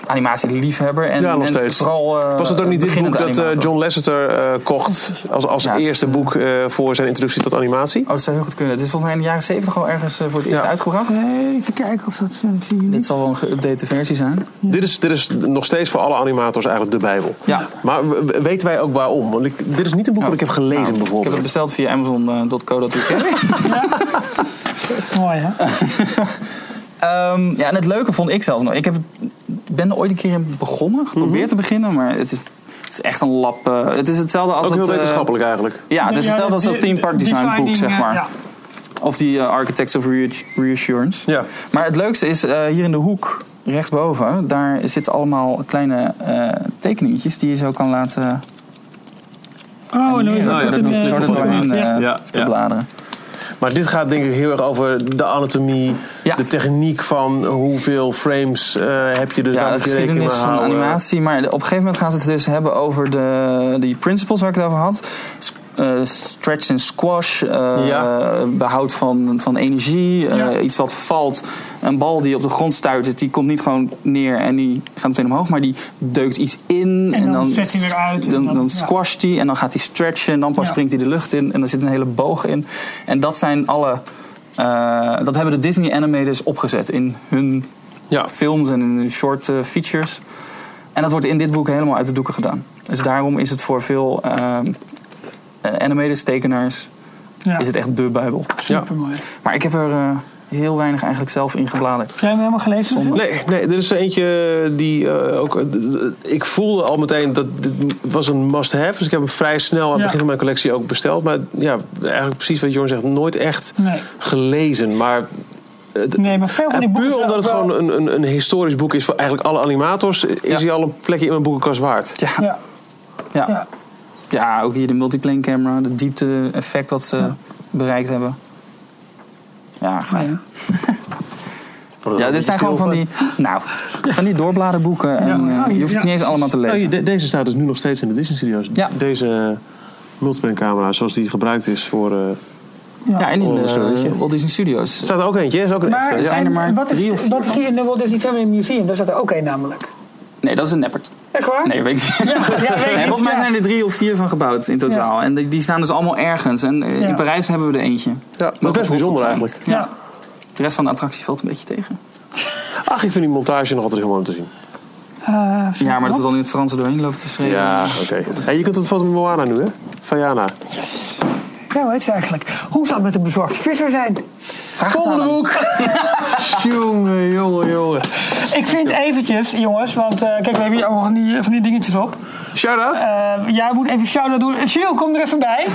Speaker 4: animatieliefhebber. En
Speaker 3: Ja, nog
Speaker 4: mensen-
Speaker 3: steeds.
Speaker 4: Vooral, eh,
Speaker 3: Was het ook niet dit boek
Speaker 4: beginnend
Speaker 3: dat eh,
Speaker 4: animator.
Speaker 3: John Lasseter eh, kocht als, als
Speaker 4: Ja, het is,
Speaker 3: eerste boek eh, voor zijn introductie tot animatie?
Speaker 4: Oh, dat zou heel goed kunnen. Het is volgens mij in de jaren 70 al ergens eh, voor het eerst
Speaker 3: Ja. Mhm.
Speaker 4: uitgebracht.
Speaker 2: Nee, even kijken of dat... eh,
Speaker 4: Dit zal wel een geüpdate versie zijn.
Speaker 3: Dit, is, dit is nog steeds voor alle animators eigenlijk de bijbel.
Speaker 4: Ja.
Speaker 3: Maar w- w- weten wij ook waarom? Want ik, dit is niet een boek dat Nou, ik heb gelezen
Speaker 4: Nou, Ik heb
Speaker 3: bijvoorbeeld.
Speaker 4: het besteld via eh, amazon.co.uk.
Speaker 2: Mooi hè?
Speaker 4: Ehm ja, en het leuke vond ik zelfs nog. Ik heb, ben er ooit een keer in
Speaker 3: Mhm.
Speaker 4: begonnen, geprobeerd te beginnen, maar het is, het is echt een lap. eh, het is hetzelfde als
Speaker 3: Ook
Speaker 4: dat,
Speaker 3: heel
Speaker 4: eh,
Speaker 3: wetenschappelijk eigenlijk.
Speaker 4: ja, het is
Speaker 2: Ja,
Speaker 4: hetzelfde als dat
Speaker 2: de-
Speaker 4: theme
Speaker 2: de-
Speaker 4: park design boek,
Speaker 2: designing,
Speaker 4: zeg
Speaker 2: eh,
Speaker 4: maar.
Speaker 2: ja.
Speaker 4: Of die eh, Architects of Reassu- Reassurance.
Speaker 3: Ja.
Speaker 4: Maar het leukste is eh, hier in de hoek, rechtsboven, daar zitten allemaal kleine eh tekeningetjes die je zo kan laten
Speaker 2: Oh, en dan is
Speaker 4: Ja,
Speaker 2: dat
Speaker 3: ja,
Speaker 2: het
Speaker 3: dat
Speaker 2: in
Speaker 3: moet
Speaker 2: de-
Speaker 3: ik
Speaker 4: door
Speaker 3: nog
Speaker 4: de doorheen,
Speaker 2: de-
Speaker 4: eh,
Speaker 3: Ja,
Speaker 4: te
Speaker 3: ja.
Speaker 4: bladeren.
Speaker 3: Maar dit gaat denk ik heel erg over de anatomie,
Speaker 4: Ja.
Speaker 3: de techniek van hoeveel frames eh, heb je dus
Speaker 4: Ja,
Speaker 3: daar
Speaker 4: de
Speaker 3: moet je rekening mee
Speaker 4: geschiedenis van
Speaker 3: houden.
Speaker 4: animatie. Maar op een gegeven moment gaan ze het dus hebben over de, die principles waar ik het over had. S- eh, stretch en squash, eh,
Speaker 3: Ja.
Speaker 4: behoud van, van energie, eh,
Speaker 2: Ja.
Speaker 4: iets wat valt. Een bal die op de grond stuitert, die komt niet gewoon neer en die gaat meteen omhoog, maar die deukt iets in.
Speaker 2: En dan zet hij weer uit en
Speaker 4: Dan,
Speaker 2: dan-
Speaker 4: dan
Speaker 2: ja.
Speaker 4: squasht hij en dan gaat hij stretchen en dan pas
Speaker 2: Ja.
Speaker 4: springt hij de lucht in en dan zit een hele boog in. En dat zijn alle. eh, dat hebben de Disney animators opgezet in hun
Speaker 3: Ja.
Speaker 4: films en in de short eh, features. En En dat wordt in dit boek helemaal uit de doeken gedaan. Dus daarom is het voor veel ehm animators, tekenaars,
Speaker 2: Ja,
Speaker 4: is het echt de Bijbel.
Speaker 2: supermooi.
Speaker 4: Maar ik heb er eh, heel weinig eigenlijk zelf in gebladerd.
Speaker 2: Jij hebt hem helemaal gelezen?
Speaker 3: Nee, nee, er is er eentje die eh, ook. eh, d- d- ik voelde al meteen dat dit was een must-have. Dus ik heb hem vrij snel aan het
Speaker 2: Ja.
Speaker 3: begin van mijn collectie ook besteld. Maar ja, eigenlijk precies wat Jorn zegt, nooit echt
Speaker 2: Nee.
Speaker 3: gelezen. Maar het-
Speaker 2: Nee, maar veel van die
Speaker 3: en
Speaker 2: boeken...
Speaker 3: puur
Speaker 2: zijn
Speaker 3: omdat het
Speaker 2: ook wel-
Speaker 3: gewoon een, een, een historisch boek is voor eigenlijk alle animators, is
Speaker 4: Ja.
Speaker 3: hij al een plekje in mijn boekenkast waard.
Speaker 4: Ja,
Speaker 2: Ja,
Speaker 4: ja. ja.
Speaker 2: ja.
Speaker 4: ook hier de multiplane camera, de diepte effect dat ze bereikt hebben. Ja, gaaf.
Speaker 2: Nee.
Speaker 4: Ja, dit zijn gewoon van die, nou, van die doorbladerboeken. En,
Speaker 2: Ja.
Speaker 4: eh, je hoeft het niet eens allemaal te
Speaker 3: Oh,
Speaker 4: lezen.
Speaker 3: de- deze staat dus nu nog steeds in de Disney Studios.
Speaker 4: Ja.
Speaker 3: Deze multiplane camera, zoals die gebruikt is voor. eh,
Speaker 4: Ja, en in
Speaker 3: Oh, zo, weet
Speaker 4: de eh,
Speaker 3: je.
Speaker 4: Walt Disney Studios.
Speaker 3: Er staat er ook eentje, is ook een
Speaker 2: Maar,
Speaker 3: echte. ja.
Speaker 4: zijn er maar
Speaker 2: wat, is,
Speaker 4: drie of vier
Speaker 2: wat is hier in de Walt Disney Family Museum? Daar zat er ook één namelijk.
Speaker 4: Nee, dat is een neppert.
Speaker 2: Echt waar?
Speaker 4: Nee, weet ik niet.
Speaker 2: Ja, ja, weet ik
Speaker 4: Nee,
Speaker 2: niet,
Speaker 4: volgens mij
Speaker 2: ja.
Speaker 4: zijn er drie of vier van gebouwd in totaal. En die, die staan dus allemaal ergens. En eh,
Speaker 2: Ja.
Speaker 4: in Parijs hebben we er eentje.
Speaker 3: Ja, dat is best bijzonder eigenlijk.
Speaker 2: Ja.
Speaker 4: De rest van de attractie valt een beetje tegen.
Speaker 3: Ach, ik vind die montage nog altijd heel mooi om te zien.
Speaker 2: Eh,
Speaker 4: Ja, maar dat is dan in het Frans er doorheen lopen te schrijven.
Speaker 3: Ja, oké. En je kunt het van Moana nu, hè? Van Jana.
Speaker 2: ja, hoe heet ze Nou, eigenlijk? Hoe zou het met de bezorgde visser zijn?
Speaker 3: Volgende boek! jongen, jongen, jongen.
Speaker 2: Ik vind eventjes, jongens, want eh, kijk, we hebben hier allemaal van die, van die dingetjes op.
Speaker 3: Shout-out.
Speaker 2: Eh, jij moet even shout-out doen. Shiel, kom er even bij.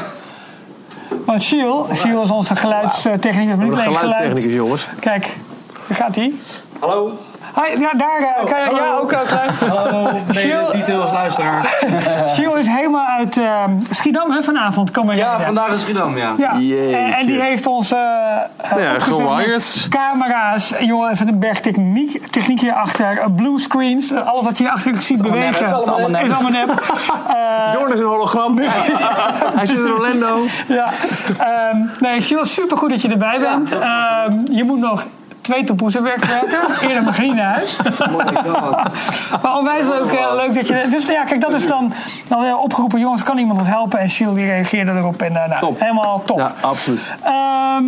Speaker 2: Want Shiel, Shiel is onze geluidstechnicus. maar niet
Speaker 3: Voor de
Speaker 2: alleen
Speaker 3: geluidstechnicus,
Speaker 2: geluid.
Speaker 3: jongens.
Speaker 2: Kijk, daar gaat hij.
Speaker 5: Hallo.
Speaker 2: Hi, ja, daar eh, kan je, ja, ook eh, geluid.
Speaker 5: Hallo,
Speaker 2: Chill.
Speaker 5: mede details luisteraar.
Speaker 2: Shiel is helemaal uit eh, Schiedam hè, vanavond. Kom maar
Speaker 5: Ja, vandaag is Schiedam, ja.
Speaker 2: Ja,
Speaker 3: Jeetje. Nou
Speaker 2: en- en die heeft ons eh eh,
Speaker 3: ja,
Speaker 2: opgevuld met
Speaker 3: gewired.
Speaker 2: Camera's, jongen, even een berg techniek, techniek hierachter. eh, Blue screens, eh, alles wat je hierachter ziet bewegen.
Speaker 4: nep, het is allemaal nep.
Speaker 2: Is allemaal nep. Eh,
Speaker 3: Jorn is een hologram. Hij zit in Orlando.
Speaker 2: ja. Ehm, nee, Jules, supergoed dat je erbij bent. Ehm, je moet nog twee toepoezen werken. Eerder mag je niet naar huis. maar onwijs leuk, eh, leuk dat je... Dus nou ja, kijk, dat is dan, dan weer opgeroepen. Jongens, kan iemand ons helpen? En Jules die reageerde erop. En eh, nou,
Speaker 3: Top.
Speaker 2: helemaal tof.
Speaker 3: Ja, absoluut.
Speaker 2: Ehm,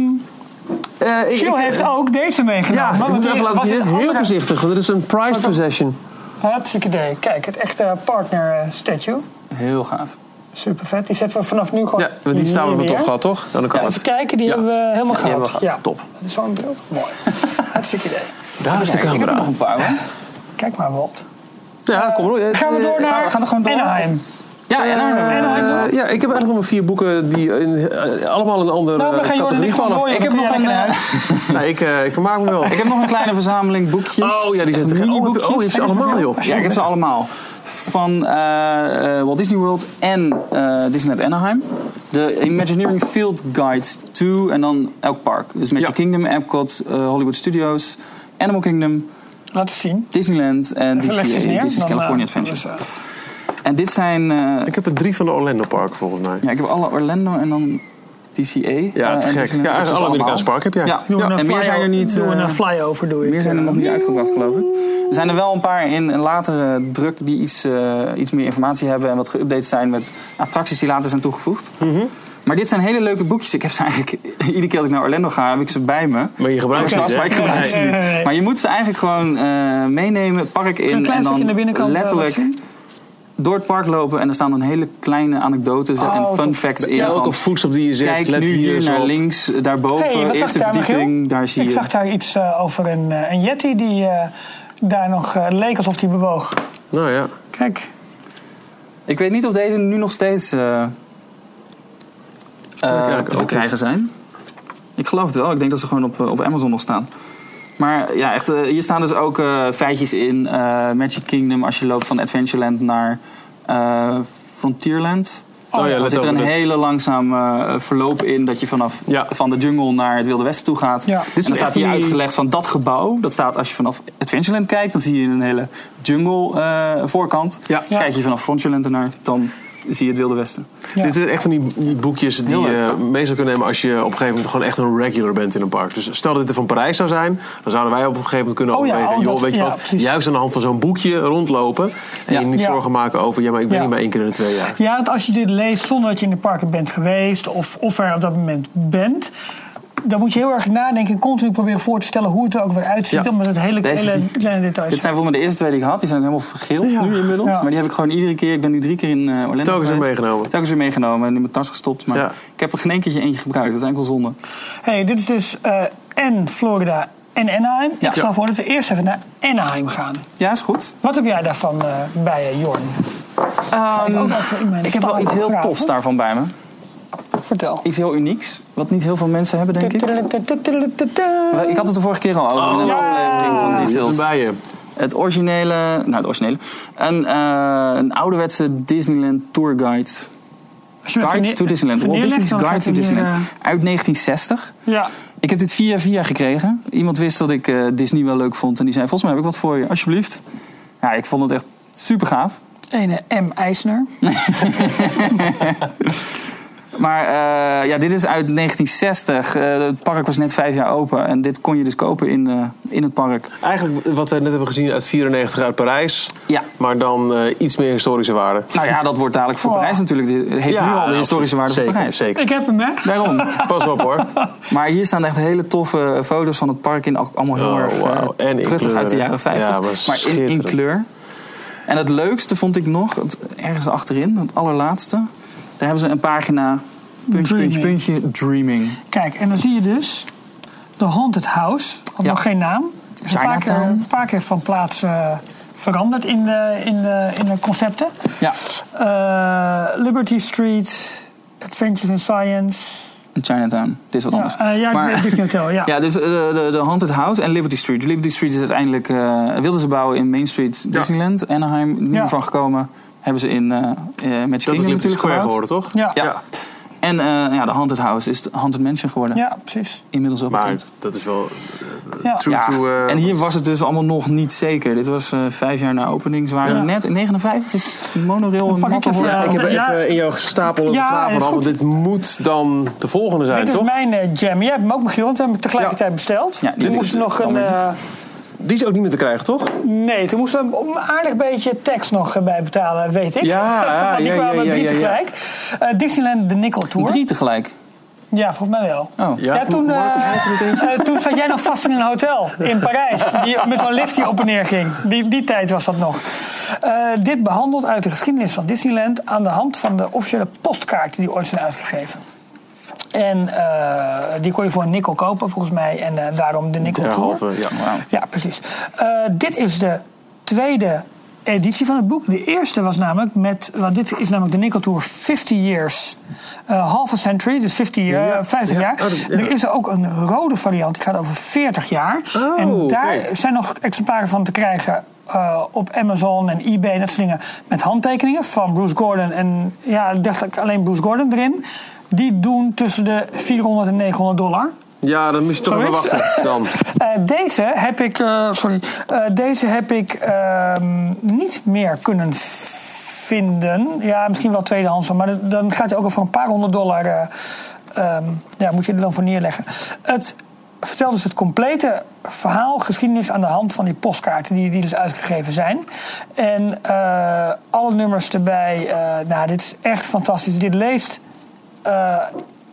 Speaker 2: Jules heeft ook deze
Speaker 3: Ja,
Speaker 2: meegenomen.
Speaker 3: Eh, ik moet
Speaker 2: want
Speaker 3: even
Speaker 2: die
Speaker 3: laten
Speaker 2: was oh,
Speaker 3: zien.
Speaker 2: in
Speaker 3: Heel
Speaker 2: andere-
Speaker 3: voorzichtig, want dit is een prized possession.
Speaker 2: Hartstikke idee. Kijk, het echte partner eh, statue.
Speaker 4: Heel gaaf.
Speaker 2: Super vet. Die zetten we vanaf nu gewoon.
Speaker 3: Ja, want die staan we
Speaker 2: hier
Speaker 3: met
Speaker 2: neer.
Speaker 3: op gehad, toch? Nou, dan kan
Speaker 2: Ja, even
Speaker 3: het.
Speaker 2: kijken, die
Speaker 3: Ja.
Speaker 2: hebben we helemaal
Speaker 4: die
Speaker 2: gehad.
Speaker 4: hebben we gehad.
Speaker 2: Ja.
Speaker 3: Top.
Speaker 2: Zo'n beeld. Mooi. Hartstikke idee.
Speaker 3: Daar is de
Speaker 4: Ik heb er
Speaker 3: camera.
Speaker 4: nog een paar hoor.
Speaker 2: Kijk maar, Walt.
Speaker 3: Ja, kom maar door.
Speaker 2: eh, Gaan we door naar
Speaker 4: we gaan toch gewoon door?
Speaker 2: Anaheim.
Speaker 4: Ja, en
Speaker 2: en
Speaker 4: Arnhem.
Speaker 2: Arnhem.
Speaker 3: Eh, ja, ik heb eigenlijk nog maar vier boeken die in, eh, allemaal in een andere
Speaker 2: Nou, we
Speaker 3: eh,
Speaker 2: gaan Jordan en
Speaker 3: categorie
Speaker 2: ik gewoon
Speaker 3: vallen.
Speaker 2: door.
Speaker 4: Ik heb nog een, eh,
Speaker 3: Nou, ik, eh, ik vermaak me wel.
Speaker 4: Ik heb nog een kleine verzameling boekjes.
Speaker 3: Oh, ja, die zijn te gek. Oh, heb je-
Speaker 4: Mini-boekjes.
Speaker 3: oh, je hebt ze allemaal, joh.
Speaker 4: Ja, ik heb ze allemaal. Van eh, eh, Walt Disney World en eh, Disneyland Anaheim. De Imagineering Field Guides to en dan elk park. Dus Magic
Speaker 3: Ja.
Speaker 4: Kingdom, Epcot, eh, Hollywood Studios, Animal Kingdom,
Speaker 2: Laten zien.
Speaker 4: Disneyland en
Speaker 2: Even
Speaker 4: DCA,
Speaker 2: legjes neer,
Speaker 4: Disney's
Speaker 2: dan, eh,
Speaker 4: California
Speaker 2: dus,
Speaker 4: Adventure.
Speaker 2: eh,
Speaker 4: En dit zijn... eh,
Speaker 3: Ik heb er drie van de Orlando Park volgens mij.
Speaker 4: ja, ik heb alle Orlando en dan DCA.
Speaker 3: Ja,
Speaker 4: eh,
Speaker 3: te
Speaker 4: en
Speaker 3: gek.
Speaker 4: Disneyland.
Speaker 3: Ja,
Speaker 4: Ik heb ze
Speaker 3: alle Amerikaanse
Speaker 4: allemaal.
Speaker 3: parken heb jij.
Speaker 4: Ja,
Speaker 2: Doen we
Speaker 4: ja,
Speaker 2: een
Speaker 4: en meer zijn er
Speaker 2: flyover-
Speaker 4: niet...
Speaker 2: Doen we
Speaker 4: eh,
Speaker 2: een flyover, doe ik. eh,
Speaker 4: Meer zijn er nog niet uitgebracht, geloof ik. Er zijn er wel een paar in een latere druk die iets, eh, iets meer informatie hebben en wat geüpdate zijn met attracties die later zijn toegevoegd.
Speaker 3: Mhm.
Speaker 4: Maar dit zijn hele leuke boekjes. Ik heb ze eigenlijk iedere keer als ik naar Orlando ga, heb ik ze bij me.
Speaker 3: Maar je gebruikt ze
Speaker 4: Maar
Speaker 3: niet,
Speaker 4: ik-
Speaker 3: hè?
Speaker 4: maar ik gebruik ze
Speaker 2: Nee,
Speaker 4: niet.
Speaker 2: nee, nee, nee.
Speaker 4: Maar je moet ze eigenlijk gewoon eh, meenemen, het park in
Speaker 2: Een klein
Speaker 4: en dan
Speaker 2: stukje naar binnenkant. eh,
Speaker 4: letterlijk
Speaker 2: laten zien.
Speaker 4: door het park lopen en er staan dan hele kleine anekdotes
Speaker 2: Oh,
Speaker 4: en fun
Speaker 2: tof.
Speaker 4: facts in.
Speaker 3: Ja,
Speaker 4: van,
Speaker 3: elke voetstap die je zet,
Speaker 4: Kijk
Speaker 3: let
Speaker 4: nu hier
Speaker 3: eens
Speaker 4: naar
Speaker 3: op.
Speaker 4: links, daarboven,
Speaker 2: Hey, wat zag
Speaker 4: eerste
Speaker 2: daar, Michiel?
Speaker 4: verdieping, daar zie
Speaker 2: Ik
Speaker 4: je.
Speaker 2: zag daar iets eh, over een, eh, een Yeti die eh, daar nog eh, leek alsof die bewoog.
Speaker 3: Nou ja.
Speaker 2: Kijk.
Speaker 4: Ik weet niet of deze nu nog steeds eh, eh,
Speaker 3: eigenlijk
Speaker 4: te
Speaker 3: ook
Speaker 4: verkrijgen zijn. Ik geloof het wel. Ik denk dat ze gewoon op, eh, op Amazon nog staan. Maar ja, echt, eh, hier staan dus ook eh, feitjes in. eh, Magic Kingdom, als je loopt van Adventureland naar eh, Frontierland.
Speaker 3: Oh ja,
Speaker 4: dan
Speaker 3: let
Speaker 4: zit er
Speaker 3: over
Speaker 4: een
Speaker 3: dat-
Speaker 4: hele langzaam eh, verloop in dat je vanaf
Speaker 3: Ja.
Speaker 4: van de jungle naar het Wilde Westen toe gaat.
Speaker 2: Ja.
Speaker 4: En
Speaker 3: Dit zijn
Speaker 4: Dus dan staat
Speaker 3: echt
Speaker 4: hier
Speaker 3: die-
Speaker 4: uitgelegd van dat gebouw. Dat staat als je vanaf Adventureland kijkt, dan zie je een hele jungle eh, voorkant.
Speaker 3: Ja.
Speaker 2: Ja.
Speaker 4: Kijk je vanaf Frontierland ernaar, dan zie je het Wilde Westen.
Speaker 2: Ja.
Speaker 3: Dit zijn echt van die, die boekjes die
Speaker 4: Heel
Speaker 3: je
Speaker 4: leuk.
Speaker 3: meestal kunt nemen als je op een gegeven moment gewoon echt een regular bent in een park. Dus stel dat dit er van Parijs zou zijn, dan zouden wij op een gegeven moment kunnen
Speaker 2: Oh ja,
Speaker 3: overwegen.
Speaker 2: oh,
Speaker 3: joh,
Speaker 2: dat-
Speaker 3: weet je
Speaker 2: ja,
Speaker 3: wat,
Speaker 2: precies.
Speaker 3: juist aan de hand van zo'n boekje rondlopen. En
Speaker 4: Ja.
Speaker 3: je niet
Speaker 2: Ja.
Speaker 3: zorgen maken over, ja maar ik ben
Speaker 2: Ja.
Speaker 3: niet maar één keer in de twee jaar.
Speaker 2: Ja, want als je dit leest zonder dat je in de parken bent geweest of, of er op dat moment bent, dan moet je heel erg nadenken en continu proberen voor te stellen hoe het er ook weer uitziet.
Speaker 3: Ja.
Speaker 2: Omdat het hele
Speaker 4: Deze is
Speaker 2: kleine,
Speaker 4: die-
Speaker 2: kleine details
Speaker 4: Dit zijn volgens mij de eerste twee die ik had. Die zijn ook helemaal vergeeld nu inmiddels.
Speaker 2: Ja.
Speaker 4: Maar die heb ik gewoon iedere keer... Ik ben nu drie keer in eh Orlando
Speaker 3: Telkens weer
Speaker 4: geweest.
Speaker 3: meegenomen.
Speaker 4: Telkens weer meegenomen. En in mijn tas gestopt. Maar
Speaker 3: Ja.
Speaker 4: ik heb er geen enkele eentje gebruikt. Dat is eigenlijk wel zonde.
Speaker 2: Hey, dit is dus eh en Florida en Anaheim.
Speaker 4: Ja.
Speaker 2: Ik stel voor dat we eerst even naar Anaheim gaan.
Speaker 4: Ja, is goed.
Speaker 2: Wat heb jij daarvan eh, bij je, Jorn? Ga ik ook even in mijn
Speaker 4: Ehm, ik heb wel
Speaker 2: stal
Speaker 4: iets heel
Speaker 2: graven?
Speaker 4: tofs daarvan bij me.
Speaker 2: Vertel.
Speaker 4: Iets heel unieks. Wat niet heel veel mensen hebben, denk ik. Eh, Ik had het de vorige keer al over in een
Speaker 2: Oh.
Speaker 4: aflevering van
Speaker 3: Details.
Speaker 4: Details.
Speaker 3: Bij je.
Speaker 4: Het originele, nou het originele, een, eh, een ouderwetse Disneyland Tour Guide.
Speaker 2: Als je met
Speaker 4: Guide
Speaker 2: vane-
Speaker 4: to Disneyland. Walt
Speaker 2: vanille legt,
Speaker 4: Disney's
Speaker 2: dan
Speaker 4: Guide
Speaker 2: gaat
Speaker 4: to
Speaker 2: hij
Speaker 4: Disneyland.
Speaker 2: hier,
Speaker 4: Uit 1960.
Speaker 2: eh, Ja,
Speaker 4: Ik heb dit via via gekregen. Iemand wist dat ik eh, Disney wel leuk vond. En die zei, volgens mij heb ik wat voor je, alsjeblieft. Ja, ik vond het echt super gaaf.
Speaker 2: ene M. IJsner.
Speaker 4: Maar eh, ja, dit is uit 1960. Eh, het park was net vijf jaar open. En dit kon je dus kopen in, eh, in het park.
Speaker 3: Eigenlijk wat we net hebben gezien uit 94 uit Parijs.
Speaker 4: Ja.
Speaker 3: Maar dan eh, iets meer historische waarde.
Speaker 4: Nou ja, dat wordt dadelijk voor
Speaker 2: Oh.
Speaker 4: Parijs natuurlijk. Het heeft nu al de historische waarde
Speaker 3: zeker,
Speaker 4: voor Parijs.
Speaker 3: Zeker.
Speaker 2: Ik heb hem, hè?
Speaker 4: Daarom.
Speaker 3: Pas op hoor.
Speaker 4: Maar hier staan echt hele toffe foto's van het park in. al- Allemaal heel
Speaker 3: Oh,
Speaker 4: erg eh,
Speaker 3: wauw. En in
Speaker 4: truttig uit de
Speaker 3: kleur.
Speaker 4: jaren 50.
Speaker 3: Ja, maar
Speaker 4: maar in, in
Speaker 3: schitterend.
Speaker 4: kleur. En het leukste vond ik nog, het- ergens achterin, het allerlaatste. Daar hebben ze een pagina, puntje, puntje,
Speaker 2: Dreaming.
Speaker 4: puntje, dreaming.
Speaker 2: Kijk, en dan zie je dus de Haunted House. Had
Speaker 4: Ja.
Speaker 2: nog geen naam. Is een paar, keer,
Speaker 4: Chinatown.
Speaker 2: een paar keer van plaats eh, veranderd in de, in de, in de concepten.
Speaker 4: Ja,
Speaker 2: Eh, Liberty Street, Adventures in Science.
Speaker 4: in Chinatown. Dit is wat anders.
Speaker 2: Ja, eh, ja
Speaker 4: Maar-
Speaker 2: Disney Hotel, ja.
Speaker 4: Ja, dus eh, de, de Haunted House en Liberty Street. Liberty Street is uiteindelijk, eh, wilden ze bouwen in Main Street Disneyland, Anaheim. Nu
Speaker 2: Ja.
Speaker 4: van gekomen, hebben ze in eh eh, Magic
Speaker 3: Dat is
Speaker 4: Kingdom
Speaker 3: Liberty
Speaker 4: natuurlijk
Speaker 3: Square
Speaker 4: gebouwd.
Speaker 3: geworden, toch?
Speaker 2: Ja.
Speaker 4: Ja. En eh, ja, de Haunted House is de Haunted Mansion geworden.
Speaker 2: Ja, precies.
Speaker 4: Inmiddels wel
Speaker 3: Maar
Speaker 4: bekend.
Speaker 3: dat is wel...
Speaker 2: Ja.
Speaker 3: True.
Speaker 4: Ja,
Speaker 3: eh,
Speaker 4: en hier
Speaker 3: dat-
Speaker 4: was het dus allemaal nog niet zeker. Dit was eh, vijf jaar na opening. Ze waren
Speaker 2: Ja.
Speaker 4: net in 59 is monorail
Speaker 2: Dan
Speaker 4: een
Speaker 2: pak ik
Speaker 4: natte
Speaker 2: even,
Speaker 4: hoor.
Speaker 2: eh,
Speaker 3: Ik heb
Speaker 2: Ja.
Speaker 3: even in jou gestapeld op de
Speaker 2: Ja,
Speaker 3: tafel
Speaker 2: is
Speaker 3: gehad,
Speaker 2: goed.
Speaker 3: want dit moet dan de volgende zijn,
Speaker 2: Dit is
Speaker 3: toch?
Speaker 2: mijn eh, jam. Jij hebt hem ook, Michiel, want we hebben hem tegelijkertijd besteld.
Speaker 4: Ja, dit
Speaker 2: toen
Speaker 4: is-
Speaker 2: moest er nog
Speaker 4: dan
Speaker 2: een...
Speaker 4: weer
Speaker 2: eh,
Speaker 3: Die is ook niet meer te krijgen, toch?
Speaker 2: nee, toen moesten we hem een aardig beetje tekst nog eh, bij betalen, weet ik.
Speaker 3: Ja, ja,
Speaker 2: Want die
Speaker 3: ja, ja,
Speaker 2: kwamen
Speaker 3: ja,
Speaker 2: drie
Speaker 3: ja, ja.
Speaker 2: tegelijk. Eh, Disneyland, de Nickel Tour.
Speaker 4: Drie tegelijk.
Speaker 2: Ja, volgens mij wel.
Speaker 4: Oh.
Speaker 2: Ja, toen, eh, eh, toen zat jij nog vast in een hotel in Parijs. Die, met zo'n lift die op en neer ging. Die, die tijd was dat nog. Eh, dit behandelt uit de geschiedenis van Disneyland... aan de hand van de officiële postkaarten die ooit zijn uitgegeven. En eh, die kon je voor een nikkel kopen, volgens mij. En eh, daarom de Nickel Tour.
Speaker 3: Derhalve, ja.
Speaker 4: Wauw.
Speaker 2: Ja, precies. Eh, dit is de tweede editie van het boek. De eerste was namelijk met, want dit is namelijk de Nickel Tour 50 Years. eh half a century, dus 50, eh,
Speaker 3: Ja,
Speaker 2: 50
Speaker 3: ja.
Speaker 2: jaar.
Speaker 3: Oh, dat- ja.
Speaker 2: Er is er ook een rode variant, die gaat over 40 jaar.
Speaker 3: Oh,
Speaker 2: en daar
Speaker 3: oké.
Speaker 2: zijn nog exemplaren van te krijgen eh, op Amazon en eBay en dat soort dingen. Met handtekeningen van Bruce Gordon en ja, ik dacht ik alleen Bruce Gordon erin. Die doen tussen de 400 en 900 dollar.
Speaker 3: Ja, dan moest je toch even
Speaker 2: Zoiets?
Speaker 3: wachten. Dan.
Speaker 2: Eh, deze heb ik, eh, sorry, Eh, deze heb ik ehm, niet meer kunnen vinden. Ja, misschien wel tweedehands, maar dan- dan gaat hij ook al voor een paar honderd dollar. eh, ehm, ja, moet je er dan voor neerleggen. Het vertelt dus het complete verhaal, geschiedenis aan de hand van die postkaarten die, die dus uitgegeven zijn. En eh, alle nummers erbij. eh, nou, dit is echt fantastisch. Dit leest eh,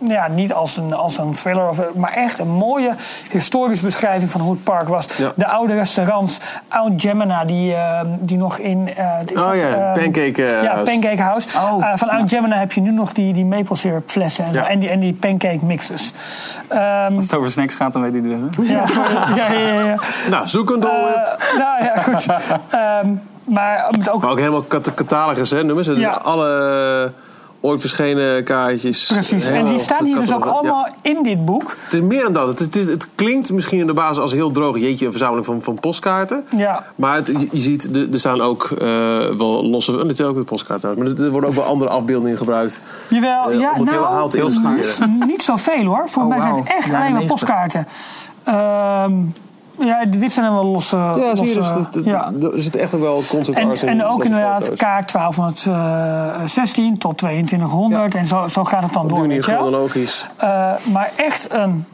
Speaker 2: ja, niet als een, als een thriller, of, maar echt een mooie historische beschrijving van hoe het park was.
Speaker 3: Ja.
Speaker 2: De oude restaurants, Oud Gemina, die, eh, die nog in... eh, is
Speaker 3: Oh
Speaker 2: dat,
Speaker 3: ja,
Speaker 2: eh,
Speaker 3: Pancake, eh,
Speaker 2: ja,
Speaker 3: House.
Speaker 2: Pancake House.
Speaker 4: Oh.
Speaker 2: Eh, van Oud Gemina heb je nu nog die, die maple syrup flessen en, zo,
Speaker 3: Ja.
Speaker 2: en, die, en die pancake mixers. Ehm,
Speaker 4: Als het over snacks gaat, dan weet hij het weer. hè?
Speaker 2: ja, ja, ja, ja, ja.
Speaker 3: Nou, zoek een
Speaker 2: Eh,
Speaker 3: doelwit.
Speaker 2: nou ja, goed. Ehm, maar met ook
Speaker 3: Maar ook helemaal kat catalogus, hè, nummers. Het
Speaker 2: Ja.
Speaker 3: is Alle eh, ooit verschenen kaartjes. eh,
Speaker 2: precies. En die
Speaker 3: Helemaal
Speaker 2: staan hier dus ook
Speaker 3: gecatalogeerd, ja.
Speaker 2: allemaal in dit boek.
Speaker 3: Het is meer dan dat. Het, het, is- het klinkt misschien in de basis als heel droog. Jeetje, een verzameling van, van postkaarten.
Speaker 2: Ja.
Speaker 3: Maar het, je, je ziet, de- er staan ook eh, wel losse... En dit is ook de postkaarten. uit, Maar er er worden ook wel andere afbeeldingen gebruikt.
Speaker 2: Jawel,
Speaker 3: Eh,
Speaker 2: ja,
Speaker 3: om het heel haal te
Speaker 2: nou,
Speaker 3: illustreren.
Speaker 2: niet zoveel hoor. Volgens
Speaker 4: Oh,
Speaker 2: mij zijn
Speaker 4: wauw.
Speaker 2: het echt
Speaker 4: Jaren
Speaker 2: alleen maar
Speaker 4: 90.
Speaker 2: postkaarten. Ehm, ja, dit zijn dan wel losse...
Speaker 3: Ja, zie je,
Speaker 2: losse-
Speaker 3: dus het- het-
Speaker 2: ja.
Speaker 3: er zit echt ook wel concept
Speaker 2: En,
Speaker 3: art in.
Speaker 2: en ook
Speaker 3: losse
Speaker 2: inderdaad
Speaker 3: foto's.
Speaker 2: kaart 1216 tot 2200 en zo, zo gaat het dan
Speaker 3: Op
Speaker 2: door.
Speaker 3: die manier
Speaker 2: weet je wel.
Speaker 3: chronologisch.
Speaker 2: Eh, maar echt een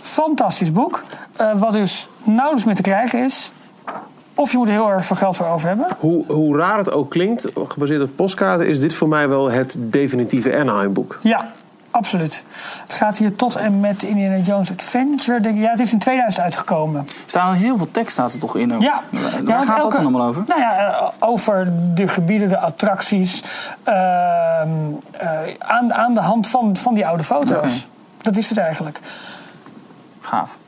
Speaker 2: fantastisch boek. eh, wat dus nauwelijks meer te krijgen is. Of je moet er heel erg veel geld voor over hebben.
Speaker 3: Hoe, hoe raar het ook klinkt, gebaseerd op postkaarten... is dit voor mij wel het definitieve Anaheim-boek.
Speaker 2: Ja, Absoluut. Het gaat hier tot en met Indiana Jones Adventure. Denk ik. Ja, het is in 2000 uitgekomen.
Speaker 3: Oh.
Speaker 4: Er staan heel veel tekst staat er toch in. ook.
Speaker 2: Ja.
Speaker 4: Waar
Speaker 2: Ja,
Speaker 4: waar
Speaker 2: want
Speaker 4: gaat dat
Speaker 2: elke-
Speaker 4: dan allemaal over?
Speaker 2: Nou ja, eh, over de gebieden, de attracties. ehm, eh, aan, aan de hand van, van die oude foto's. Dat is het eigenlijk.
Speaker 4: Gaaf.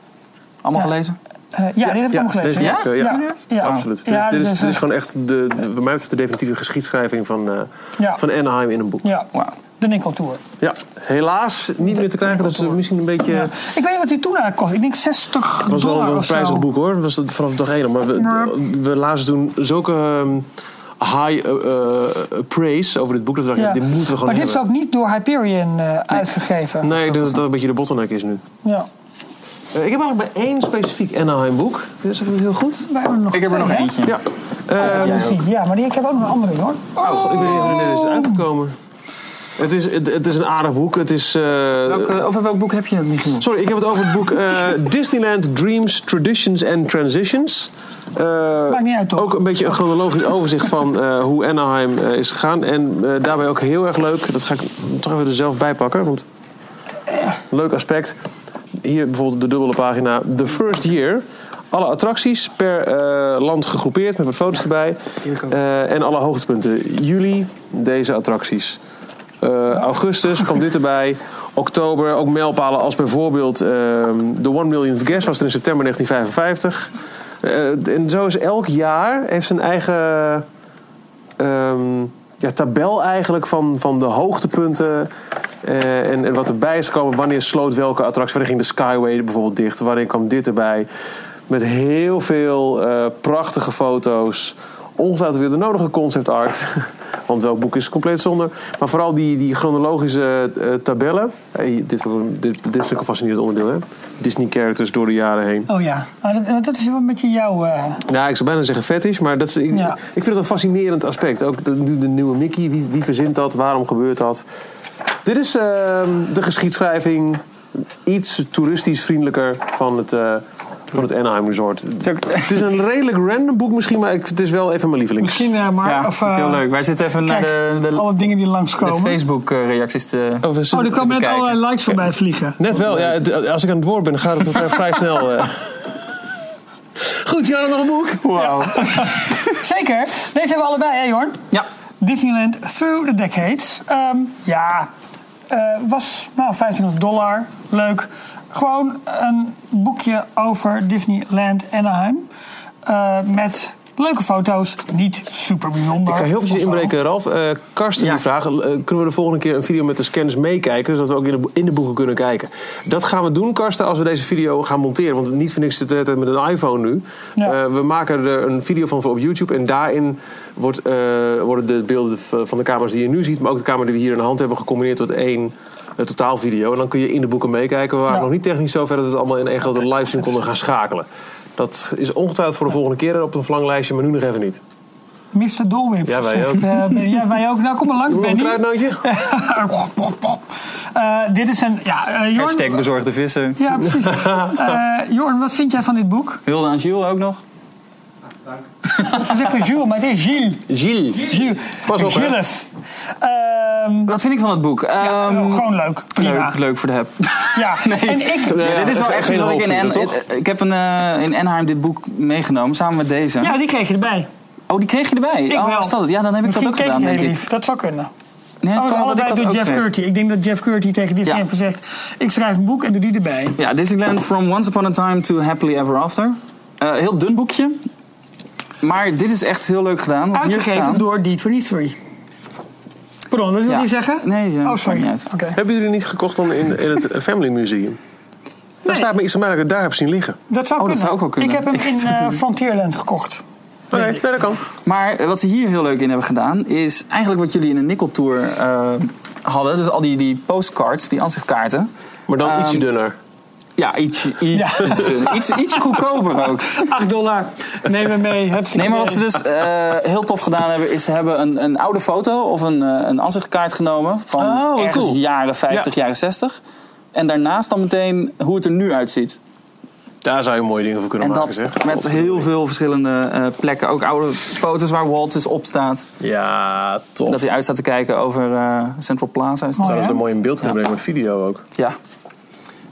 Speaker 4: Allemaal
Speaker 2: Ja.
Speaker 4: gelezen?
Speaker 2: Eh, ja, dit heb ik
Speaker 3: ja,
Speaker 2: allemaal gelezen.
Speaker 3: deze heb ik, eh, ja.
Speaker 2: Ja.
Speaker 3: Absoluut.
Speaker 2: Ja,
Speaker 3: dit, is,
Speaker 2: dus,
Speaker 3: dit is
Speaker 2: eh,
Speaker 3: gewoon echt de, de- bij mij betreft de definitieve geschiedschrijving van, eh,
Speaker 2: Ja.
Speaker 3: van Anaheim in een boek.
Speaker 2: Ja,
Speaker 4: Wauw.
Speaker 2: de Nickel Tour.
Speaker 3: Ja, helaas niet meer te krijgen. Dat is eh, misschien een beetje...
Speaker 2: Ja. Ik weet niet wat die toen aan kost. Ik denk 60
Speaker 3: Het was wel
Speaker 2: dollar
Speaker 3: een
Speaker 2: of zo.
Speaker 3: prijzig boek hoor. Dat was het vanaf dag één. al. Maar we, we lazen toen zulke ehm, high eh, eh, praise over dit boek. Dat we dachten,
Speaker 2: Ja.
Speaker 3: dit moeten we gewoon
Speaker 2: maar dit is
Speaker 3: hebben.
Speaker 2: ook niet door Hyperion eh, uitgegeven.
Speaker 3: Nee, ik denk dat dat een beetje de bottleneck is nu.
Speaker 2: Ja.
Speaker 3: Eh, ik heb eigenlijk bij één specifiek Anaheim boek. Dit is even heel goed.
Speaker 2: Wij hebben er nog
Speaker 4: Ik heb er
Speaker 2: twee,
Speaker 4: nog
Speaker 2: hè?
Speaker 4: eentje.
Speaker 3: Ja. Eh,
Speaker 2: Dus die, ja, maar die, ik heb ook nog een andere hoor.
Speaker 3: oh, god, ik weet niet of dit is uitgekomen. Het is, het, het is een aardig boek. Het is, eh,
Speaker 4: Welke- over welk boek heb je het, Michiel?
Speaker 3: Sorry, ik heb het over het boek eh, Disneyland Dreams, Traditions and Transitions. Eh,
Speaker 2: Maakt niet uit, toch?
Speaker 3: Ook een beetje een chronologisch overzicht van eh, hoe Anaheim eh, is gegaan. En eh, daarbij ook heel erg leuk, dat ga ik toch even er zelf bij pakken. Want leuk aspect. Hier bijvoorbeeld de dubbele pagina. The first year. Alle attracties per eh, land gegroepeerd met wat foto's erbij. Eh, en alle hoogtepunten. Juli, deze attracties. Eh, augustus kwam dit erbij. Oktober, ook mijlpalen als bijvoorbeeld ehm, de One Million Guest was er in september 1955. Eh, en zo is elk jaar heeft zijn eigen ehm, ja, tabel eigenlijk van, van de hoogtepunten. eh, en, en wat erbij is gekomen. Wanneer sloot welke attractie? Wanneer ging de Skyway bijvoorbeeld dicht? Wanneer kwam dit erbij? Met heel veel eh, prachtige foto's. Ongetwijfeld weer de nodige concept art. Want welk boek is compleet zonder. Maar vooral die, die chronologische eh, tabellen. Hey, dit, is ook een- dit, dit vind ik een fascinerend onderdeel. Hè? Disney characters door de jaren heen.
Speaker 2: Oh ja, maar dat, dat is wel een beetje jouw... eh,
Speaker 3: Ja, ik zou bijna zeggen fetish, maar dat is, ik,
Speaker 2: Ja.
Speaker 3: ik vind het een fascinerend aspect. Ook de, nu de nieuwe Mickey, wie, wie verzint dat, waarom gebeurt dat? Dit is ehm, de geschiedschrijving, iets toeristisch vriendelijker van het, eh, van het Anaheim Resort.
Speaker 4: is ook-
Speaker 3: Het is een redelijk random boek misschien, maar ik, het is wel even mijn lievelings.
Speaker 2: misschien eh, maar...
Speaker 4: Ja,
Speaker 2: of,
Speaker 4: dat is
Speaker 2: eh,
Speaker 4: heel leuk. Wij zitten even naar
Speaker 2: Kijk,
Speaker 4: de, de,
Speaker 2: alle dingen die
Speaker 4: de
Speaker 2: langskomen.
Speaker 4: Facebook-reacties te...
Speaker 3: Oh, we zitten-
Speaker 2: oh, er
Speaker 4: Even
Speaker 2: komen net
Speaker 4: kijken.
Speaker 2: allerlei likes voorbij vliegen.
Speaker 3: Net wel, ja, het- als ik aan het woord ben, gaat het eh, vrij snel. eh. Goed, Jan, nog een boek.
Speaker 4: Wauw. Ja.
Speaker 2: Zeker, deze hebben we allebei hè Jorn? Disneyland Through the Decades. Ehm, ja, eh, was nou 1500 dollar. Leuk. Gewoon een boekje over Disneyland Anaheim. Eh, met leuke foto's. Niet super bijzonder.
Speaker 3: Ik ga heel
Speaker 2: of
Speaker 3: eventjes
Speaker 2: zo.
Speaker 3: inbreken, Ralf. Eh, Karsten
Speaker 4: Ja.
Speaker 3: die vraagt, eh, kunnen we de volgende keer een video met de scans meekijken... zodat we ook in de, bo- in de boeken kunnen kijken? Dat gaan we doen, Karsten, als we deze video gaan monteren. Want niet voor niks zitten we de hele tijd met een iPhone nu.
Speaker 2: Ja.
Speaker 3: Eh, we maken er een video van voor op YouTube... en daarin wordt, eh, worden de beelden v- van de camera's die je nu ziet... maar ook de camera die we hier in de hand hebben gecombineerd tot één... eh, totaalvideo. En dan kun je in de boeken meekijken. We waren
Speaker 2: Ja.
Speaker 3: nog niet technisch zover dat we het allemaal in één grote livestream konden gaan schakelen. Dat is ongetwijfeld voor de volgende keer op een verlanglijstje, maar nu nog even niet.
Speaker 2: Mr. Dolwip.
Speaker 3: Ja, wij
Speaker 2: zegt,
Speaker 3: ook.
Speaker 2: eh, ben- ja, wij ook. Nou, kom maar langs,
Speaker 3: Nog een
Speaker 2: Benny.
Speaker 3: kruidnootje?
Speaker 2: Eh, dit is een... Ja, eh, Jorn,
Speaker 4: Hashtag bezorgde vissen.
Speaker 2: ja precies. Eh, Jorn, wat vind jij van dit boek?
Speaker 4: Hulde aan Jules ook nog.
Speaker 2: Ze zeggen Jules, maar het is Gilles.
Speaker 3: Gilles.
Speaker 2: Gilles.
Speaker 3: Pas op, hè.
Speaker 2: Gilles. Ehm,
Speaker 4: Wat vind ik van het boek?
Speaker 2: ja,
Speaker 4: Ehm,
Speaker 2: gewoon leuk. Prima.
Speaker 4: leuk, leuk voor de heb.
Speaker 2: Ja, en ik...
Speaker 3: Nee.
Speaker 4: Ja, dit is wel
Speaker 3: geen
Speaker 4: echt iets wat ik
Speaker 3: hoofdvlieger,
Speaker 4: in, en,
Speaker 3: toch?
Speaker 4: ik, ik heb een, eh, in Anaheim dit boek meegenomen, samen met deze.
Speaker 2: Ja, die kreeg je erbij.
Speaker 4: Oh, die kreeg je erbij?
Speaker 2: Ik
Speaker 4: oh,
Speaker 2: wel.
Speaker 4: was dat het? Ja, dan heb ik
Speaker 2: Misschien
Speaker 4: dat ook gedaan,
Speaker 2: keek hij
Speaker 4: denk
Speaker 2: heel
Speaker 4: ik.
Speaker 2: lief. Dat zou kunnen.
Speaker 4: Nee, het
Speaker 2: Oh,
Speaker 4: kan wel dat ik
Speaker 2: allebei
Speaker 4: dat
Speaker 2: door
Speaker 4: ook
Speaker 2: Jeff
Speaker 4: kreeg.
Speaker 2: Curty. Ik denk dat Jeff Curty tegen Disney
Speaker 4: Ja.
Speaker 2: heeft gezegd... ik schrijf een boek en doe die erbij.
Speaker 4: Ja, Disneyland From Once Upon a Time to Happily Ever After. Eh, heel dun boekje. Maar dit is echt heel leuk gedaan. Want hier
Speaker 2: Uitgegeven
Speaker 4: staan...
Speaker 2: door D23. Pardon, dat wil
Speaker 4: Ja.
Speaker 2: je zeggen?
Speaker 4: Nee, ja,
Speaker 2: Oh,
Speaker 4: dat maakt
Speaker 2: sorry.
Speaker 4: niet uit.
Speaker 2: Oké.
Speaker 3: Hebben jullie niet gekocht dan in, in het Family Museum? Daar staat me iets te maken dat ik het daar heb zien liggen.
Speaker 2: Dat zou,
Speaker 4: Oh,
Speaker 2: kunnen.
Speaker 4: dat zou ook wel kunnen.
Speaker 2: Ik heb hem
Speaker 4: Ik
Speaker 2: in eh, Frontierland gekocht.
Speaker 3: Oké, nee, dat kan.
Speaker 4: Maar eh, wat ze hier heel leuk in hebben gedaan, is eigenlijk wat jullie in de Nickel Tour eh, hadden. Dus al die, die postcards, die aanzichtkaarten.
Speaker 3: Maar dan
Speaker 4: Ehm,
Speaker 3: ietsje dunner.
Speaker 4: Ja, iets, iets, eh, iets, iets goedkoper ook.
Speaker 2: 8 dollar. Neem hem mee. Het
Speaker 4: Nee, maar wat ze dus eh, heel tof gedaan hebben, is ze hebben een, een oude foto of een, eh, een aanzichtkaart genomen van
Speaker 3: Oh, wat
Speaker 4: ergens
Speaker 3: cool.
Speaker 4: jaren 50, jaren 60. En daarnaast dan meteen hoe het er nu uitziet.
Speaker 3: Daar zou je mooie dingen voor kunnen
Speaker 4: En
Speaker 3: maken,
Speaker 4: dat
Speaker 3: zeg.
Speaker 4: met heel veel verschillende eh, plekken. Ook oude foto's waar Walt dus op staat.
Speaker 3: Ja, top.
Speaker 4: Dat hij uit staat te kijken over eh, Central Plaza. Is dat?
Speaker 2: Mooi,
Speaker 3: Zouden
Speaker 2: hè?
Speaker 3: ze er mooi in beeld kunnen brengen met video ook.
Speaker 4: Ja.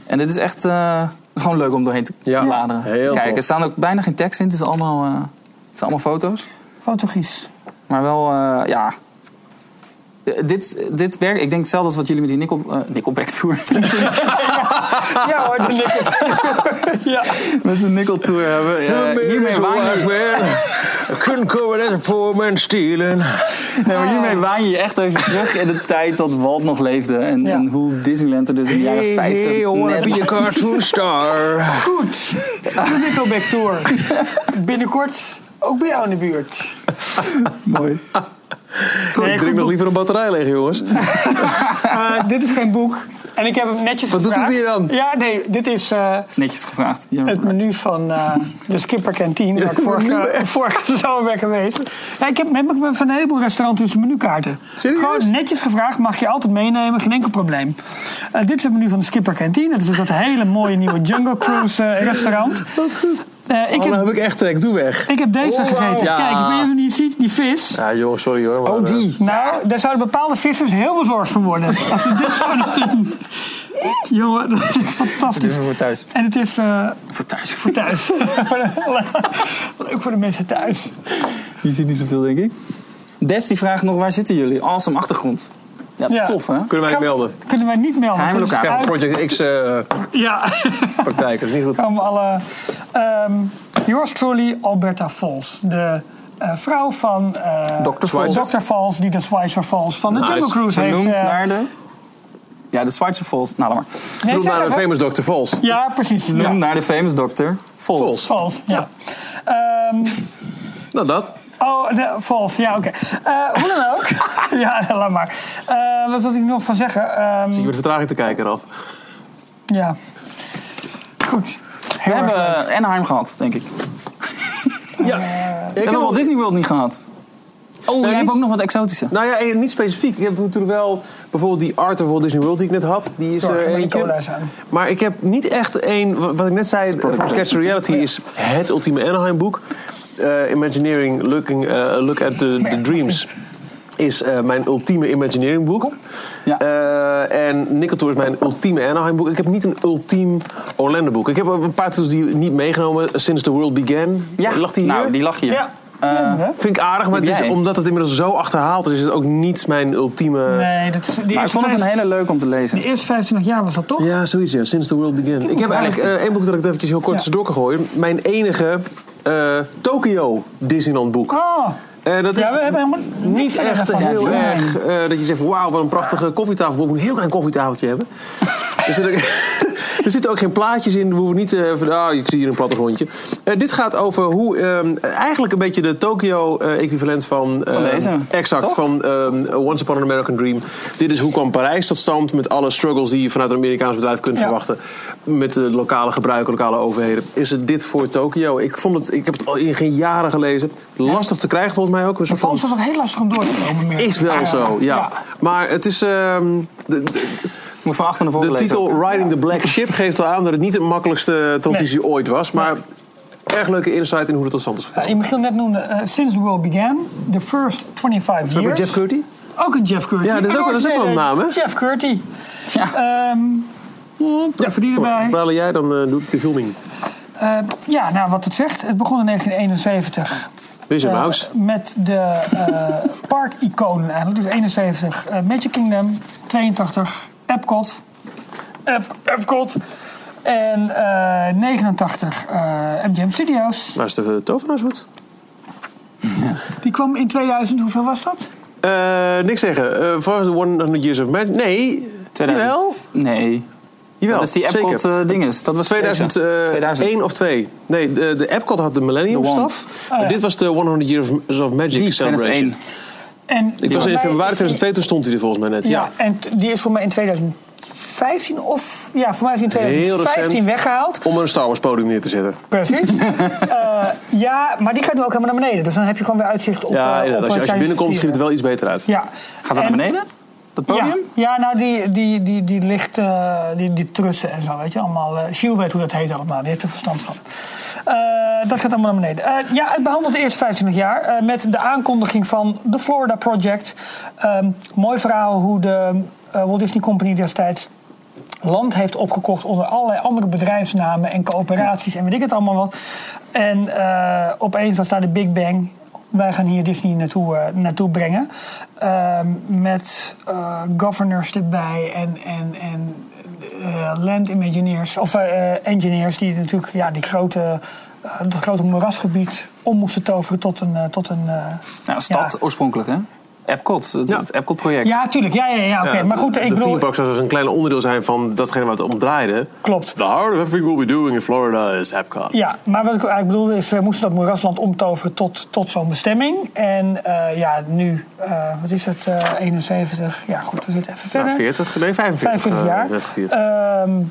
Speaker 4: En dit is echt eh, het is gewoon leuk om doorheen te, te
Speaker 3: Ja,
Speaker 4: bladeren.
Speaker 3: heel
Speaker 4: te kijken.
Speaker 3: tof.
Speaker 4: Er staan ook bijna geen tekst in. Het is allemaal, eh, het zijn allemaal foto's.
Speaker 2: Fotogies.
Speaker 4: Maar wel, eh, ja. Eh, Dit, dit werkt, ik denk hetzelfde als wat jullie met die Nickel, eh, Nickelback Tour.
Speaker 2: Ja hoor, de likken. ja.
Speaker 4: met de Nickel Tour hebben. Ja, Eh, hiermee, waan je,
Speaker 3: Couldn't go with that poor man stealing.
Speaker 4: nee,
Speaker 2: Ah.
Speaker 4: maar hiermee waan je je echt even terug in de tijd dat Walt nog leefde. En,
Speaker 2: Ja.
Speaker 4: en hoe Disneyland er dus in de jaren 50 net-
Speaker 3: cartoon star.
Speaker 2: Goed, de Nickelback Tour. Binnenkort ook bij jou in de buurt.
Speaker 4: Mooi.
Speaker 3: Goed, ik drink nog liever een batterij leeg, jongens.
Speaker 2: Eh, dit is geen boek. En ik heb hem netjes
Speaker 3: Wat doet
Speaker 2: gevraagd.
Speaker 3: het hier dan?
Speaker 2: Ja, nee, dit is eh,
Speaker 4: Netjes gevraagd. Ja,
Speaker 2: het menu van eh, de Skipper Canteen, waar ik vorige, vorige zomer ben geweest. Ja, ik heb, heb ik van een heleboel restaurants dus menukaarten.
Speaker 3: Serieus?
Speaker 2: Gewoon netjes gevraagd, mag je altijd meenemen, geen enkel probleem. Eh, dit is het menu van de Skipper Canteen. Dat is dus dat hele mooie nieuwe Jungle Cruise eh, restaurant. Eh, ik,
Speaker 3: Oh, nou
Speaker 2: heb,
Speaker 3: heb ik echt trek. Doe weg.
Speaker 2: ik heb
Speaker 4: Oh,
Speaker 2: deze gegeten.
Speaker 3: Ja.
Speaker 2: Kijk, ik weet niet of je niet ziet, die vis.
Speaker 3: Ja, jongens, sorry hoor. maar, eh,
Speaker 2: Nou, daar zouden bepaalde vissers heel bezorgd van worden. Als ze dit zouden doen. Jongen, dat is fantastisch.
Speaker 4: voor thuis.
Speaker 2: En het is eh,
Speaker 4: Voor thuis.
Speaker 2: voor thuis. Leuk voor de mensen thuis.
Speaker 4: Je ziet niet zoveel, denk ik. Des die vraagt nog, waar zitten jullie? Awesome achtergrond. Ja,
Speaker 2: Ja. eh,
Speaker 4: tof hè?
Speaker 3: Kunnen wij
Speaker 2: Gaan we-
Speaker 3: melden?
Speaker 2: Kunnen wij niet melden.
Speaker 4: Geheime
Speaker 2: Kunnen ze
Speaker 4: locatie.
Speaker 2: uit-
Speaker 3: Project X eh
Speaker 2: Ja,
Speaker 3: praktijk. Dat is niet goed.
Speaker 2: komen alle... ehm yours truly, Alberta Falls. De eh, vrouw van... eh,
Speaker 4: Dr. Falls.
Speaker 2: Dr. Falls, die de Schweizer Falls van de
Speaker 3: Nice.
Speaker 2: Jungle Cruise heeft.
Speaker 4: Genoemd
Speaker 2: eh,
Speaker 4: naar de... Ja, de Schweizer Falls. Nou, laat maar.
Speaker 2: nee,
Speaker 3: Genoemd
Speaker 2: zeg
Speaker 3: naar een
Speaker 2: even.
Speaker 3: famous Dr. Vos.
Speaker 2: Ja, precies.
Speaker 4: Genoemd
Speaker 2: Ja.
Speaker 4: naar de famous dokter Falls.
Speaker 3: Falls.
Speaker 2: Falls, ja. Ehm,
Speaker 3: Nou, dat.
Speaker 2: Oh, de, vals. Ja, oké. Eh, hoe dan ook. ja, laat maar. Eh, wat wil ik nog van zeggen? Ehm,
Speaker 3: Je bent vertraging te kijken, Ralf.
Speaker 2: ja. Goed.
Speaker 4: We
Speaker 2: Heel erg
Speaker 4: hebben
Speaker 2: leuk.
Speaker 4: eh, Anaheim gehad, denk ik. We
Speaker 3: Ja.
Speaker 4: hebben Walt Disney World niet gehad.
Speaker 3: Oh,
Speaker 4: We
Speaker 3: jij
Speaker 4: hebben
Speaker 3: hebt
Speaker 4: ook nog wat exotische.
Speaker 3: Nou ja, eh, niet specifiek. Ik heb natuurlijk wel bijvoorbeeld die Art of Walt Disney World die ik net had. Die is
Speaker 2: Zorg
Speaker 3: er
Speaker 2: dat
Speaker 3: één
Speaker 2: die cola is
Speaker 3: keer.
Speaker 2: aan.
Speaker 3: Maar ik heb niet echt één... wa- Wat ik net zei, eh,
Speaker 4: product
Speaker 3: van Sketch Reality is het ultieme Anaheim boek. Eh, Imagineering, looking, eh, Look at the, the Dreams is eh, mijn ultieme Imagineering boek.
Speaker 4: Ja.
Speaker 3: Eh, en Nickel Tour is mijn ultieme Anaheim boek. Ik heb niet een ultiem Orlando boek. Ik heb een paar titels die niet meegenomen. Since the World Began. Lag die hier?
Speaker 4: Nou, die lag hier.
Speaker 2: Ja.
Speaker 4: Eh,
Speaker 2: Ja, hè?
Speaker 3: Vind ik aardig, maar
Speaker 4: Heb
Speaker 3: het is,
Speaker 4: jij?
Speaker 3: omdat het inmiddels zo achterhaald is, is het ook niet mijn ultieme...
Speaker 2: Nee, dat is, die
Speaker 4: maar ik
Speaker 2: eerste,
Speaker 4: vond het een
Speaker 2: vijf-
Speaker 4: hele leuk om te lezen.
Speaker 2: de eerste 25 jaar was dat toch?
Speaker 3: Ja, zoiets, ja. Since the World Began. Ik heb eigenlijk eh, één boek dat ik het eventjes heel kort
Speaker 2: Ja.
Speaker 3: tussendoor kan gooien. Mijn enige eh Tokyo Disneyland boek.
Speaker 2: Oh.
Speaker 3: Eh, dat is
Speaker 2: Ja, we hebben helemaal
Speaker 3: niet
Speaker 2: niet verder
Speaker 3: echt
Speaker 2: ervan.
Speaker 3: heel
Speaker 2: Ja,
Speaker 3: erg eh, dat je zegt, wauw, wat een prachtige koffietafelboek. Moet Een heel klein koffietafeltje hebben. er, zitten ook, er zitten ook geen plaatjes in. We hoeven niet eh, van, ah, ik zie hier een plattegrondje. Eh, dit gaat over hoe ehm, eigenlijk een beetje de Tokio-equivalent van... eh,
Speaker 4: Van deze,
Speaker 3: Exact,
Speaker 4: toch?
Speaker 3: van ehm, Once Upon an American Dream. Dit is hoe kwam Parijs tot stand met alle struggles die je vanuit een Amerikaans bedrijf kunt
Speaker 2: Ja.
Speaker 3: verwachten. eh, Met de lokale gebruiken, lokale overheden. Is het dit voor Tokio? Ik, vond het, ik heb het al in geen jaren gelezen. Lastig te krijgen volgens mij ook. Een soort van
Speaker 2: Vals was ook heel lastig om door te komen. Meer.
Speaker 3: is wel
Speaker 2: Ah,
Speaker 3: zo, ja. Maar het is. ehm, de, de-
Speaker 4: Ik moet van achter naar voren
Speaker 3: de
Speaker 4: lezen.
Speaker 3: titel Riding the Black Ship geeft al aan dat het niet de makkelijkste eh, transitie ooit was. Maar erg leuke insight in hoe het tot stand is gekomen.
Speaker 2: Ja, die Michiel net noemde, eh, Since the World Began, The First 25
Speaker 3: Ook
Speaker 2: Years.
Speaker 3: Jeff Curdy?
Speaker 2: Ook een Jeff Curty.
Speaker 3: Ja, dat is ook- dat is ook wel een naam, hè?
Speaker 2: Jeff Curty.
Speaker 4: Ja.
Speaker 2: Ehm,
Speaker 3: Ja,
Speaker 2: die erbij.
Speaker 3: Praal jij, dan eh, doe ik de filming.
Speaker 2: Eh, ja, nou wat het zegt, het begon in 1971
Speaker 3: Wizard
Speaker 2: eh,
Speaker 3: House.
Speaker 2: met de eh, parkiconen eigenlijk. Dus 71 eh, Magic Kingdom, 82 Epcot, Ep- Epcot en eh, 89 eh, MGM Studios.
Speaker 3: Waar is de eh, tovenaars goed?
Speaker 2: Die kwam in 2000, hoeveel was dat?
Speaker 3: Eh, niks zeggen. Eh volgens de 100 Years of Magic. Nee.
Speaker 4: 2000.
Speaker 3: Jawel.
Speaker 4: Nee.
Speaker 3: Jawel.
Speaker 4: dat is die
Speaker 3: zeker. eh,
Speaker 4: Epcot eh, dinges. Dat was deze. 2000.
Speaker 3: 2001 of 2. Nee, de, de Epcot had de Millennium
Speaker 4: The Wand.
Speaker 3: Staf.
Speaker 2: Ah, ja.
Speaker 3: Dit was de 100 Years of, of Magic
Speaker 4: Die
Speaker 3: Celebration.
Speaker 4: 2001.
Speaker 2: En
Speaker 3: Ik was in
Speaker 2: volgens mij
Speaker 3: februari
Speaker 2: is die-
Speaker 3: 2002, toen stond hij er volgens mij net. Ja.
Speaker 2: Ja, en t- die is voor mij in 2015 of... Ja, voor mij is die in
Speaker 3: Heel recent.
Speaker 2: 2015 weggehaald.
Speaker 3: Om er een Star Wars podium neer te zetten.
Speaker 2: Precies. Eh, ja, maar die gaat nu ook helemaal naar beneden. Dus dan heb je gewoon weer uitzicht op. eh,
Speaker 3: ja,
Speaker 2: op
Speaker 3: inderdaad. als, je, als je
Speaker 2: Chinese
Speaker 3: binnenkomt, schiet
Speaker 2: stieren.
Speaker 3: het wel iets beter uit.
Speaker 2: Ja.
Speaker 4: Gaat dat
Speaker 2: En-
Speaker 4: naar beneden? Dat podium?
Speaker 2: Ja, ja nou die, die, die, die licht, eh, die, die trussen en zo, weet je, allemaal. eh Gilles weet hoe dat heet allemaal, die heeft er verstand van. Eh, dat gaat allemaal naar beneden. Eh, ja, het behandelt de eerste 25 jaar eh, met de aankondiging van The Florida Project. Ehm, mooi verhaal hoe de eh, Walt Disney Company destijds land heeft opgekocht onder allerlei andere bedrijfsnamen en coöperaties en weet ik het allemaal wat. En eh, opeens was daar de Big Bang. Wij gaan hier Disney naartoe, eh, naartoe brengen. Ehm, met eh, governors erbij en, en, en eh, land engineers. Of eh, eh, engineers die natuurlijk ja, die grote, eh, dat grote moerasgebied om moesten toveren tot een. eh, tot een eh,
Speaker 4: Ja, stad oorspronkelijk, hè? Epcot, het,
Speaker 3: Ja.
Speaker 4: het Epcot-project.
Speaker 2: ja, tuurlijk. Ja, ja, ja. Oké, maar goed, ik
Speaker 3: de
Speaker 2: bedoel.
Speaker 3: theme park zou dus een klein onderdeel zijn van datgene wat om draaide.
Speaker 2: Klopt.
Speaker 3: The heart of everything we'll be doing in Florida is Epcot.
Speaker 2: Ja, maar wat ik eigenlijk bedoelde is, we moesten dat moerasland omtoveren tot, tot zo'n bestemming. En eh, ja, nu, eh, wat is het, eh, 71? Ja, goed, we zitten even
Speaker 3: Nou,
Speaker 2: verder.
Speaker 3: 40, nee 45.
Speaker 2: 45
Speaker 3: eh,
Speaker 2: jaar.
Speaker 3: werd gevierd.
Speaker 2: Ehm,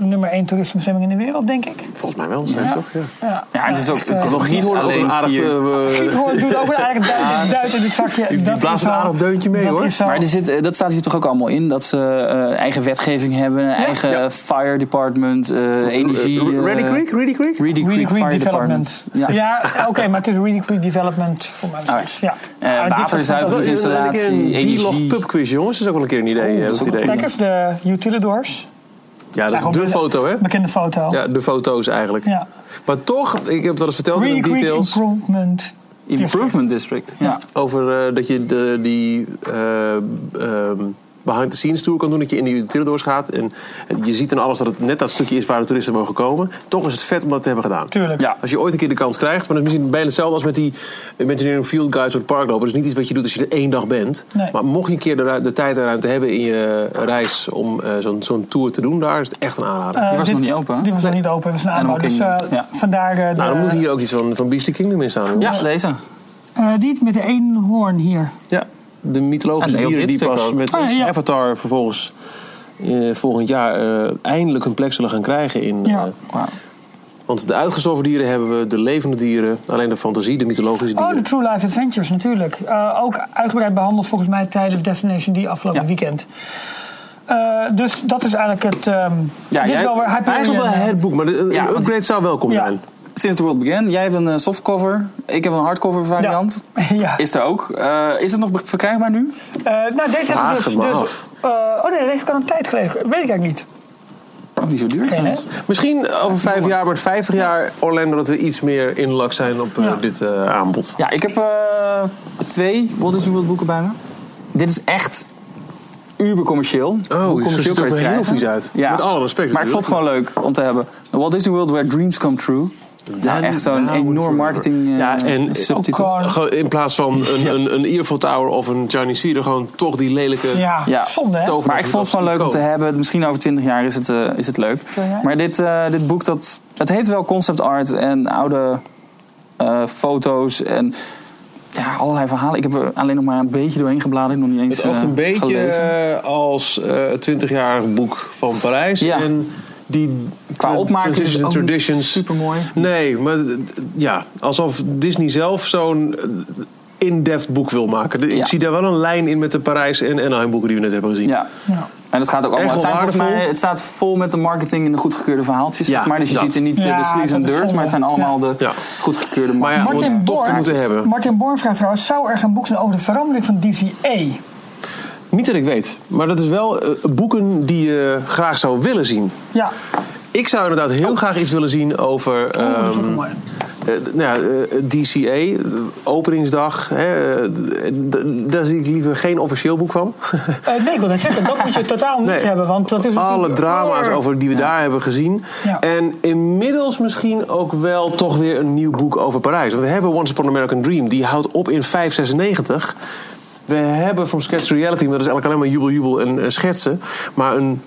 Speaker 2: nummer 1 toeristenbestemming in de wereld, denk ik.
Speaker 3: Volgens mij wel, zeg toch? Ja.
Speaker 2: Ja,
Speaker 4: Ja, het is ook- het is
Speaker 2: Eh,
Speaker 4: nog-
Speaker 3: Giethoorn ook
Speaker 4: alleen
Speaker 3: een aardig...
Speaker 4: vier.
Speaker 3: eh, eh,
Speaker 2: Giethoorn doet ook een aardig duit, duit in het zakje.
Speaker 3: die
Speaker 2: Dat
Speaker 3: blaast
Speaker 2: is
Speaker 3: een
Speaker 2: zo.
Speaker 3: aardig deuntje mee,
Speaker 2: dat
Speaker 3: hoor.
Speaker 2: Is zo.
Speaker 4: Maar er zit, eh, dat staat hier toch ook allemaal in? Dat ze eh, eigen wetgeving hebben, eigen
Speaker 3: Ja.
Speaker 4: fire department, eh, energie...
Speaker 3: eh,
Speaker 4: eh,
Speaker 3: Ready Creek? Ready Creek?
Speaker 4: Reedy Creek
Speaker 2: Reedy Creek
Speaker 4: Fire
Speaker 2: Development.
Speaker 4: Department.
Speaker 2: Ja,
Speaker 4: Ja.
Speaker 2: oké, maar het is Reedy Creek Development voor mensen.
Speaker 4: Oh ja.
Speaker 2: ja.
Speaker 4: Eh,
Speaker 2: Maar dit soort
Speaker 4: waterzuivering.
Speaker 2: fantasie-
Speaker 4: Installatie,
Speaker 3: Die log
Speaker 4: energie.
Speaker 3: pub quiz, jongens. Dat is ook wel een keer een
Speaker 2: Oh,
Speaker 3: idee. eh,
Speaker 4: dat is
Speaker 3: goed
Speaker 4: ook
Speaker 3: idee.
Speaker 2: Kijk eens, de Utilidors.
Speaker 3: Ja, dat is
Speaker 2: Gewoon
Speaker 3: de
Speaker 2: bekende-
Speaker 3: foto, hè?
Speaker 2: Bekende foto.
Speaker 3: Ja, de foto's eigenlijk.
Speaker 2: Ja.
Speaker 3: Maar toch, ik heb dat eens verteld in
Speaker 2: Reedy
Speaker 3: de
Speaker 2: Creek
Speaker 3: details.
Speaker 2: Improvement.
Speaker 4: Improvement District. Ja.
Speaker 3: Over eh, dat je de, die eh, ehm, behind the scenes tour kan doen. Dat je in die Utrechtdoors gaat. En je ziet in alles dat het net dat stukje is waar de toeristen mogen komen. Toch is het vet om dat te hebben gedaan.
Speaker 2: Tuurlijk.
Speaker 4: Ja.
Speaker 3: Als je ooit een keer de kans krijgt. Maar dat is misschien bijna hetzelfde als met die Imagineering Field Guides door het park lopen. Dat is niet iets wat je doet als je er één dag bent.
Speaker 2: Nee.
Speaker 3: Maar mocht je een keer de, ru- de tijd en ruimte hebben in je reis om eh, zo'n zo'n tour te doen daar. Is het echt een aanrader.
Speaker 2: Eh,
Speaker 4: Die was
Speaker 2: dit-
Speaker 4: nog niet open, hè?
Speaker 2: Die was nog niet open, het was een
Speaker 4: Animal
Speaker 2: aanbouw. Dus eh,
Speaker 4: Kingdom, ja.
Speaker 2: vandaar eh, de,
Speaker 3: nou, dan moet hier ook iets van, van Beastly Kingdom in staan. jongens.
Speaker 4: Ja, deze.
Speaker 2: eh, die met de eenhoorn hier.
Speaker 3: Ja, de mythologische
Speaker 4: En heel
Speaker 3: dieren
Speaker 4: dit
Speaker 3: die
Speaker 4: stuk
Speaker 3: pas
Speaker 4: ook.
Speaker 3: met
Speaker 2: Ah, ja.
Speaker 3: Avatar vervolgens eh, volgend jaar eh, eindelijk hun plek zullen gaan krijgen. In,
Speaker 2: Ja.
Speaker 3: eh,
Speaker 4: Wauw.
Speaker 3: want de uitgestorven dieren hebben we, de levende dieren, alleen de fantasie, de mythologische
Speaker 2: Oh,
Speaker 3: dieren.
Speaker 2: de True Life Adventures natuurlijk. Eh, ook uitgebreid behandeld volgens mij tijdens Destination die afgelopen
Speaker 4: Ja.
Speaker 2: weekend. Eh, dus dat is eigenlijk het... ehm, dit
Speaker 4: jij-
Speaker 2: is wel weer Hyperion.
Speaker 3: Eigenlijk wel het boek, maar de- een
Speaker 4: Ja, want-
Speaker 3: upgrade zou welkom
Speaker 2: Ja.
Speaker 3: zijn.
Speaker 4: Since the World Began. Jij hebt een eh, softcover. Ik heb een hardcover variant.
Speaker 2: ja.
Speaker 4: Is er ook. Eh, is het nog be- verkrijgbaar nu?
Speaker 2: Eh, nou, deze heb ik
Speaker 3: Vraag
Speaker 2: dus...
Speaker 3: het maar
Speaker 2: dus
Speaker 3: af.
Speaker 2: eh, oh nee, deze heb ik al een tijd geleden. Weet ik eigenlijk niet.
Speaker 4: Ook niet zo duur.
Speaker 2: Geen, hè?
Speaker 4: trouwens.
Speaker 3: Misschien over vijf jaar, maar 50 jaar Orlando, dat we iets meer in lak zijn op eh,
Speaker 2: Ja.
Speaker 3: dit eh, aanbod.
Speaker 4: Ja, ik heb eh, twee Walt Disney World boeken bij me. Dit is echt uber commercieel.
Speaker 3: Oh, dus het ziet er
Speaker 4: kan je het
Speaker 3: heel
Speaker 4: krijgen.
Speaker 3: vies uit. Met alle respect
Speaker 4: Maar ik vond
Speaker 3: natuurlijk.
Speaker 4: het gewoon leuk om te hebben. The Walt Disney World Where Dreams Come True. Nou, echt zo'n
Speaker 3: now and
Speaker 4: enorm
Speaker 3: forever.
Speaker 4: marketing eh,
Speaker 3: Ja, en-
Speaker 4: subtitel.
Speaker 2: Oh,
Speaker 3: Gewoon In plaats van een, een, een Earful Tower of een Chinese Theater, gewoon toch die lelijke...
Speaker 2: Ja,
Speaker 4: Ja.
Speaker 2: Ah, zonde hè?
Speaker 3: Tover-
Speaker 4: Maar ik vond het gewoon leuk om te hebben. Misschien over 20 jaar is het, eh, is het leuk.
Speaker 2: jaar?
Speaker 4: Maar dit, eh, dit boek, dat, het heeft wel concept art en oude eh, foto's en ja, allerlei verhalen. Ik heb er alleen nog maar een beetje doorheen gebladerd. Nog niet eens
Speaker 3: Het oogt
Speaker 4: eh,
Speaker 3: een beetje
Speaker 4: gelezen.
Speaker 3: eh, als eh, het 20-jarig boek van Parijs.
Speaker 4: Ja.
Speaker 3: En die
Speaker 4: Qua
Speaker 3: tra-
Speaker 4: opmaak is
Speaker 3: transitions
Speaker 4: het ook
Speaker 3: en
Speaker 4: niet
Speaker 3: traditions.
Speaker 4: supermooi.
Speaker 3: Nee, maar d- d- ja, alsof Disney zelf zo'n eh, in-depth boek wil maken. De-
Speaker 4: Ja.
Speaker 3: Ik zie daar wel een lijn in met de Parijs en Anaheim boeken die we net hebben gezien.
Speaker 4: Ja.
Speaker 2: Ja.
Speaker 4: En het gaat ook allemaal.
Speaker 3: Erg
Speaker 4: Het, zijn volgens
Speaker 3: waardevol.
Speaker 4: mij, het staat vol met de marketing en de goedgekeurde verhaaltjes.
Speaker 3: Ja,
Speaker 4: zeg maar. Dus je
Speaker 3: dat.
Speaker 4: ziet er niet eh,
Speaker 2: Ja,
Speaker 4: de sleaze en
Speaker 2: dat is
Speaker 4: dirt,
Speaker 2: zonde.
Speaker 4: maar het zijn allemaal de
Speaker 3: Ja.
Speaker 4: goedgekeurde
Speaker 3: Maar ja, om
Speaker 2: Martin
Speaker 3: het toch te
Speaker 2: Born.
Speaker 3: moeten hebben.
Speaker 2: Martin Born vraagt trouwens, zou er geen boek zijn over de verandering van E. DCA?
Speaker 3: Niet dat ik weet, maar dat is wel eh, boeken die je graag zou willen zien.
Speaker 2: Ja,
Speaker 3: Ik zou inderdaad heel
Speaker 4: Oh.
Speaker 3: graag iets willen zien over...
Speaker 2: Oh, dat is ook
Speaker 3: ehm,
Speaker 2: mooi.
Speaker 3: Eh, d- nou ja, eh, DCA, eh, openingsdag. Hè, eh, d- d- daar zie ik liever geen officieel boek van.
Speaker 2: Eh, nee, ik wil net zeggen, dat moet je totaal niet
Speaker 3: Nee.
Speaker 2: hebben. Want dat is
Speaker 3: Alle
Speaker 2: natuurlijk-
Speaker 3: drama's over die we daar hebben gezien.
Speaker 2: Ja.
Speaker 3: En inmiddels misschien ook wel toch weer een nieuw boek over Parijs. Want we hebben Once Upon an American Dream. Die houdt op in 596. We hebben From Sketch to Reality. Maar dat is eigenlijk alleen maar jubel, jubel en eh, schetsen. Maar een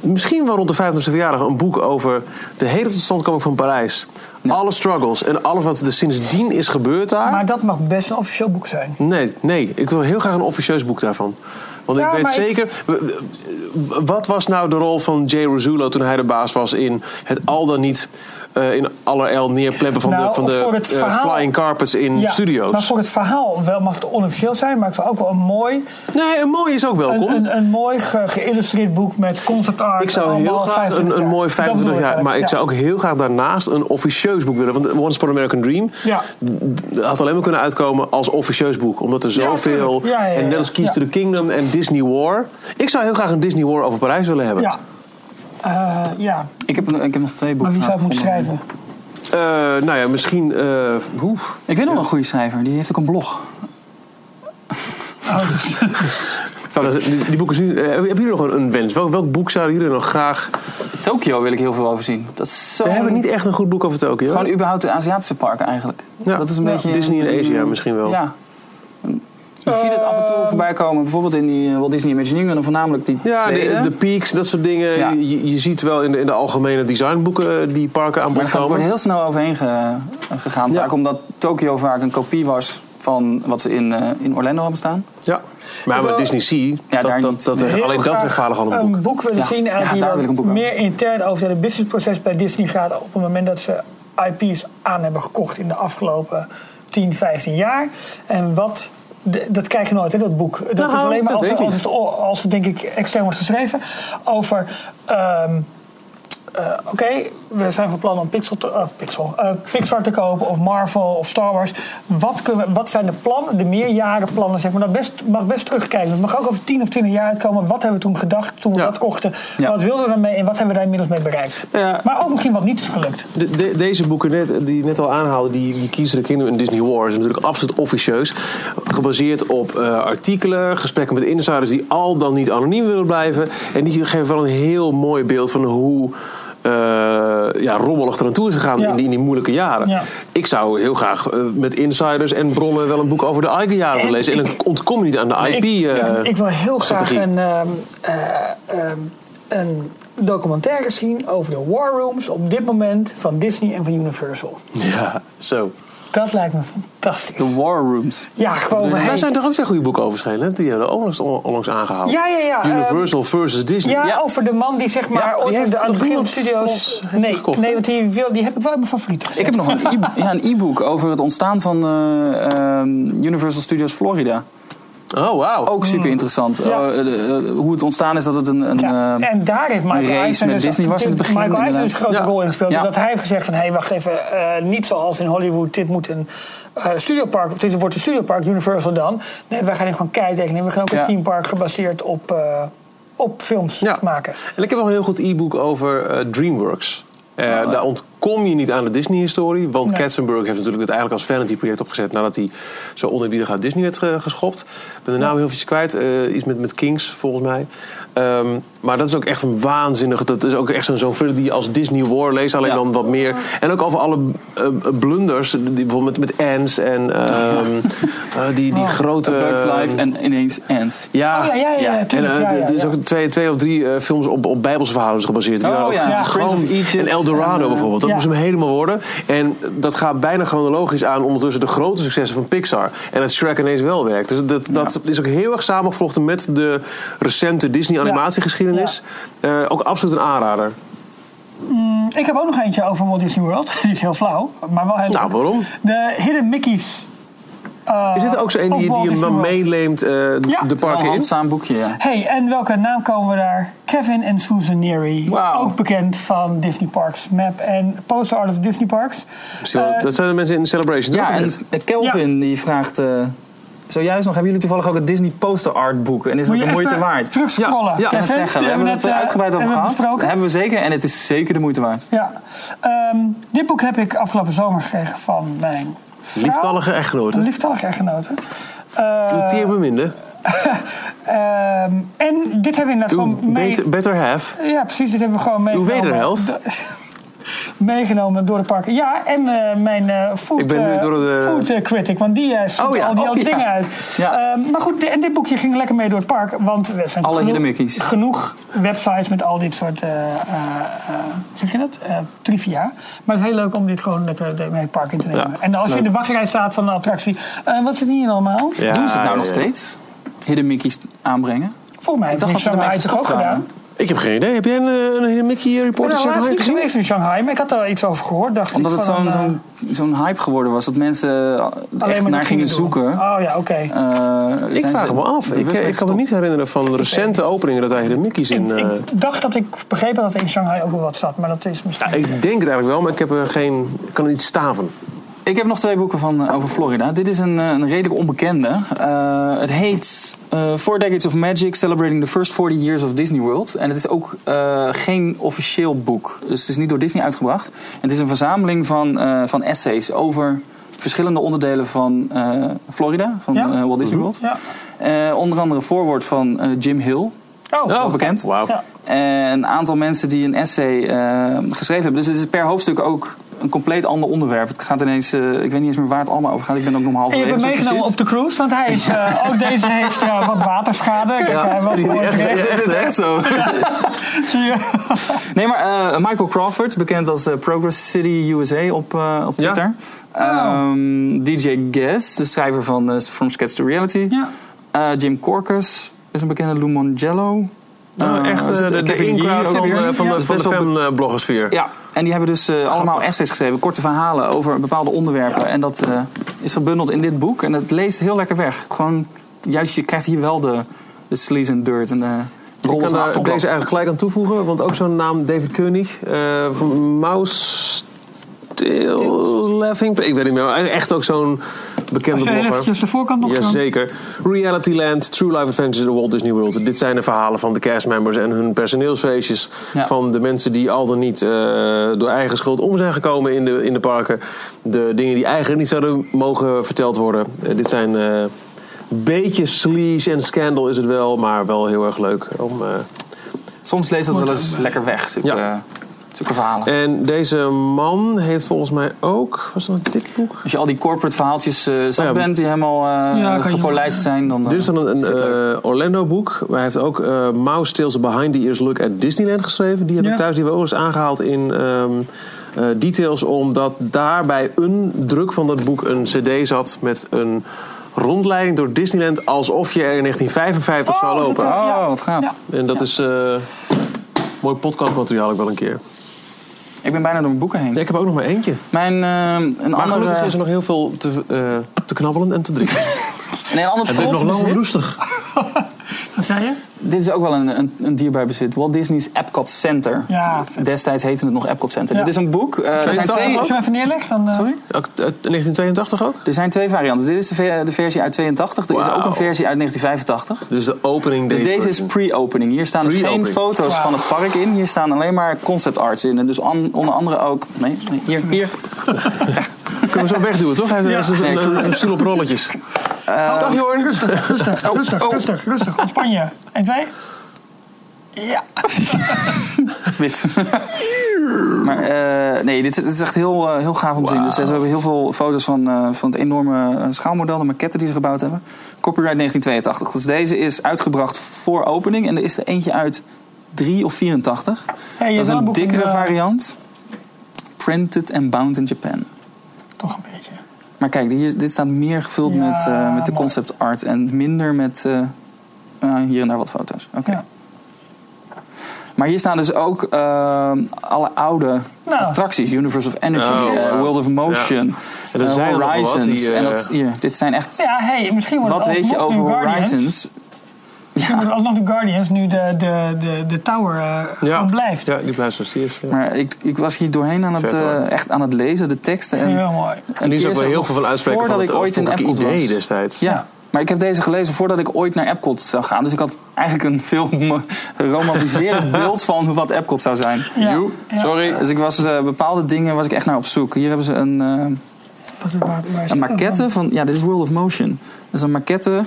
Speaker 3: misschien wel rond de 25e verjaardag een boek over de hele totstandkoming van Parijs. Alle struggles en alles wat er sindsdien is gebeurd daar.
Speaker 2: Maar dat mag best een officieel boek zijn.
Speaker 3: Nee, nee, ik wil heel graag een officieus boek daarvan. Want
Speaker 2: Ja,
Speaker 3: ik weet
Speaker 2: maar ik-
Speaker 3: zeker. w- w- Wat was nou de rol van Jay Rossulo toen hij de baas was in het al dan niet eh, in allerijl neerpleppen van
Speaker 2: Nou,
Speaker 3: de, van de
Speaker 2: voor het
Speaker 3: eh,
Speaker 2: verhaal-
Speaker 3: flying carpets in
Speaker 2: Ja,
Speaker 3: Mm, studio's.
Speaker 2: Maar voor het verhaal wel, mag het onofficieel zijn, maar ik vind ook wel een mooi,
Speaker 3: Nee, een mooi is ook welkom.
Speaker 2: een, een, een mooi ge- geïllustreerd boek met concept art.
Speaker 3: ik zou heel
Speaker 2: allemaal
Speaker 3: graag een,
Speaker 2: 25
Speaker 3: een mooi
Speaker 2: Dat bedoel
Speaker 3: 25
Speaker 2: ik
Speaker 3: jaar, maar ik
Speaker 2: eigenlijk,
Speaker 3: zou
Speaker 2: ja.
Speaker 3: ook heel graag daarnaast een officieus boek willen. Want Once Upon an American Dream
Speaker 2: Ja.
Speaker 3: d- had alleen maar kunnen uitkomen als officieus boek. Omdat er
Speaker 2: Ja,
Speaker 3: zoveel,
Speaker 2: tuurlijk. Ja, ja, ja,
Speaker 3: en net als Keys
Speaker 2: ja.
Speaker 3: to the Kingdom en Disney War. Ik zou heel graag een Disney War over Parijs willen hebben.
Speaker 2: Ja. Eh, ja,
Speaker 4: Ik heb, ik heb nog twee boeken.
Speaker 2: maar wie zou het
Speaker 4: trouwens
Speaker 2: moeten
Speaker 4: gevonden.
Speaker 2: schrijven?
Speaker 3: Eh, nou ja, misschien... eh, oef.
Speaker 4: Ik weet nog wel een goede schrijver. Die heeft ook een blog.
Speaker 2: Oh,
Speaker 3: Nou, dat is- die, die boeken zien, eh, hebben jullie nog een, een wens? Welk, welk boek zouden jullie nog graag...
Speaker 4: Tokio wil ik heel veel over zien. Dat is zo...
Speaker 3: We hebben niet echt een goed boek over Tokio.
Speaker 4: Gewoon überhaupt de Aziatische parken eigenlijk.
Speaker 3: Ja.
Speaker 4: Dat is een
Speaker 3: Ja.
Speaker 4: beetje...
Speaker 3: Disney in Asia
Speaker 4: eh,
Speaker 3: misschien wel.
Speaker 4: Ja. Je ziet het af en toe voorbij komen. Bijvoorbeeld in die eh, Walt Disney Imagineering. En dan voornamelijk die
Speaker 3: Ja,
Speaker 4: twee,
Speaker 3: de,
Speaker 4: hè?
Speaker 3: de peaks, dat soort dingen.
Speaker 4: Ja.
Speaker 3: Je, je ziet wel in de, in de algemene designboeken eh, die parken aan
Speaker 4: Maar
Speaker 3: bod
Speaker 4: daar wordt
Speaker 3: komen.
Speaker 4: heel snel overheen ge- eh, gegaan.
Speaker 3: Ja.
Speaker 4: Vaak omdat Tokio vaak een kopie was van wat ze in, eh, in Orlando hebben staan.
Speaker 3: Ja. Maar met Disney Sea,
Speaker 4: Ja,
Speaker 3: dat,
Speaker 4: daar
Speaker 3: dat,
Speaker 4: niet.
Speaker 3: dat,
Speaker 2: Heel
Speaker 3: alleen dat
Speaker 2: graag
Speaker 3: rechtvaardig al een boek.
Speaker 2: Een boek willen
Speaker 4: Ja.
Speaker 2: zien eigenlijk
Speaker 4: Ja,
Speaker 2: die
Speaker 4: daar
Speaker 2: wat
Speaker 4: wil ik een boek
Speaker 2: meer intern over het businessproces bij Disney gaat. Op het moment dat ze IP's aan hebben gekocht in de afgelopen 10, 15 jaar. En wat. de- Dat krijg je nooit, hè, dat boek. Dat
Speaker 3: Nou,
Speaker 2: is alleen maar
Speaker 3: dat
Speaker 2: als,
Speaker 3: weet ik
Speaker 2: als,
Speaker 3: niet.
Speaker 2: het, o- als het, denk ik, extern wordt geschreven. Over. ehm, eh, Oké, we zijn van plan om Pixel te- eh, Pixel, eh, Pixar te kopen of Marvel of Star Wars. Wat, kunnen we, wat zijn de plannen, de meerjarenplannen? Zeg maar. Dat best, mag best terugkijken. Het mag ook over 10 of 20 jaar uitkomen. Wat hebben we toen gedacht toen we
Speaker 3: Ja.
Speaker 2: dat kochten?
Speaker 4: Ja.
Speaker 2: Wat wilden we daarmee en wat hebben we daar inmiddels mee bereikt?
Speaker 3: Ja.
Speaker 2: Maar ook misschien wat niet is gelukt.
Speaker 3: De- de- deze boeken net, eh, die je net al aanhaalde, die, die kiezen de kinderen in Disney War, is natuurlijk absoluut officieus. Gebaseerd op eh, artikelen, gesprekken met insiders die al dan niet anoniem willen blijven. En die geven wel een heel mooi beeld van hoe eh, ja, rommelig er aan toe is gegaan
Speaker 2: Ja.
Speaker 3: in, die, in die moeilijke jaren.
Speaker 2: Ja.
Speaker 3: Ik zou heel graag eh, met insiders en bronnen wel een boek over de Ike-jaren willen lezen. En dan ontkom je niet aan de eh, IP.
Speaker 2: ik, ik, ik wil heel graag
Speaker 3: strategie.
Speaker 2: een, ehm, eh, ehm, een documentaire zien over de war rooms op dit moment van Disney en van Universal.
Speaker 3: ja, zo.
Speaker 2: Dat lijkt me fantastisch.
Speaker 4: De War Rooms.
Speaker 2: Ja, gewoon. hey,
Speaker 3: Daar zijn toch ook twee goede boeken over verschenen? hè? Die hebben we onlangs, onlangs aangehaald.
Speaker 2: Ja, ja, ja, ehm,
Speaker 3: Universal versus Disney.
Speaker 2: Ja, over de man die zeg maar
Speaker 3: Ja, die
Speaker 2: ooit aan
Speaker 3: heeft
Speaker 2: de- aan het
Speaker 3: nog
Speaker 2: begin op de
Speaker 3: niemand
Speaker 2: studio's...
Speaker 3: volgens- heeft
Speaker 2: Nee,
Speaker 3: gekocht,
Speaker 2: nee
Speaker 3: hè?
Speaker 2: want die, wil, die heb ik wel in mijn favoriet gezet.
Speaker 4: Ik heb nog een e- ja, een e-book over het ontstaan van eh, ehm, Universal Studios Florida.
Speaker 3: Oh, wauw.
Speaker 4: Ook super interessant.
Speaker 2: Mm. Ja.
Speaker 4: Eh, eh, eh, hoe het ontstaan is dat het een... een
Speaker 2: Ja,
Speaker 4: eh,
Speaker 2: en daar heeft Michael
Speaker 4: race
Speaker 2: Eisner
Speaker 4: met
Speaker 2: dus-
Speaker 4: Disney was in het begin
Speaker 2: Michael Eisner dus een grote
Speaker 3: inderdaad.
Speaker 2: rol in gespeeld.
Speaker 4: Ja.
Speaker 2: Dat hij heeft gezegd van, hé, hey, wacht even. eh, niet zoals in Hollywood, dit moet een eh, studiopark... Dit wordt een studiopark, Universal dan. Nee, wij gaan hier gewoon keitekening. We gaan ook
Speaker 4: Ja.
Speaker 2: een teampark gebaseerd op, eh, op films
Speaker 3: Ja.
Speaker 2: maken.
Speaker 3: En ik heb nog een heel goed e-book over eh, DreamWorks. Eh, Daar ontkom je niet aan de Disney-historie. Want
Speaker 2: Oh, Nee.
Speaker 3: Katzenberg heeft natuurlijk het eigenlijk als vanity-project opgezet... nadat hij zo oneerbiedig uit Disney werd eh, geschopt. Ik ben de naam heel veel kwijt. eh, iets met, met Kings, volgens mij. Ehm, maar dat is ook echt een waanzinnig... Dat is ook echt zo'n zo'n thriller die je als Disney War leest. Alleen
Speaker 4: Ja.
Speaker 3: dan wat meer... En ook over alle eh, blunders. Die, bijvoorbeeld met, met Ants en ehm, eh, die, die
Speaker 2: dus
Speaker 3: grote...
Speaker 4: A eh, Bug's Life en ineens Ants.
Speaker 3: Ja,
Speaker 2: Oh, ja, ja, ja, tuurlijk,
Speaker 3: en eh,
Speaker 2: ja,
Speaker 3: er
Speaker 2: ja,
Speaker 3: er is
Speaker 2: ja.
Speaker 3: ook twee, twee of drie eh, films op, op Bijbelse verhalen gebaseerd. Die
Speaker 4: Oh,
Speaker 3: waren ook
Speaker 4: ja.
Speaker 3: gigantisch.
Speaker 4: Prince of Egypt
Speaker 3: En El Dorado
Speaker 4: en, eh,
Speaker 3: bijvoorbeeld. Dat
Speaker 2: ja.
Speaker 3: moest hem helemaal worden. En dat gaat bijna chronologisch aan ondertussen de grote successen van Pixar. En dat Shrek ineens wel werkt. Dus dat, dat is ook heel erg samengevlochten met de recente Disney-animatiegeschiedenis. Eh, ook absoluut een aanrader.
Speaker 2: Ik heb ook nog eentje over Walt Disney World. Die is heel flauw, maar wel heel
Speaker 3: Nou,
Speaker 2: leuk.
Speaker 3: waarom?
Speaker 2: De Hidden Mickeys. eh,
Speaker 3: Is dit ook zo een
Speaker 2: of
Speaker 3: die,
Speaker 2: Walt
Speaker 3: die je
Speaker 2: Disney
Speaker 3: maar
Speaker 2: World.
Speaker 3: meeleemt eh,
Speaker 2: het
Speaker 3: de
Speaker 2: is
Speaker 4: Het is wel een
Speaker 3: parken in?
Speaker 4: handzaam boekje, ja.
Speaker 2: Hey, en welke naam komen we daar? Kevin en Susan Neary.
Speaker 4: Wauw.
Speaker 2: Ook bekend van Disney Parks Map en Poster Art of Disney Parks.
Speaker 3: Zie je wel,
Speaker 2: Eh,
Speaker 3: dat zijn de mensen in Celebration.
Speaker 4: Ja,
Speaker 3: toch?
Speaker 4: en eh, Kelvin die vraagt... eh, Zojuist nog, hebben jullie toevallig ook het Disney poster art boek? En is
Speaker 2: Moet
Speaker 4: dat de
Speaker 2: je
Speaker 4: moeite
Speaker 2: even
Speaker 4: waard?
Speaker 2: terugscrollen,
Speaker 4: Ja, ja,
Speaker 2: Kevin.
Speaker 4: dat zeggen. We
Speaker 2: Die
Speaker 4: hebben het
Speaker 2: net,
Speaker 4: eh,
Speaker 2: eh,
Speaker 4: uitgebreid over
Speaker 2: hebben we
Speaker 4: gehad.
Speaker 2: besproken.
Speaker 4: Dat hebben we zeker en het is zeker de moeite waard.
Speaker 2: ja. Ehm, dit boek heb ik afgelopen zomer gekregen van mijn vrouw.
Speaker 3: Lieftallige echtgenoten.
Speaker 2: Lieftallige echtgenoten. Eh,
Speaker 3: Teer beminde.
Speaker 2: ehm, en dit hebben we inderdaad gewoon mee...
Speaker 3: Better, better have.
Speaker 2: Ja, precies. Dit hebben we gewoon
Speaker 3: Uw
Speaker 2: meegenomen.
Speaker 3: wederhelft.
Speaker 2: Do- Meegenomen door de parken. Ja, en eh, mijn eh food,
Speaker 3: Ik ben nu
Speaker 2: eh,
Speaker 3: door de-
Speaker 2: food eh, critic, want die eh zoekt
Speaker 3: Oh ja,
Speaker 2: al die
Speaker 3: oh
Speaker 2: oude
Speaker 3: ja.
Speaker 2: dingen uit.
Speaker 4: Ja.
Speaker 2: Eh, maar goed, di- en dit boekje ging lekker mee door het park, want er zijn
Speaker 4: Alle
Speaker 2: genoeg,
Speaker 4: hidden mickeys.
Speaker 2: genoeg websites met al dit soort, eh eh, eh, hoe zeg je dat, Eh, trivia. Maar het is heel leuk om dit gewoon lekker de- mee het park in te nemen.
Speaker 3: Ja,
Speaker 2: en als je in de wachtrij staat van een attractie, eh, wat zit hier allemaal?
Speaker 3: Ja,
Speaker 4: Doen ze het nou
Speaker 3: ja,
Speaker 4: nog
Speaker 3: ja.
Speaker 4: steeds? Hidden Mickey's aanbrengen?
Speaker 2: Volgens mij
Speaker 4: Ik dacht
Speaker 2: heeft
Speaker 4: dat
Speaker 2: Sam
Speaker 4: ze ermee
Speaker 2: Hyde toch ook
Speaker 4: gestopt
Speaker 2: gedaan.
Speaker 4: waren. Oh,
Speaker 3: Ik heb geen idee. Heb jij een, eh, een hele Mickey
Speaker 2: Ik
Speaker 3: reporter
Speaker 2: ben
Speaker 3: zeg
Speaker 2: laatst
Speaker 3: maar,
Speaker 2: niet
Speaker 3: gezien?
Speaker 2: geweest in Shanghai, maar ik had daar iets over gehoord. Dacht
Speaker 4: Omdat
Speaker 2: ik,
Speaker 4: het
Speaker 2: van
Speaker 4: zo'n
Speaker 2: een, eh,
Speaker 4: zo'n zo'n hype geworden was. Dat mensen er echt naar
Speaker 2: dat
Speaker 4: gingen
Speaker 2: doen.
Speaker 4: zoeken.
Speaker 2: Oh ja, oké.
Speaker 4: Eh,
Speaker 3: Ik
Speaker 4: zijn
Speaker 3: vraag
Speaker 4: ze
Speaker 3: me af. Ik,
Speaker 4: bewust mee
Speaker 3: ik kan me
Speaker 4: gestopt.
Speaker 3: niet herinneren van recente openingen dat daar hele Mickey's in...
Speaker 2: Ik-
Speaker 3: eh,
Speaker 2: ik dacht dat ik begrepen dat er in Shanghai ook wel wat zat, maar dat is misschien.
Speaker 3: eh, ik denk het eigenlijk wel, maar ik heb er geen, ik kan er niet staven.
Speaker 4: Ik heb nog twee boeken van, eh, over Florida. Dit is een, eh, een redelijk onbekende. Eh, het heet eh, Four Decades of Magic Celebrating the First 40 Years of Disney World. En het is ook eh, geen officieel boek. Dus het is niet door Disney uitgebracht. Het is een verzameling van, eh, van essays over verschillende onderdelen van eh, Florida, van
Speaker 2: Ja.
Speaker 4: eh, Walt Disney World.
Speaker 2: Ja.
Speaker 4: Eh, onder andere een voorwoord van eh, Jim Hill.
Speaker 2: Oh,
Speaker 4: Wel bekend.
Speaker 3: Wauw.
Speaker 2: Ja.
Speaker 4: En Eh, een aantal mensen die een essay eh, geschreven hebben. Dus het is per hoofdstuk ook een compleet ander onderwerp. Het gaat ineens, eh, ik weet niet eens meer waar het allemaal over gaat. Ik ben ook nog
Speaker 2: En je
Speaker 4: halverwege.
Speaker 2: hebt hem
Speaker 4: zo
Speaker 2: meegenomen
Speaker 4: precies.
Speaker 2: op de cruise, want hij is, eh, ook deze heeft eh, wat waterschade. Kijk, hij was
Speaker 3: die- die
Speaker 2: mooi
Speaker 3: echt-
Speaker 2: terecht.
Speaker 4: Ja, Het is echt zo.
Speaker 2: Zie je?
Speaker 4: Nee, maar eh, Michael Crawford, bekend als eh, Progress City USA op, eh, op
Speaker 3: Ja.
Speaker 4: Twitter.
Speaker 2: Oh.
Speaker 4: Ehm, DJ Guess, de schrijver van eh, From Sketch to Reality.
Speaker 2: Ja.
Speaker 4: Eh, Jim Corcus is een bekende Lumongello.
Speaker 3: Nou,
Speaker 4: Eh,
Speaker 3: echt
Speaker 4: is
Speaker 3: eh,
Speaker 4: het
Speaker 3: de, de
Speaker 4: Kevin Yee
Speaker 3: in-crowd
Speaker 4: ook
Speaker 3: van,
Speaker 4: weer?
Speaker 3: eh, van
Speaker 4: Ja,
Speaker 3: de,
Speaker 4: is
Speaker 3: van de
Speaker 4: best wel
Speaker 3: fanbloggersfeer.
Speaker 4: Ja, en die hebben dus eh, allemaal essays geschreven, korte verhalen over bepaalde onderwerpen. En dat eh, is gebundeld in dit boek. En dat leest heel lekker weg. Gewoon, juist, je krijgt hier wel de, de sleaze and dirt en de
Speaker 3: Ik
Speaker 4: rollen
Speaker 3: kan
Speaker 4: van
Speaker 3: daar deze
Speaker 4: achterblad.
Speaker 3: eigenlijk gelijk aan toevoegen, want ook zo'n naam David Koenig, eh, van Mouse Tales Laughing, ik weet niet meer, maar echt ook zo'n bekende
Speaker 2: Als jij
Speaker 3: blogger.
Speaker 2: Eh, eventjes de voorkant nog kan-
Speaker 3: Jazeker. Reality Land, True Life Adventures in the Walt Disney World. Dit zijn de verhalen van de castmembers en hun personeelsfeestjes.
Speaker 4: Ja.
Speaker 3: Van de mensen die al dan niet eh, door eigen schuld om zijn gekomen in de, in de parken. De dingen die eigenlijk niet zouden mogen verteld worden. Eh, dit zijn eh, een beetje sleaze en scandal is het wel, maar wel heel erg leuk. Om, eh,
Speaker 4: Soms leest dat wel eens lekker weg, zulke,
Speaker 3: Ja. Eh,
Speaker 4: zulke verhalen.
Speaker 3: En deze man heeft volgens mij ook... Was dat dit boek?
Speaker 4: Als je al die corporate verhaaltjes eh zat
Speaker 3: Ja.
Speaker 4: bent, die helemaal eh
Speaker 2: Ja, kan je-
Speaker 4: gepolijst zijn, dan... eh,
Speaker 3: Dit is dan een,
Speaker 4: het leuk.
Speaker 3: eh, Orlando-boek. Maar hij heeft ook eh Mouse Tales Behind the Ears Look at Disneyland geschreven. Die heb
Speaker 2: Ja.
Speaker 3: ik thuis die hebben we ook eens aangehaald in ehm, eh, Details. Omdat daar bij een druk van dat boek een cd zat met een rondleiding door Disneyland. Alsof je er in 1955
Speaker 2: Oh,
Speaker 3: zou lopen.
Speaker 2: dat-
Speaker 4: Oh, wat gaaf.
Speaker 2: Ja.
Speaker 3: En dat is... eh, Mooi podcastmateriaal ook wel een keer.
Speaker 4: Ik ben bijna door mijn boeken heen.
Speaker 3: Ja, ik heb ook nog maar eentje.
Speaker 4: Mijn, eh, een
Speaker 3: Maar gelukkig
Speaker 4: andere,
Speaker 3: is er nog heel veel te, eh, te knabbelen en te drinken.
Speaker 4: nee, een ander
Speaker 3: Het wordt nog lang
Speaker 4: trotsbezit.
Speaker 3: roestig.
Speaker 2: Wat zei je?
Speaker 4: Dit is ook wel een, een, een dierbaar bezit. Walt Disney's Epcot Center.
Speaker 2: Ja,
Speaker 4: Destijds heette het nog Epcot Center.
Speaker 2: Ja.
Speaker 4: Dit is een boek. Eh, er, zijn
Speaker 3: 82
Speaker 4: twee,
Speaker 2: Als je hem even neerlegt, dan... eh,
Speaker 4: Sorry?
Speaker 3: Ook, eh, 1982 ook?
Speaker 4: er zijn twee varianten. Dit is de, ve- de versie uit 82. Er is
Speaker 3: Wauw.
Speaker 4: ook een versie uit 1985.
Speaker 3: Dus de opening
Speaker 4: Dus deze is
Speaker 3: version.
Speaker 4: pre-opening. Hier staan dus geen
Speaker 3: Pre-opening.
Speaker 4: foto's
Speaker 2: Wauw.
Speaker 4: van het park in. Hier staan alleen maar concept arts in. En dus an- onder andere ook... Nee, nee, hier. hier.
Speaker 3: Kunnen we zo wegduwen, toch? Hij heeft een-
Speaker 4: Nee,
Speaker 3: een, een, een stoel op rolletjes. Dag Jorn.
Speaker 2: Oh. Rustig, rustig,
Speaker 4: Oh,
Speaker 2: rustig,
Speaker 4: oh.
Speaker 2: rustig, rustig. Ontspan je. 1, 2. Ja.
Speaker 4: Wit. maar eh, nee, dit is, dit is echt heel, eh, heel gaaf om te zien. Dus we hebben heel veel foto's van, eh, van het enorme eh, schaalmodel, de maquette die ze gebouwd hebben. Copyright 1982. Dus deze is uitgebracht voor opening. En er is er eentje uit 3 of 84.
Speaker 2: Hey, je
Speaker 4: Dat is
Speaker 2: hebt wel
Speaker 4: een
Speaker 2: boek
Speaker 4: dikkere
Speaker 2: van, eh,
Speaker 4: variant. Printed and bound in Japan.
Speaker 2: Toch een beetje.
Speaker 4: Maar kijk, hier, dit staat meer gevuld
Speaker 2: Ja,
Speaker 4: met, eh, met de
Speaker 2: mooi.
Speaker 4: concept art en minder met eh, eh, hier en daar wat foto's. Oké.
Speaker 2: Ja.
Speaker 4: Maar hier staan dus ook eh, alle oude
Speaker 2: Nou.
Speaker 4: attracties. Universe of Energy,
Speaker 3: Oh,
Speaker 4: eh,
Speaker 3: wow.
Speaker 4: World of Motion,
Speaker 3: En er
Speaker 4: eh,
Speaker 3: zijn er nog wel wat
Speaker 4: Horizons.
Speaker 3: die, eh,
Speaker 4: en dat, hier, dit zijn echt...
Speaker 2: Ja, hey, misschien wordt
Speaker 4: wat
Speaker 2: het
Speaker 4: weet je
Speaker 2: alsnog
Speaker 4: over
Speaker 2: nu Guardians.
Speaker 4: Horizons?
Speaker 2: Misschien wordt alsnog de Guardians nu de, de, de, de tower eh, gewoon blijft.
Speaker 3: Ja, die blijft zoals die is. ja.
Speaker 4: Maar ik, ik was hier doorheen aan het,
Speaker 3: Vet, hoor.
Speaker 4: eh, echt aan het lezen, de teksten. En,
Speaker 2: Heel mooi.
Speaker 3: En die is ook wel heel veel van uitspreken
Speaker 4: voordat
Speaker 3: van het
Speaker 4: ik ooit in
Speaker 3: oorspronkelijke
Speaker 4: Epcot was.
Speaker 3: idee dus. destijds.
Speaker 4: Ja. Maar ik heb deze gelezen voordat ik ooit naar Epcot zou gaan. Dus ik had eigenlijk een veel mo- romantiserend beeld van wat Epcot zou zijn.
Speaker 2: Ja. Joe, Ja.
Speaker 4: Sorry. Dus ik was eh, bepaalde dingen was ik echt naar op zoek. Hier hebben ze een, eh,
Speaker 2: Wat- waar- waar is dat
Speaker 4: een
Speaker 2: dan?
Speaker 4: maquette van... Ja, dit is World of Motion. Dat is een maquette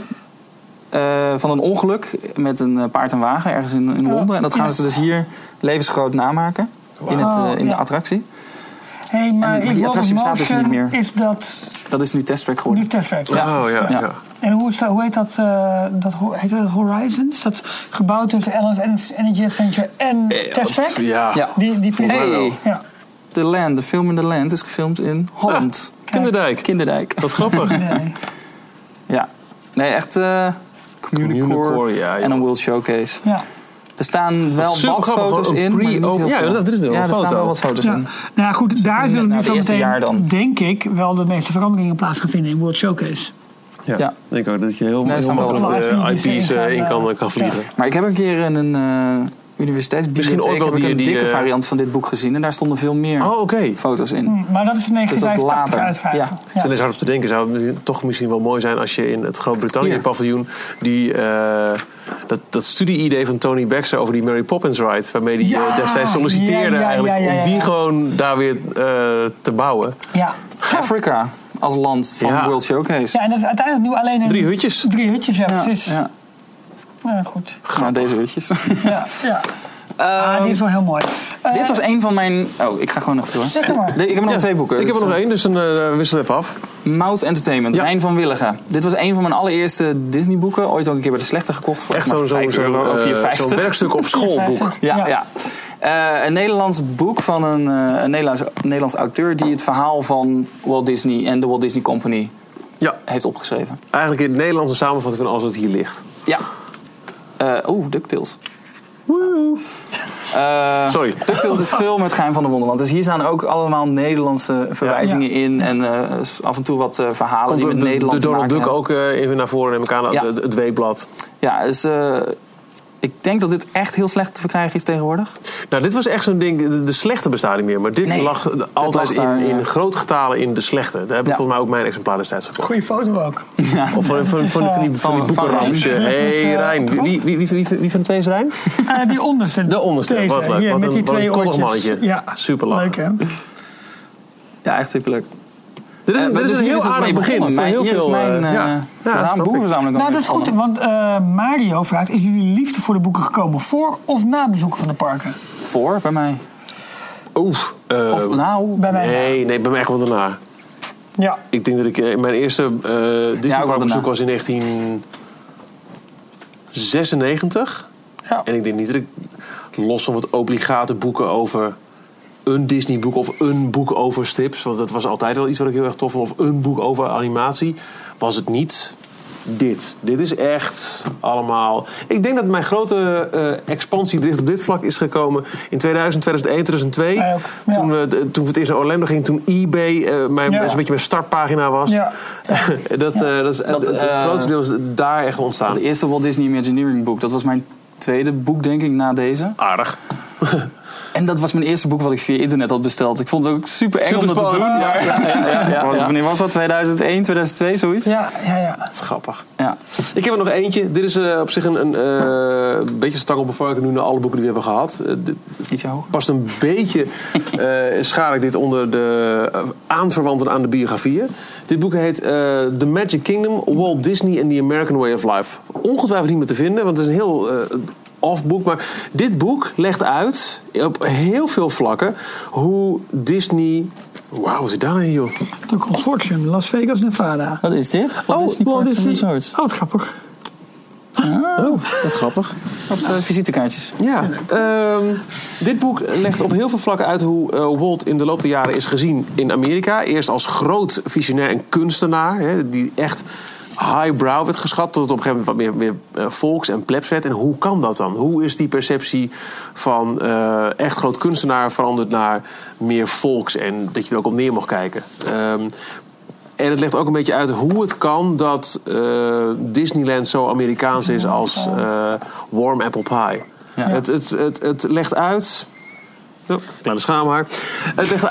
Speaker 4: eh, van een ongeluk met een eh, paard en wagen ergens in, in
Speaker 2: Ja.
Speaker 4: Londen. En dat gaan
Speaker 2: Ja.
Speaker 4: ze dus hier levensgroot namaken. In, het, eh, in
Speaker 2: ja.
Speaker 4: de attractie.
Speaker 2: hey, maar
Speaker 4: en die
Speaker 2: in World
Speaker 4: attractie
Speaker 2: of
Speaker 4: bestaat dus
Speaker 2: Motion
Speaker 4: niet meer.
Speaker 2: is dat
Speaker 4: Dat is nu testtrack
Speaker 2: nu
Speaker 4: geworden.
Speaker 2: Test Track.
Speaker 4: Ja.
Speaker 3: Oh, ja,
Speaker 4: Ja.
Speaker 3: ja.
Speaker 2: En hoe, is dat, hoe heet dat, eh, dat, ho- heet dat Horizons? Dat gebouw tussen Alice Energy Adventure en Test Track?
Speaker 3: Eh, Ja.
Speaker 4: Ja.
Speaker 2: Die, die vind ik
Speaker 4: Hey.
Speaker 2: wel. Ja.
Speaker 4: The Land, de film in The Land, is gefilmd in Holland.
Speaker 3: Ah,
Speaker 2: Ah.
Speaker 3: Kinderdijk.
Speaker 4: Kinderdijk.
Speaker 3: Wat grappig.
Speaker 2: Nee.
Speaker 4: Ja. Nee, echt eh Communicore,
Speaker 3: Communicore, ja, joh.
Speaker 4: en een World Showcase.
Speaker 2: ja.
Speaker 4: Er staan wel
Speaker 3: Super grappig,
Speaker 4: boxfoto's
Speaker 3: hoor. Een
Speaker 4: in. maar niet
Speaker 3: pre-open-
Speaker 4: heel
Speaker 3: Ja,
Speaker 4: veel.
Speaker 3: dat- dit is wel
Speaker 4: Ja,
Speaker 3: een
Speaker 4: er staan
Speaker 3: foto.
Speaker 4: wel wat foto's
Speaker 2: Ja.
Speaker 4: in.
Speaker 2: Nou ja,
Speaker 4: dus
Speaker 2: goed, daar zullen
Speaker 4: na
Speaker 2: nu
Speaker 4: de
Speaker 2: zo
Speaker 4: eerste jaar
Speaker 2: meteen,
Speaker 4: dan.
Speaker 2: denk ik, wel de meeste veranderingen plaats gaan vinden in World Showcase.
Speaker 3: Ja.
Speaker 4: Ja.
Speaker 3: Ik denk ook dat je heel,
Speaker 4: Nee,
Speaker 3: heel
Speaker 4: staan wel
Speaker 3: makkelijk
Speaker 2: wat
Speaker 3: op de
Speaker 2: IP's
Speaker 3: IP's eh, in kan, kan vliegen.
Speaker 4: Maar ik heb een keer in een eh universiteitsbibliotheek
Speaker 3: Misschien ook wel
Speaker 4: heb ik
Speaker 3: die-
Speaker 4: een
Speaker 3: die,
Speaker 4: dikke
Speaker 3: eh,
Speaker 4: variant van dit boek gezien. En daar stonden veel meer
Speaker 3: Oh, oké.
Speaker 4: foto's in.
Speaker 2: Maar dat is
Speaker 4: Dus dat is
Speaker 2: 1985
Speaker 4: later.
Speaker 2: uitvragen.
Speaker 3: Ik
Speaker 2: Ja.
Speaker 3: zit er hard op te denken. Zou het nu toch misschien wel mooi zijn als je in het
Speaker 4: Hier.
Speaker 3: Groot-Brittannië-paviljoen... die eh, dat, dat studie-idee van Tony Baxter over die Mary Poppins ride... waarmee die
Speaker 2: Ja.
Speaker 3: eh, destijds solliciteerde
Speaker 2: Ja, ja,
Speaker 3: eigenlijk...
Speaker 2: ja, ja, ja.
Speaker 3: om die gewoon daar weer eh, te bouwen.
Speaker 2: Ja.
Speaker 4: Afrika als land van
Speaker 3: Ja.
Speaker 4: World Showcase.
Speaker 2: ja, en dat is uiteindelijk nu alleen in
Speaker 3: Drie hutjes.
Speaker 2: Drie hutjes, ja,
Speaker 4: Ja,
Speaker 2: precies.
Speaker 4: ja.
Speaker 2: Ja, goed.
Speaker 4: Nou, deze hutjes.
Speaker 2: Ja, ja. Ah,
Speaker 4: Ehm,
Speaker 2: die is wel heel mooi. Eh,
Speaker 4: dit was een van mijn... Oh, ik ga gewoon even door.
Speaker 2: Zeg maar.
Speaker 4: Nee, Ik heb er nog
Speaker 3: Ja,
Speaker 4: twee boeken.
Speaker 3: Ik heb
Speaker 4: Dus,
Speaker 3: er nog
Speaker 4: eh,
Speaker 3: één, dus dan eh, wissel even af.
Speaker 4: Mout Entertainment,
Speaker 3: Ja.
Speaker 4: Rijn van Willigen. Dit was een van mijn allereerste Disney boeken. Ooit ook een keer bij de slechte gekocht. Voor
Speaker 3: Echt
Speaker 4: maar
Speaker 3: zo'n zo'n
Speaker 4: €5
Speaker 3: zo'n,
Speaker 4: euro
Speaker 3: eh,
Speaker 4: of
Speaker 3: zo'n
Speaker 4: 4,50.
Speaker 3: werkstuk op schoolboek.
Speaker 4: Ja,
Speaker 2: Ja.
Speaker 4: ja. Eh, een Nederlands boek van een, eh, een Nederlands, Nederlands auteur die het verhaal van Walt Disney en de Walt Disney Company
Speaker 3: Ja,
Speaker 4: heeft opgeschreven.
Speaker 3: eigenlijk in het Nederlands een samenvatting van alles wat hier ligt.
Speaker 4: Ja. Eh Oeh, DuckTales. Eh,
Speaker 3: Sorry.
Speaker 4: DuckTales is veel met Geheim van de Wonderland. Dus hier staan ook allemaal Nederlandse verwijzingen in. En eh, af en toe wat eh, verhalen
Speaker 3: Komt
Speaker 4: die met
Speaker 3: de, de,
Speaker 4: Nederland te
Speaker 3: Donald
Speaker 4: maken
Speaker 3: Duck ook eh, even naar voren, neem ik aan.
Speaker 4: Ja.
Speaker 3: Het, het weeblad.
Speaker 4: Ja, dus eh, ik denk dat dit echt heel slecht te verkrijgen is tegenwoordig.
Speaker 3: Nou, dit was echt zo'n ding, de, de slechte bestaan niet meer. Maar dit
Speaker 4: Nee,
Speaker 3: lag
Speaker 4: dat
Speaker 3: altijd
Speaker 4: lag daar,
Speaker 3: in, in
Speaker 4: ja.
Speaker 3: groot getalen in de slechte. Daar heb ik
Speaker 4: Ja.
Speaker 3: volgens mij ook mijn exemplaar destijds gekocht.
Speaker 2: Goeie foto ook.
Speaker 3: Of van, van, van, van die, van die
Speaker 4: Van- van
Speaker 3: boekenramsje.
Speaker 2: Rijn.
Speaker 3: Hé hey, Rijn, wie, wie, wie, wie, wie van de twee is Rijn?
Speaker 2: Eh, die onderste.
Speaker 3: De onderste,
Speaker 2: Deze,
Speaker 3: wat leuk.
Speaker 2: hier,
Speaker 3: Wat
Speaker 2: met
Speaker 3: een-
Speaker 2: die
Speaker 3: wat een
Speaker 2: twee
Speaker 3: koddig
Speaker 2: oortjes.
Speaker 3: mannetje.
Speaker 2: Ja.
Speaker 3: Super lachen.
Speaker 2: Leuk, hè?
Speaker 4: Ja, echt super leuk.
Speaker 3: Dit is,
Speaker 4: Eh,
Speaker 3: dit is
Speaker 4: dus
Speaker 3: een
Speaker 4: hier
Speaker 3: heel
Speaker 4: het
Speaker 3: aardig
Speaker 4: mee
Speaker 3: begin.
Speaker 4: begonnen.
Speaker 3: voor
Speaker 4: Mijn,
Speaker 3: heel
Speaker 4: hier
Speaker 3: veel,
Speaker 4: is mijn
Speaker 3: eh,
Speaker 4: eh, verzamel-
Speaker 3: snap ik.
Speaker 4: boekenverzameling
Speaker 2: Nou,
Speaker 4: al
Speaker 2: dat is
Speaker 4: mee
Speaker 2: goed,
Speaker 4: begonnen.
Speaker 2: want eh, Mario vraagt... is jullie liefde voor de boeken gekomen voor of na bezoek van de parken?
Speaker 4: Voor, bij mij.
Speaker 3: Oeh. eh,
Speaker 4: Of nou...
Speaker 2: Bij mij.
Speaker 3: nee, nee, bij mij echt wel daarna.
Speaker 2: Ja.
Speaker 3: Ik denk dat ik eh, mijn eerste eh
Speaker 4: Ja, ook wel
Speaker 3: Disney bezoek
Speaker 4: daarna.
Speaker 3: was in 1996.
Speaker 2: Ja.
Speaker 3: En ik denk niet dat ik los van wat obligate boeken over een Disney boek of een boek over strips, want dat was altijd wel iets wat ik heel erg tof vond, of een boek over animatie, was het niet dit. Dit is echt allemaal. Ik denk dat mijn grote eh, expansie dicht op dit vlak is gekomen in 2000, 2001, 2002.
Speaker 2: Mij ook, ja.
Speaker 3: Toen, we, de- toen we het eerst naar Orlando gingen, toen eBay eh, mijn,
Speaker 2: Ja.
Speaker 3: een beetje mijn startpagina was.
Speaker 2: Ja.
Speaker 3: dat, eh, dat is, het, het
Speaker 4: eh,
Speaker 3: grootste deel is daar echt ontstaan.
Speaker 4: Het eerste Walt Disney Imagineering boek. Dat was mijn tweede boek, denk ik, na deze.
Speaker 3: Aardig.
Speaker 4: En dat was mijn eerste boek wat ik via internet had besteld. Ik vond het ook super eng om dat te doen.
Speaker 3: Superspannend.
Speaker 4: maar-
Speaker 3: ja, ja,
Speaker 4: Want
Speaker 3: ja.
Speaker 4: Wanneer was dat? 2001, 2002, zoiets?
Speaker 2: Ja, ja, ja.
Speaker 3: Grappig.
Speaker 4: Ja.
Speaker 3: Ik heb er nog eentje. Dit is eh, op zich een, een eh, beetje stang op een varken nu naar alle boeken die we hebben gehad. Eh, dit
Speaker 4: Ietsje hoger.
Speaker 3: past een beetje, eh schaar ik dit onder de eh, aanverwanten aan de biografieën. Dit boek heet eh, The Magic Kingdom, Walt Disney and the American Way of Life. Ongetwijfeld niet meer te vinden, want het is een heel... eh off boek, maar dit boek legt uit op heel veel vlakken hoe Disney. Wauw, wat is daar nou in, joh?
Speaker 2: De Consortium, Las Vegas, Nevada.
Speaker 4: Wat is dit?
Speaker 3: Oh,
Speaker 4: Oh, Wat is die
Speaker 2: Walt
Speaker 4: Parks and
Speaker 2: Disney-
Speaker 4: Resorts?
Speaker 2: Oh, wat grappig.
Speaker 3: Dat is grappig.
Speaker 4: Wat eh, visitekaartjes?
Speaker 3: Ja, ehm, dit boek legt op heel veel vlakken uit hoe eh, Walt in de loop der jaren is gezien in Amerika. Eerst als groot visionair en kunstenaar, hè, die echt highbrow werd geschat, tot het op een gegeven moment wat meer, meer eh, volks- en plebs werd. En hoe kan dat dan? Hoe is die perceptie van eh, echt groot kunstenaar veranderd naar meer volks en dat je er ook op neer mag kijken? Ehm, en het legt ook een beetje uit hoe het kan dat eh, Disneyland zo Amerikaans is als eh, warm apple pie. Het, het, het, het legt uit. Oh, kleine schaamhaar. Het legt,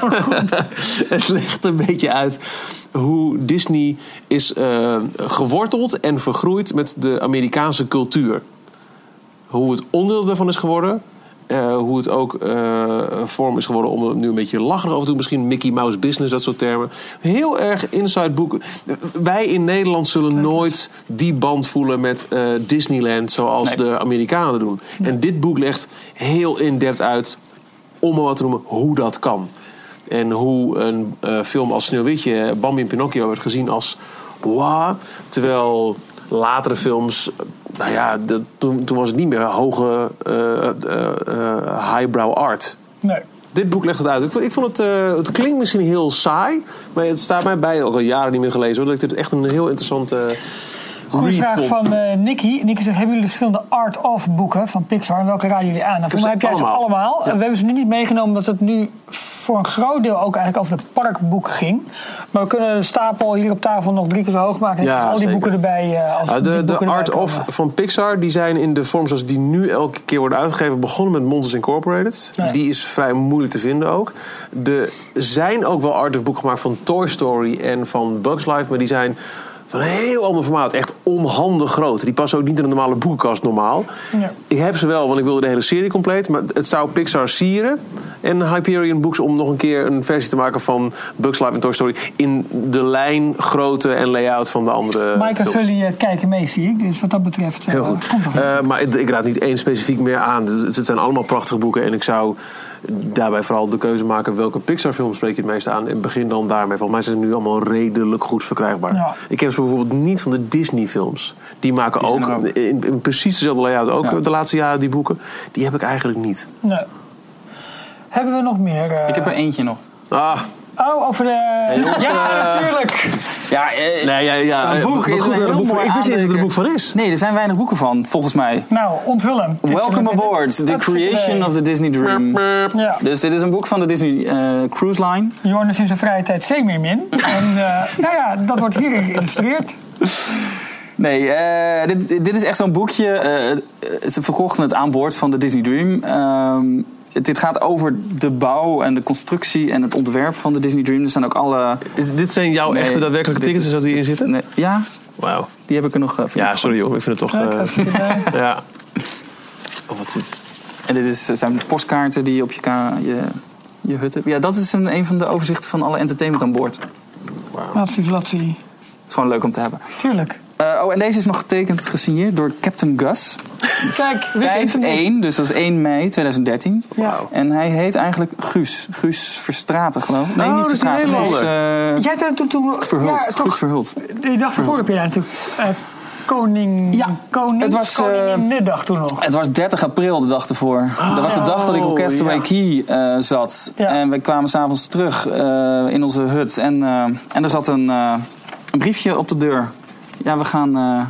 Speaker 3: het legt een beetje uit hoe Disney is eh, geworteld en vergroeid met de Amerikaanse cultuur. Hoe het onderdeel daarvan is geworden. eh, hoe het ook eh, een vorm is geworden om er nu een beetje lacherig over te doen. Misschien Mickey Mouse Business, dat soort termen. Heel erg inside boek. Wij in Nederland zullen nooit die band voelen met eh, Disneyland zoals
Speaker 4: Nee.
Speaker 3: de Amerikanen doen. En dit boek legt heel in-depth uit om maar wat te noemen, hoe dat kan. En hoe een eh, film als Sneeuwwitje, eh, Bambi en Pinocchio, werd gezien als wow. Terwijl latere films, eh, nou ja, de- toen, toen was het niet meer hoge eh, eh, eh, highbrow art.
Speaker 2: Nee.
Speaker 3: Dit boek legt het uit. Ik vond, ik vond het, eh, het klinkt misschien heel saai, maar het staat mij bij, ook al jaren niet meer gelezen, hoor, dat ik dit echt een heel interessant eh,
Speaker 2: Goeie
Speaker 3: read
Speaker 2: vraag
Speaker 3: komt.
Speaker 2: van eh Nicky. Nicky zegt, hebben jullie de verschillende art-of boeken van Pixar? En welke raden jullie aan? Nou, voor
Speaker 3: ze
Speaker 2: mij heb jij ze
Speaker 3: Dus allemaal.
Speaker 2: allemaal.
Speaker 3: Ja.
Speaker 2: We hebben ze nu niet meegenomen omdat het nu voor een groot deel ook eigenlijk over het parkboek ging. Maar we kunnen de stapel hier op tafel nog drie keer zo hoog maken. En
Speaker 3: Ja,
Speaker 2: krijgen al die
Speaker 3: zeker.
Speaker 2: boeken erbij. eh, als
Speaker 3: Ja,
Speaker 2: die
Speaker 3: de,
Speaker 2: boeken
Speaker 3: de
Speaker 2: erbij
Speaker 3: Art
Speaker 2: komen.
Speaker 3: of van Pixar, die zijn in de vorm zoals die nu elke keer worden uitgegeven, begonnen met Monsters Incorporated.
Speaker 2: Ja.
Speaker 3: Die is vrij moeilijk te vinden ook. Er zijn ook wel Art of boeken gemaakt van Toy Story en van Bugs Life, maar die zijn van een heel ander formaat. Echt onhandig groot. Die passen ook niet in een normale boekenkast normaal.
Speaker 2: Ja.
Speaker 3: Ik heb ze wel, want ik wilde de hele serie compleet. Maar het zou Pixar sieren en Hyperion Books om nog een keer een versie te maken van Bugs Life en Toy Story in de lijn, grootte en layout van de andere
Speaker 2: Mike en
Speaker 3: films.
Speaker 2: Sully eh, kijken mee, zie ik. Dus wat dat betreft... eh,
Speaker 3: Heel goed.
Speaker 4: Oh,
Speaker 2: Komt er
Speaker 3: Eh, maar ik, ik raad niet één specifiek meer aan. Dus Het, het zijn allemaal prachtige boeken. En ik zou daarbij vooral de keuze maken welke Pixar-film spreek je het meest aan. En begin dan daarmee. Volgens mij zijn ze nu allemaal redelijk goed verkrijgbaar.
Speaker 2: Ja.
Speaker 3: Ik heb ze bijvoorbeeld niet van de Disney-films. Die maken
Speaker 4: Die zijn
Speaker 3: ook,
Speaker 4: er ook.
Speaker 3: In, in precies dezelfde layout ook
Speaker 4: Ja.
Speaker 3: de laatste jaren die boeken. Die heb ik eigenlijk niet.
Speaker 2: nee. Nou, Hebben we nog meer? eh,
Speaker 4: Ik heb er eentje nog.
Speaker 3: Ah,
Speaker 2: Oh, over de...
Speaker 3: eh,
Speaker 2: ja, natuurlijk!
Speaker 4: Ja, eh,
Speaker 3: nee, ja, ja,
Speaker 4: Een
Speaker 3: wat
Speaker 4: boek is
Speaker 3: goed
Speaker 4: een
Speaker 3: dat er
Speaker 4: heel
Speaker 3: een boek van-
Speaker 4: mooi
Speaker 3: Ik wist niet eens dat er een
Speaker 4: aandenken.
Speaker 3: boek van is.
Speaker 4: nee, er zijn weinig boeken van, volgens mij.
Speaker 2: Nou, onthul hem.
Speaker 4: Welcome aboard, the creation of the Disney dream.
Speaker 3: Mm.
Speaker 2: Ja.
Speaker 4: Dus dit is een boek van de Disney eh, Cruise Line.
Speaker 2: Jornes in zijn vrije tijd zeemeermin. En eh, nou ja, dat wordt hier geïllustreerd.
Speaker 4: Nee, eh, dit, dit is echt zo'n boekje. eh, eh, ze verkochten het aan boord van de Disney Dream. Ehm, dit gaat over de bouw en de constructie en het ontwerp van de Disney Dream. Er zijn ook alle...
Speaker 3: Is- dit zijn jouw
Speaker 4: Nee,
Speaker 3: echte daadwerkelijke
Speaker 4: dit
Speaker 3: tickets
Speaker 4: is-
Speaker 3: dat die in
Speaker 4: dit-
Speaker 3: zitten?
Speaker 4: nee, ja,
Speaker 3: Wauw.
Speaker 4: die heb ik er nog... eh, van
Speaker 3: Ja,
Speaker 4: gegooid.
Speaker 3: sorry joh. Ik vind het toch...
Speaker 2: Leuk,
Speaker 3: eh,
Speaker 2: als je erbij-
Speaker 3: ja. Oh, wat zit...
Speaker 4: En dit is, eh, zijn postkaarten die je op je, ka- je, je hut hebt. Ja, dat is een, een van de overzichten van alle entertainment aan boord. Het
Speaker 2: Natsie, flatsie.
Speaker 4: is gewoon leuk om te hebben.
Speaker 2: Tuurlijk.
Speaker 4: Eh, oh, en deze is nog getekend, gesigneerd door Captain Gus.
Speaker 2: Kijk, wie kent
Speaker 4: 5-1,
Speaker 2: hem niet?
Speaker 4: dus dat is 1 mei 2013.
Speaker 3: Wauw.
Speaker 4: En hij heet eigenlijk Guus. Guus Verstraten, geloof ik. Nee,
Speaker 3: Oh,
Speaker 4: niet
Speaker 3: dat is een
Speaker 4: Verstraten. Guus
Speaker 2: Jij
Speaker 4: eh,
Speaker 2: hebt er toen... toen
Speaker 4: Verhulst.
Speaker 2: Ja,
Speaker 4: Guus
Speaker 2: toch,
Speaker 4: Verhulst.
Speaker 2: die dag ervoor heb je daar natuurlijk... eh, koning...
Speaker 4: Ja,
Speaker 2: koning
Speaker 4: het was, eh,
Speaker 2: Koninginnedag toen nog.
Speaker 4: Het was 30 april, de dag ervoor. dat was de dag dat ik op Castaway
Speaker 3: ja.
Speaker 4: Key eh, zat.
Speaker 2: Oh, Ja.
Speaker 4: En we kwamen s'avonds terug eh, in onze hut. En, eh, en er zat een, eh, een briefje op de deur. Ja, we gaan, eh,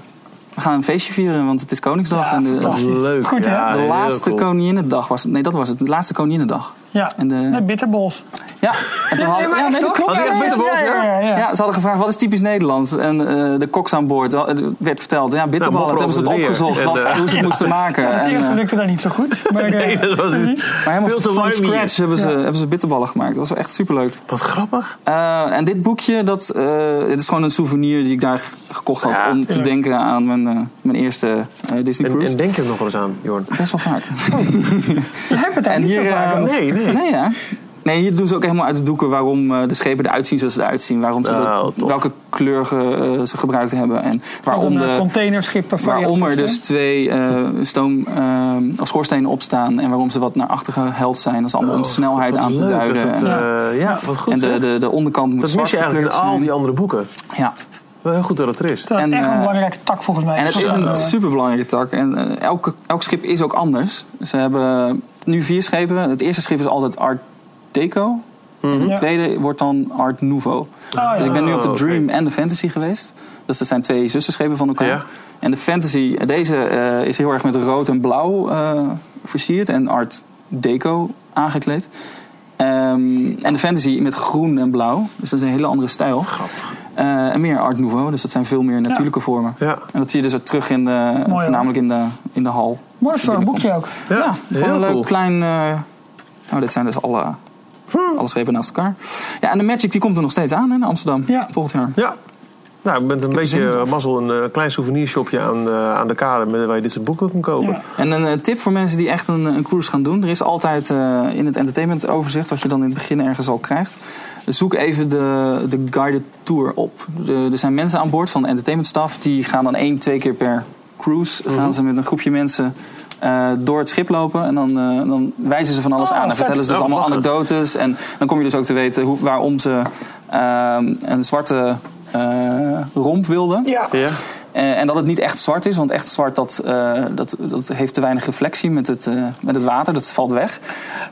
Speaker 4: we gaan een feestje vieren, want het is Koningsdag.
Speaker 2: Ja,
Speaker 4: en de,
Speaker 2: fantastisch.
Speaker 3: Leuk.
Speaker 2: Goed, hè?
Speaker 3: Ja,
Speaker 4: de
Speaker 3: Ah, heel
Speaker 4: laatste
Speaker 3: cool.
Speaker 4: Koninginnedag was het. Nee, dat was het. De laatste Koninginnedag.
Speaker 2: Ja,
Speaker 4: en de-
Speaker 2: met bitterbols.
Speaker 4: Ja, en toen hadden, ja, nee, dat klopt.
Speaker 3: Was het echt bitterballs, ja?
Speaker 2: ja, ja.
Speaker 4: Ja, ze hadden gevraagd wat is typisch Nederlands. En eh, de koks aan boord eh, werd verteld, ja, bitterballen.
Speaker 3: Nou,
Speaker 4: Toen hebben ze het
Speaker 3: mopperen over
Speaker 4: opgezocht,
Speaker 3: het weer. En,
Speaker 4: wat,
Speaker 3: eh,
Speaker 4: hoe ze het moesten maken.
Speaker 2: Het
Speaker 4: en, eh,
Speaker 2: eerste lukte daar niet zo goed. Maar, eh,
Speaker 3: Nee, dat was het.
Speaker 4: maar helemaal
Speaker 3: Veel te
Speaker 4: van
Speaker 3: warm hier.
Speaker 4: scratch hebben ze, hebben ze bitterballen gemaakt. Dat was wel echt superleuk.
Speaker 3: Wat grappig.
Speaker 4: Eh, en dit boekje, dat, eh het is gewoon een souvenir die ik daar g- gekocht had...
Speaker 3: Ja.
Speaker 4: om te
Speaker 2: Ja.
Speaker 4: denken aan mijn, eh, mijn eerste eh, Disney
Speaker 3: En,
Speaker 4: Cruise.
Speaker 3: en denk er nog wel eens aan, Jorn.
Speaker 4: Best wel vaak.
Speaker 2: Je hebt het daar
Speaker 4: En
Speaker 2: niet zo
Speaker 4: hier,
Speaker 2: vaak
Speaker 4: eh,
Speaker 2: over.
Speaker 3: Nee, nee.
Speaker 4: Nee, ja. Nee, hier doen ze ook helemaal uit de doeken waarom eh, de schepen eruit zien zoals ze eruit zien. Waarom ze dat-
Speaker 3: Nou, tof.
Speaker 4: welke kleur ge- eh, ze gebruikt hebben. En waarom,
Speaker 2: Een, eh,
Speaker 4: de,
Speaker 2: containerschip waarvan je
Speaker 4: waarom er
Speaker 2: hebt, eh,
Speaker 4: dus twee eh, stoom eh, als schoorstenen opstaan. En waarom ze wat naar achter geheld zijn. Dat is allemaal om de snelheid aan te
Speaker 3: Oh, Nou, Leuk dat
Speaker 4: duiden.
Speaker 3: het,
Speaker 4: En-
Speaker 3: eh, ja, wat goed.
Speaker 4: en de,
Speaker 3: zeg.
Speaker 4: de, de onderkant moet
Speaker 3: dat
Speaker 4: zwart
Speaker 3: mis je eigenlijk in
Speaker 4: gekleurd
Speaker 3: al
Speaker 4: zijn.
Speaker 3: die andere boeken.
Speaker 4: Ja.
Speaker 3: Wel heel goed dat het er is.
Speaker 2: Dat is
Speaker 4: En,
Speaker 2: echt een
Speaker 4: eh,
Speaker 2: belangrijke tak volgens mij.
Speaker 4: En het
Speaker 2: Zo,
Speaker 4: is
Speaker 2: eh,
Speaker 4: een superbelangrijke tak. En eh, elke, elk schip is ook anders. Ze hebben nu vier schepen. Het eerste schip is altijd Art Deco. En
Speaker 2: Ja.
Speaker 4: het Hm? tweede wordt dan Art Nouveau.
Speaker 2: ja.
Speaker 4: Dus ik ben nu op de
Speaker 3: Oh, oké.
Speaker 4: Dream en de Fantasy geweest. Dus dat zijn twee zusterschepen van elkaar.
Speaker 3: Ja.
Speaker 4: En de Fantasy, eh, deze eh, is heel erg met rood en blauw eh, versierd. En Art Deco aangekleed. Ehm, en de Fantasy met groen en blauw. Dus dat is een hele andere stijl. Grappig. en meer Art Nouveau. Dus dat zijn veel meer natuurlijke vormen.
Speaker 3: Ja.
Speaker 4: En dat zie je dus ook terug in de,
Speaker 2: Mooi,
Speaker 4: voornamelijk in de, in de hal.
Speaker 2: Mooi voor een boekje ook.
Speaker 3: Ja,
Speaker 4: Gewoon
Speaker 3: heel
Speaker 4: een leuk
Speaker 3: cool.
Speaker 4: klein... eh, nou, dit zijn dus alle,
Speaker 3: Hm.
Speaker 4: alle schepen naast elkaar. Ja, en de Magic die komt er nog steeds aan hè, in Amsterdam
Speaker 2: Ja.
Speaker 4: volgend jaar.
Speaker 3: Ja. Nou, met een beetje
Speaker 4: zin in.
Speaker 3: eh, mazzel een eh, klein souvenirshopje aan, eh, aan de kade met, waar je dit soort boeken kan kopen.
Speaker 2: Ja.
Speaker 4: En een eh, tip voor mensen die echt een, een cruise gaan doen. Er is altijd eh, in het entertainment overzicht, wat je dan in het begin ergens al krijgt. Zoek even de, de guided tour op. De- er zijn mensen aan boord van de entertainment staff. Die gaan dan één, twee keer per cruise.
Speaker 2: Mhm.
Speaker 4: Gaan ze met een groepje mensen eh, door het schip lopen. En dan, eh, dan wijzen ze van alles
Speaker 2: Oh,
Speaker 4: aan. En
Speaker 2: vet.
Speaker 4: vertellen ze dus
Speaker 3: Oh,
Speaker 4: allemaal
Speaker 3: lachen.
Speaker 4: anekdotes. En dan kom je dus ook te weten hoe, waarom ze ehm, een zwarte eh, romp wilden.
Speaker 2: Ja.
Speaker 3: Ja.
Speaker 4: Eh, en dat het niet echt zwart is, want echt zwart dat, eh, dat, dat heeft te weinig reflectie met het, eh, met het water, dat valt weg.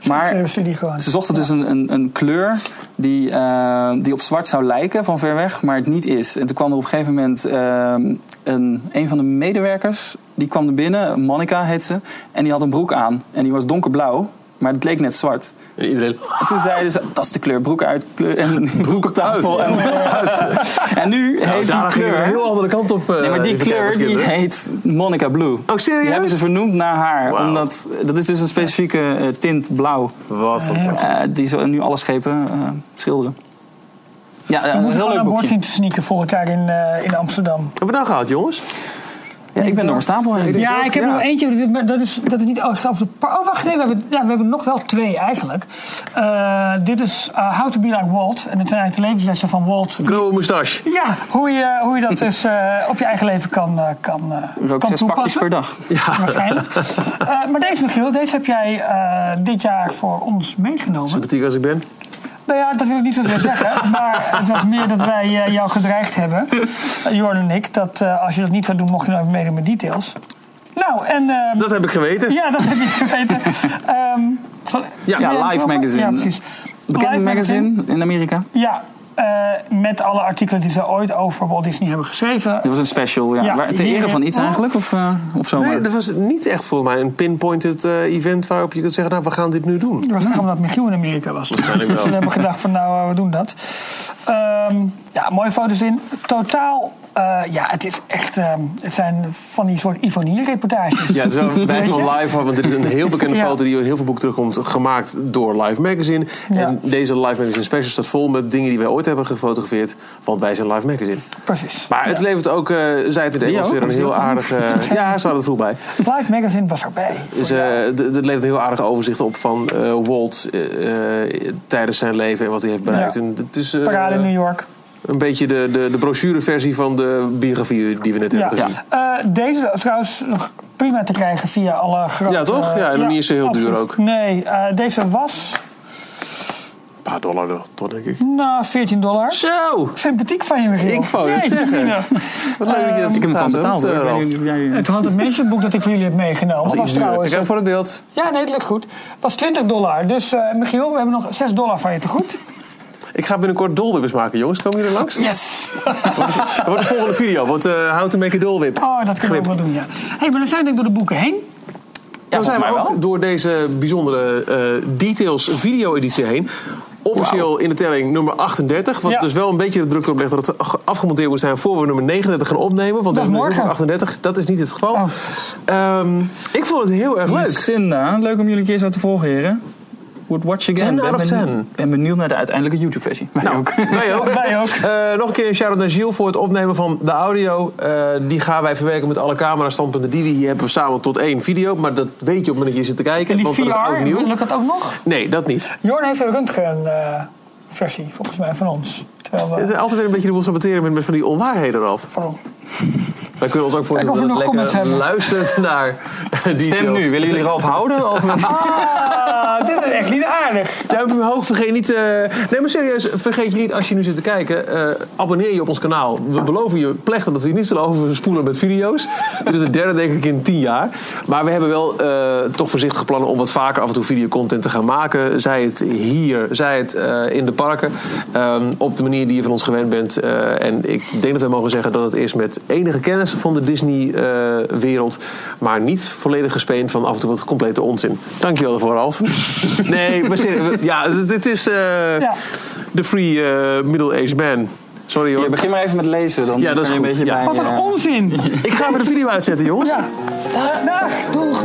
Speaker 4: Maar
Speaker 2: Eh, studie gewoon.
Speaker 4: ze zochten dus een, een, een kleur die, eh, die op zwart zou lijken van ver weg, maar het niet is. En toen kwam er op een gegeven moment eh, een, een van de medewerkers, die kwam er binnen, Monica heet ze, en die had een broek aan. En die was donkerblauw, maar het leek net zwart.
Speaker 3: En iedereen...
Speaker 4: En toen zeiden ze, dat is de kleur, broek uit, kleur, en broek op tafel. En, en nu heet die
Speaker 3: Daar Nou, ging het een
Speaker 4: kleur,
Speaker 3: heel andere kant op. eh,
Speaker 4: nee, maar die
Speaker 3: even
Speaker 4: kleur
Speaker 3: kijken,
Speaker 4: die
Speaker 3: kinderen.
Speaker 4: heet Monica Blue.
Speaker 3: Oh, serieus?
Speaker 4: Die hebben ze vernoemd naar haar,
Speaker 3: Wauw.
Speaker 4: omdat dat is dus een specifieke eh, tint blauw.
Speaker 3: Wat fantastisch.
Speaker 4: eh, die ze nu alle schepen eh, schilderen. Ja, eh,
Speaker 2: We
Speaker 4: een
Speaker 2: moeten
Speaker 4: heel
Speaker 2: gewoon
Speaker 4: leuk
Speaker 2: aan boord
Speaker 4: boekje.
Speaker 2: zien te sneaken volgend jaar in, eh, in Amsterdam.
Speaker 3: Hebben we nou gehaald, jongens?
Speaker 4: Ja, ik ben door mijn stapel heen.
Speaker 2: Ja,
Speaker 3: ook,
Speaker 2: ik heb
Speaker 3: ja.
Speaker 2: nog eentje. dit- maar Dat is, dat is niet over de par- Oh, wacht, nee, we hebben, ja, we hebben nog wel twee eigenlijk. Eh, dit is eh, How to Be Like Walt. En dat zijn eigenlijk de levenslessen van Walt.
Speaker 3: Knobbel moustache.
Speaker 2: Ja, hoe je, hoe je dat dus eh, op je eigen leven kan, eh, kan, eh,
Speaker 4: Rook
Speaker 2: kan
Speaker 4: zes pakjes
Speaker 2: toepassen.
Speaker 4: per dag.
Speaker 2: Waarschijnlijk. Eh, maar deze, Michiel, deze heb jij eh, dit jaar voor ons meegenomen.
Speaker 3: Sympathiek als ik ben.
Speaker 2: Nou ja, dat wil ik niet zozeer zeggen. Maar het was meer dat wij eh, jou gedreigd hebben, eh, Jorn en ik. Dat eh, als je dat niet zou doen, mocht je nooit meedoen met details. Nou, en... ehm,
Speaker 3: Dat heb ik geweten.
Speaker 2: ja, dat heb je geweten. Ehm, van-
Speaker 3: Ja,
Speaker 2: wil je
Speaker 4: Life
Speaker 2: het wel-
Speaker 4: Magazine.
Speaker 2: Ja, precies.
Speaker 4: Bekend
Speaker 2: Life
Speaker 4: magazine in Amerika.
Speaker 2: Ja, eh, met alle artikelen die ze ooit over Walt Disney hebben geschreven.
Speaker 4: Dit was een special, ja.
Speaker 2: Ja,
Speaker 4: Waar- Ter ere
Speaker 2: hier-
Speaker 4: van iets eigenlijk, of, eh of zo
Speaker 3: Nee,
Speaker 4: maar.
Speaker 3: dat was niet echt volgens mij een pinpointed eh, event waarop je kunt zeggen, nou, we gaan dit nu doen.
Speaker 2: Het was ook omdat Michiel in Amerika was.
Speaker 3: Waarschijnlijk
Speaker 2: Dus we
Speaker 3: wel.
Speaker 2: hebben gedacht van nou, eh, we doen dat. Ehm, ja, mooie foto's in. Totaal, eh, ja, het is echt... ehm, het zijn van die soort Ivonie-reportages.
Speaker 3: Ja, het is wel een beetje van Live, want dit is een heel bekende
Speaker 2: Ja.
Speaker 3: foto die in heel veel boeken terugkomt, gemaakt door Live Magazine.
Speaker 2: Ja.
Speaker 3: En deze Live Magazine special staat vol met dingen die wij ooit hebben gefotografeerd, want wij zijn Live Magazine.
Speaker 2: Precies.
Speaker 3: Maar het levert ook, eh, zij het in het Engels,
Speaker 4: ook?
Speaker 3: weer een
Speaker 4: Is
Speaker 3: heel
Speaker 4: dat
Speaker 3: aardige... ja, ze hadden het goed bij.
Speaker 2: Life Magazine was erbij.
Speaker 3: Dus eh, d- dat levert een heel aardig overzicht op van eh, Walt eh, eh, tijdens zijn leven en wat hij heeft bereikt.
Speaker 2: Ja.
Speaker 3: En het is eh,
Speaker 2: Parade in New York.
Speaker 3: een beetje de, de, de brochureversie van de biografie die we net
Speaker 2: Ja.
Speaker 3: hebben gezien.
Speaker 2: Eh, deze trouwens nog prima te krijgen via alle grote...
Speaker 3: Ja, toch? Ja, en nog niet eens zo heel duur ook.
Speaker 2: Nee, eh, deze was,
Speaker 3: Een paar dollar nog, toch, denk ik.
Speaker 2: nou, 14 dollar.
Speaker 3: Zo!
Speaker 2: Sympathiek van je, Michiel.
Speaker 3: Ik wou het
Speaker 2: Jeetje,
Speaker 3: zeggen.
Speaker 2: Mina.
Speaker 3: Wat leuk dat je dat
Speaker 4: ik heb hem
Speaker 3: gedaan
Speaker 4: van betaald.
Speaker 3: hebt,
Speaker 4: hoor.
Speaker 3: eh,
Speaker 4: Ik
Speaker 3: Ralf.
Speaker 4: weet niet of jij-
Speaker 2: En toen had het mensenboek dat ik voor jullie heb meegenomen. Was,
Speaker 3: Iets duurder.
Speaker 2: trouwens.
Speaker 3: Ik heb voor het beeld.
Speaker 2: Ja, nee, dat lukt goed. Was 20 dollar. Dus eh, Michiel, we hebben nog 6 dollar van je te goed.
Speaker 3: Ik ga binnenkort dolwippers maken, jongens. Komen jullie er langs?
Speaker 2: Yes!
Speaker 3: Dat wordt de volgende video. Wordt eh How to make a dolwip.
Speaker 2: Oh, dat kunnen
Speaker 3: Grip.
Speaker 2: we ook wel doen, ja. Hé, hey, maar we zijn denk ik door de boeken heen.
Speaker 3: Dan zijn we
Speaker 4: volgens mij
Speaker 3: ook
Speaker 4: wel.
Speaker 3: door deze bijzondere eh, Details video-editie heen. Officieel in de telling nummer 38. Wat
Speaker 2: Ja.
Speaker 3: dus wel een beetje de druk erop legt dat het ge- afgemonteerd moet zijn voor we nummer 39 gaan opnemen. Want
Speaker 2: Dat is
Speaker 3: nummer
Speaker 2: morgen.
Speaker 3: 38, dat is niet het geval.
Speaker 2: Oh.
Speaker 3: Ehm, ik vond het heel erg leuk.
Speaker 4: Lucinda, leuk om jullie een keer zo te volgen, heren. Would watch again.
Speaker 3: 10 out of
Speaker 4: ben, benieu-
Speaker 3: 10.
Speaker 4: ben benieuwd naar de uiteindelijke YouTube-versie.
Speaker 3: Nou, Wij ook.
Speaker 2: Wij ook.
Speaker 3: Eh, nog een keer een shout-out naar Gilles voor het opnemen van de audio. Eh, die gaan wij verwerken met alle camerastandpunten die we hier hebben samen tot één video. Maar dat weet je op het moment dat je zit te kijken.
Speaker 2: En die
Speaker 3: want Oh, dat is ook
Speaker 2: VR,
Speaker 3: nieuw.
Speaker 2: lukt dat ook nog?
Speaker 3: Nee, dat niet.
Speaker 2: Jorn heeft een röntgen-versie, volgens mij, van ons. Terwijl
Speaker 3: Het
Speaker 2: we...
Speaker 3: is altijd weer een beetje de boel saboteren met, met van die onwaarheden eraf.
Speaker 2: Waarom?
Speaker 3: Wij kunnen ons ook voor
Speaker 2: Kijk of we nog comments hebben.
Speaker 3: luistert naar die
Speaker 4: Stem nu, willen jullie Ralf houden? Of...
Speaker 2: Ah, dit is echt niet aardig.
Speaker 3: Duimpje omhoog, vergeet niet... eh, nee, maar serieus, vergeet je niet als je nu zit te kijken... eh, abonneer je op ons kanaal. We beloven je plechtig dat we je niet zullen overspoelen met video's. Dit is de derde denk ik in tien jaar. Maar we hebben wel eh, toch voorzichtige plannen om wat vaker af en toe videocontent te gaan maken. Zij het hier, zij het eh, in de parken. Ehm, op de manier die je van ons gewend bent. Eh, en ik denk dat we mogen zeggen dat het is met enige kennis van de Disney-wereld. maar niet volledig gespeend van af en toe wat complete onzin. Dankjewel daarvoor, Ralf. nee, maar serieus, ja, het- het is eh,
Speaker 2: Ja.
Speaker 3: de free eh, middle-aged man. Sorry hoor.
Speaker 4: Ja, begin maar even met lezen, dan
Speaker 3: Ja, dat is
Speaker 4: kan je een
Speaker 3: goed.
Speaker 4: beetje
Speaker 3: Ja.
Speaker 4: bij...
Speaker 2: Wat een
Speaker 4: eh,
Speaker 2: onzin!
Speaker 3: Ik ga even de video uitzetten, jongens.
Speaker 2: Ja. Dag! Doeg!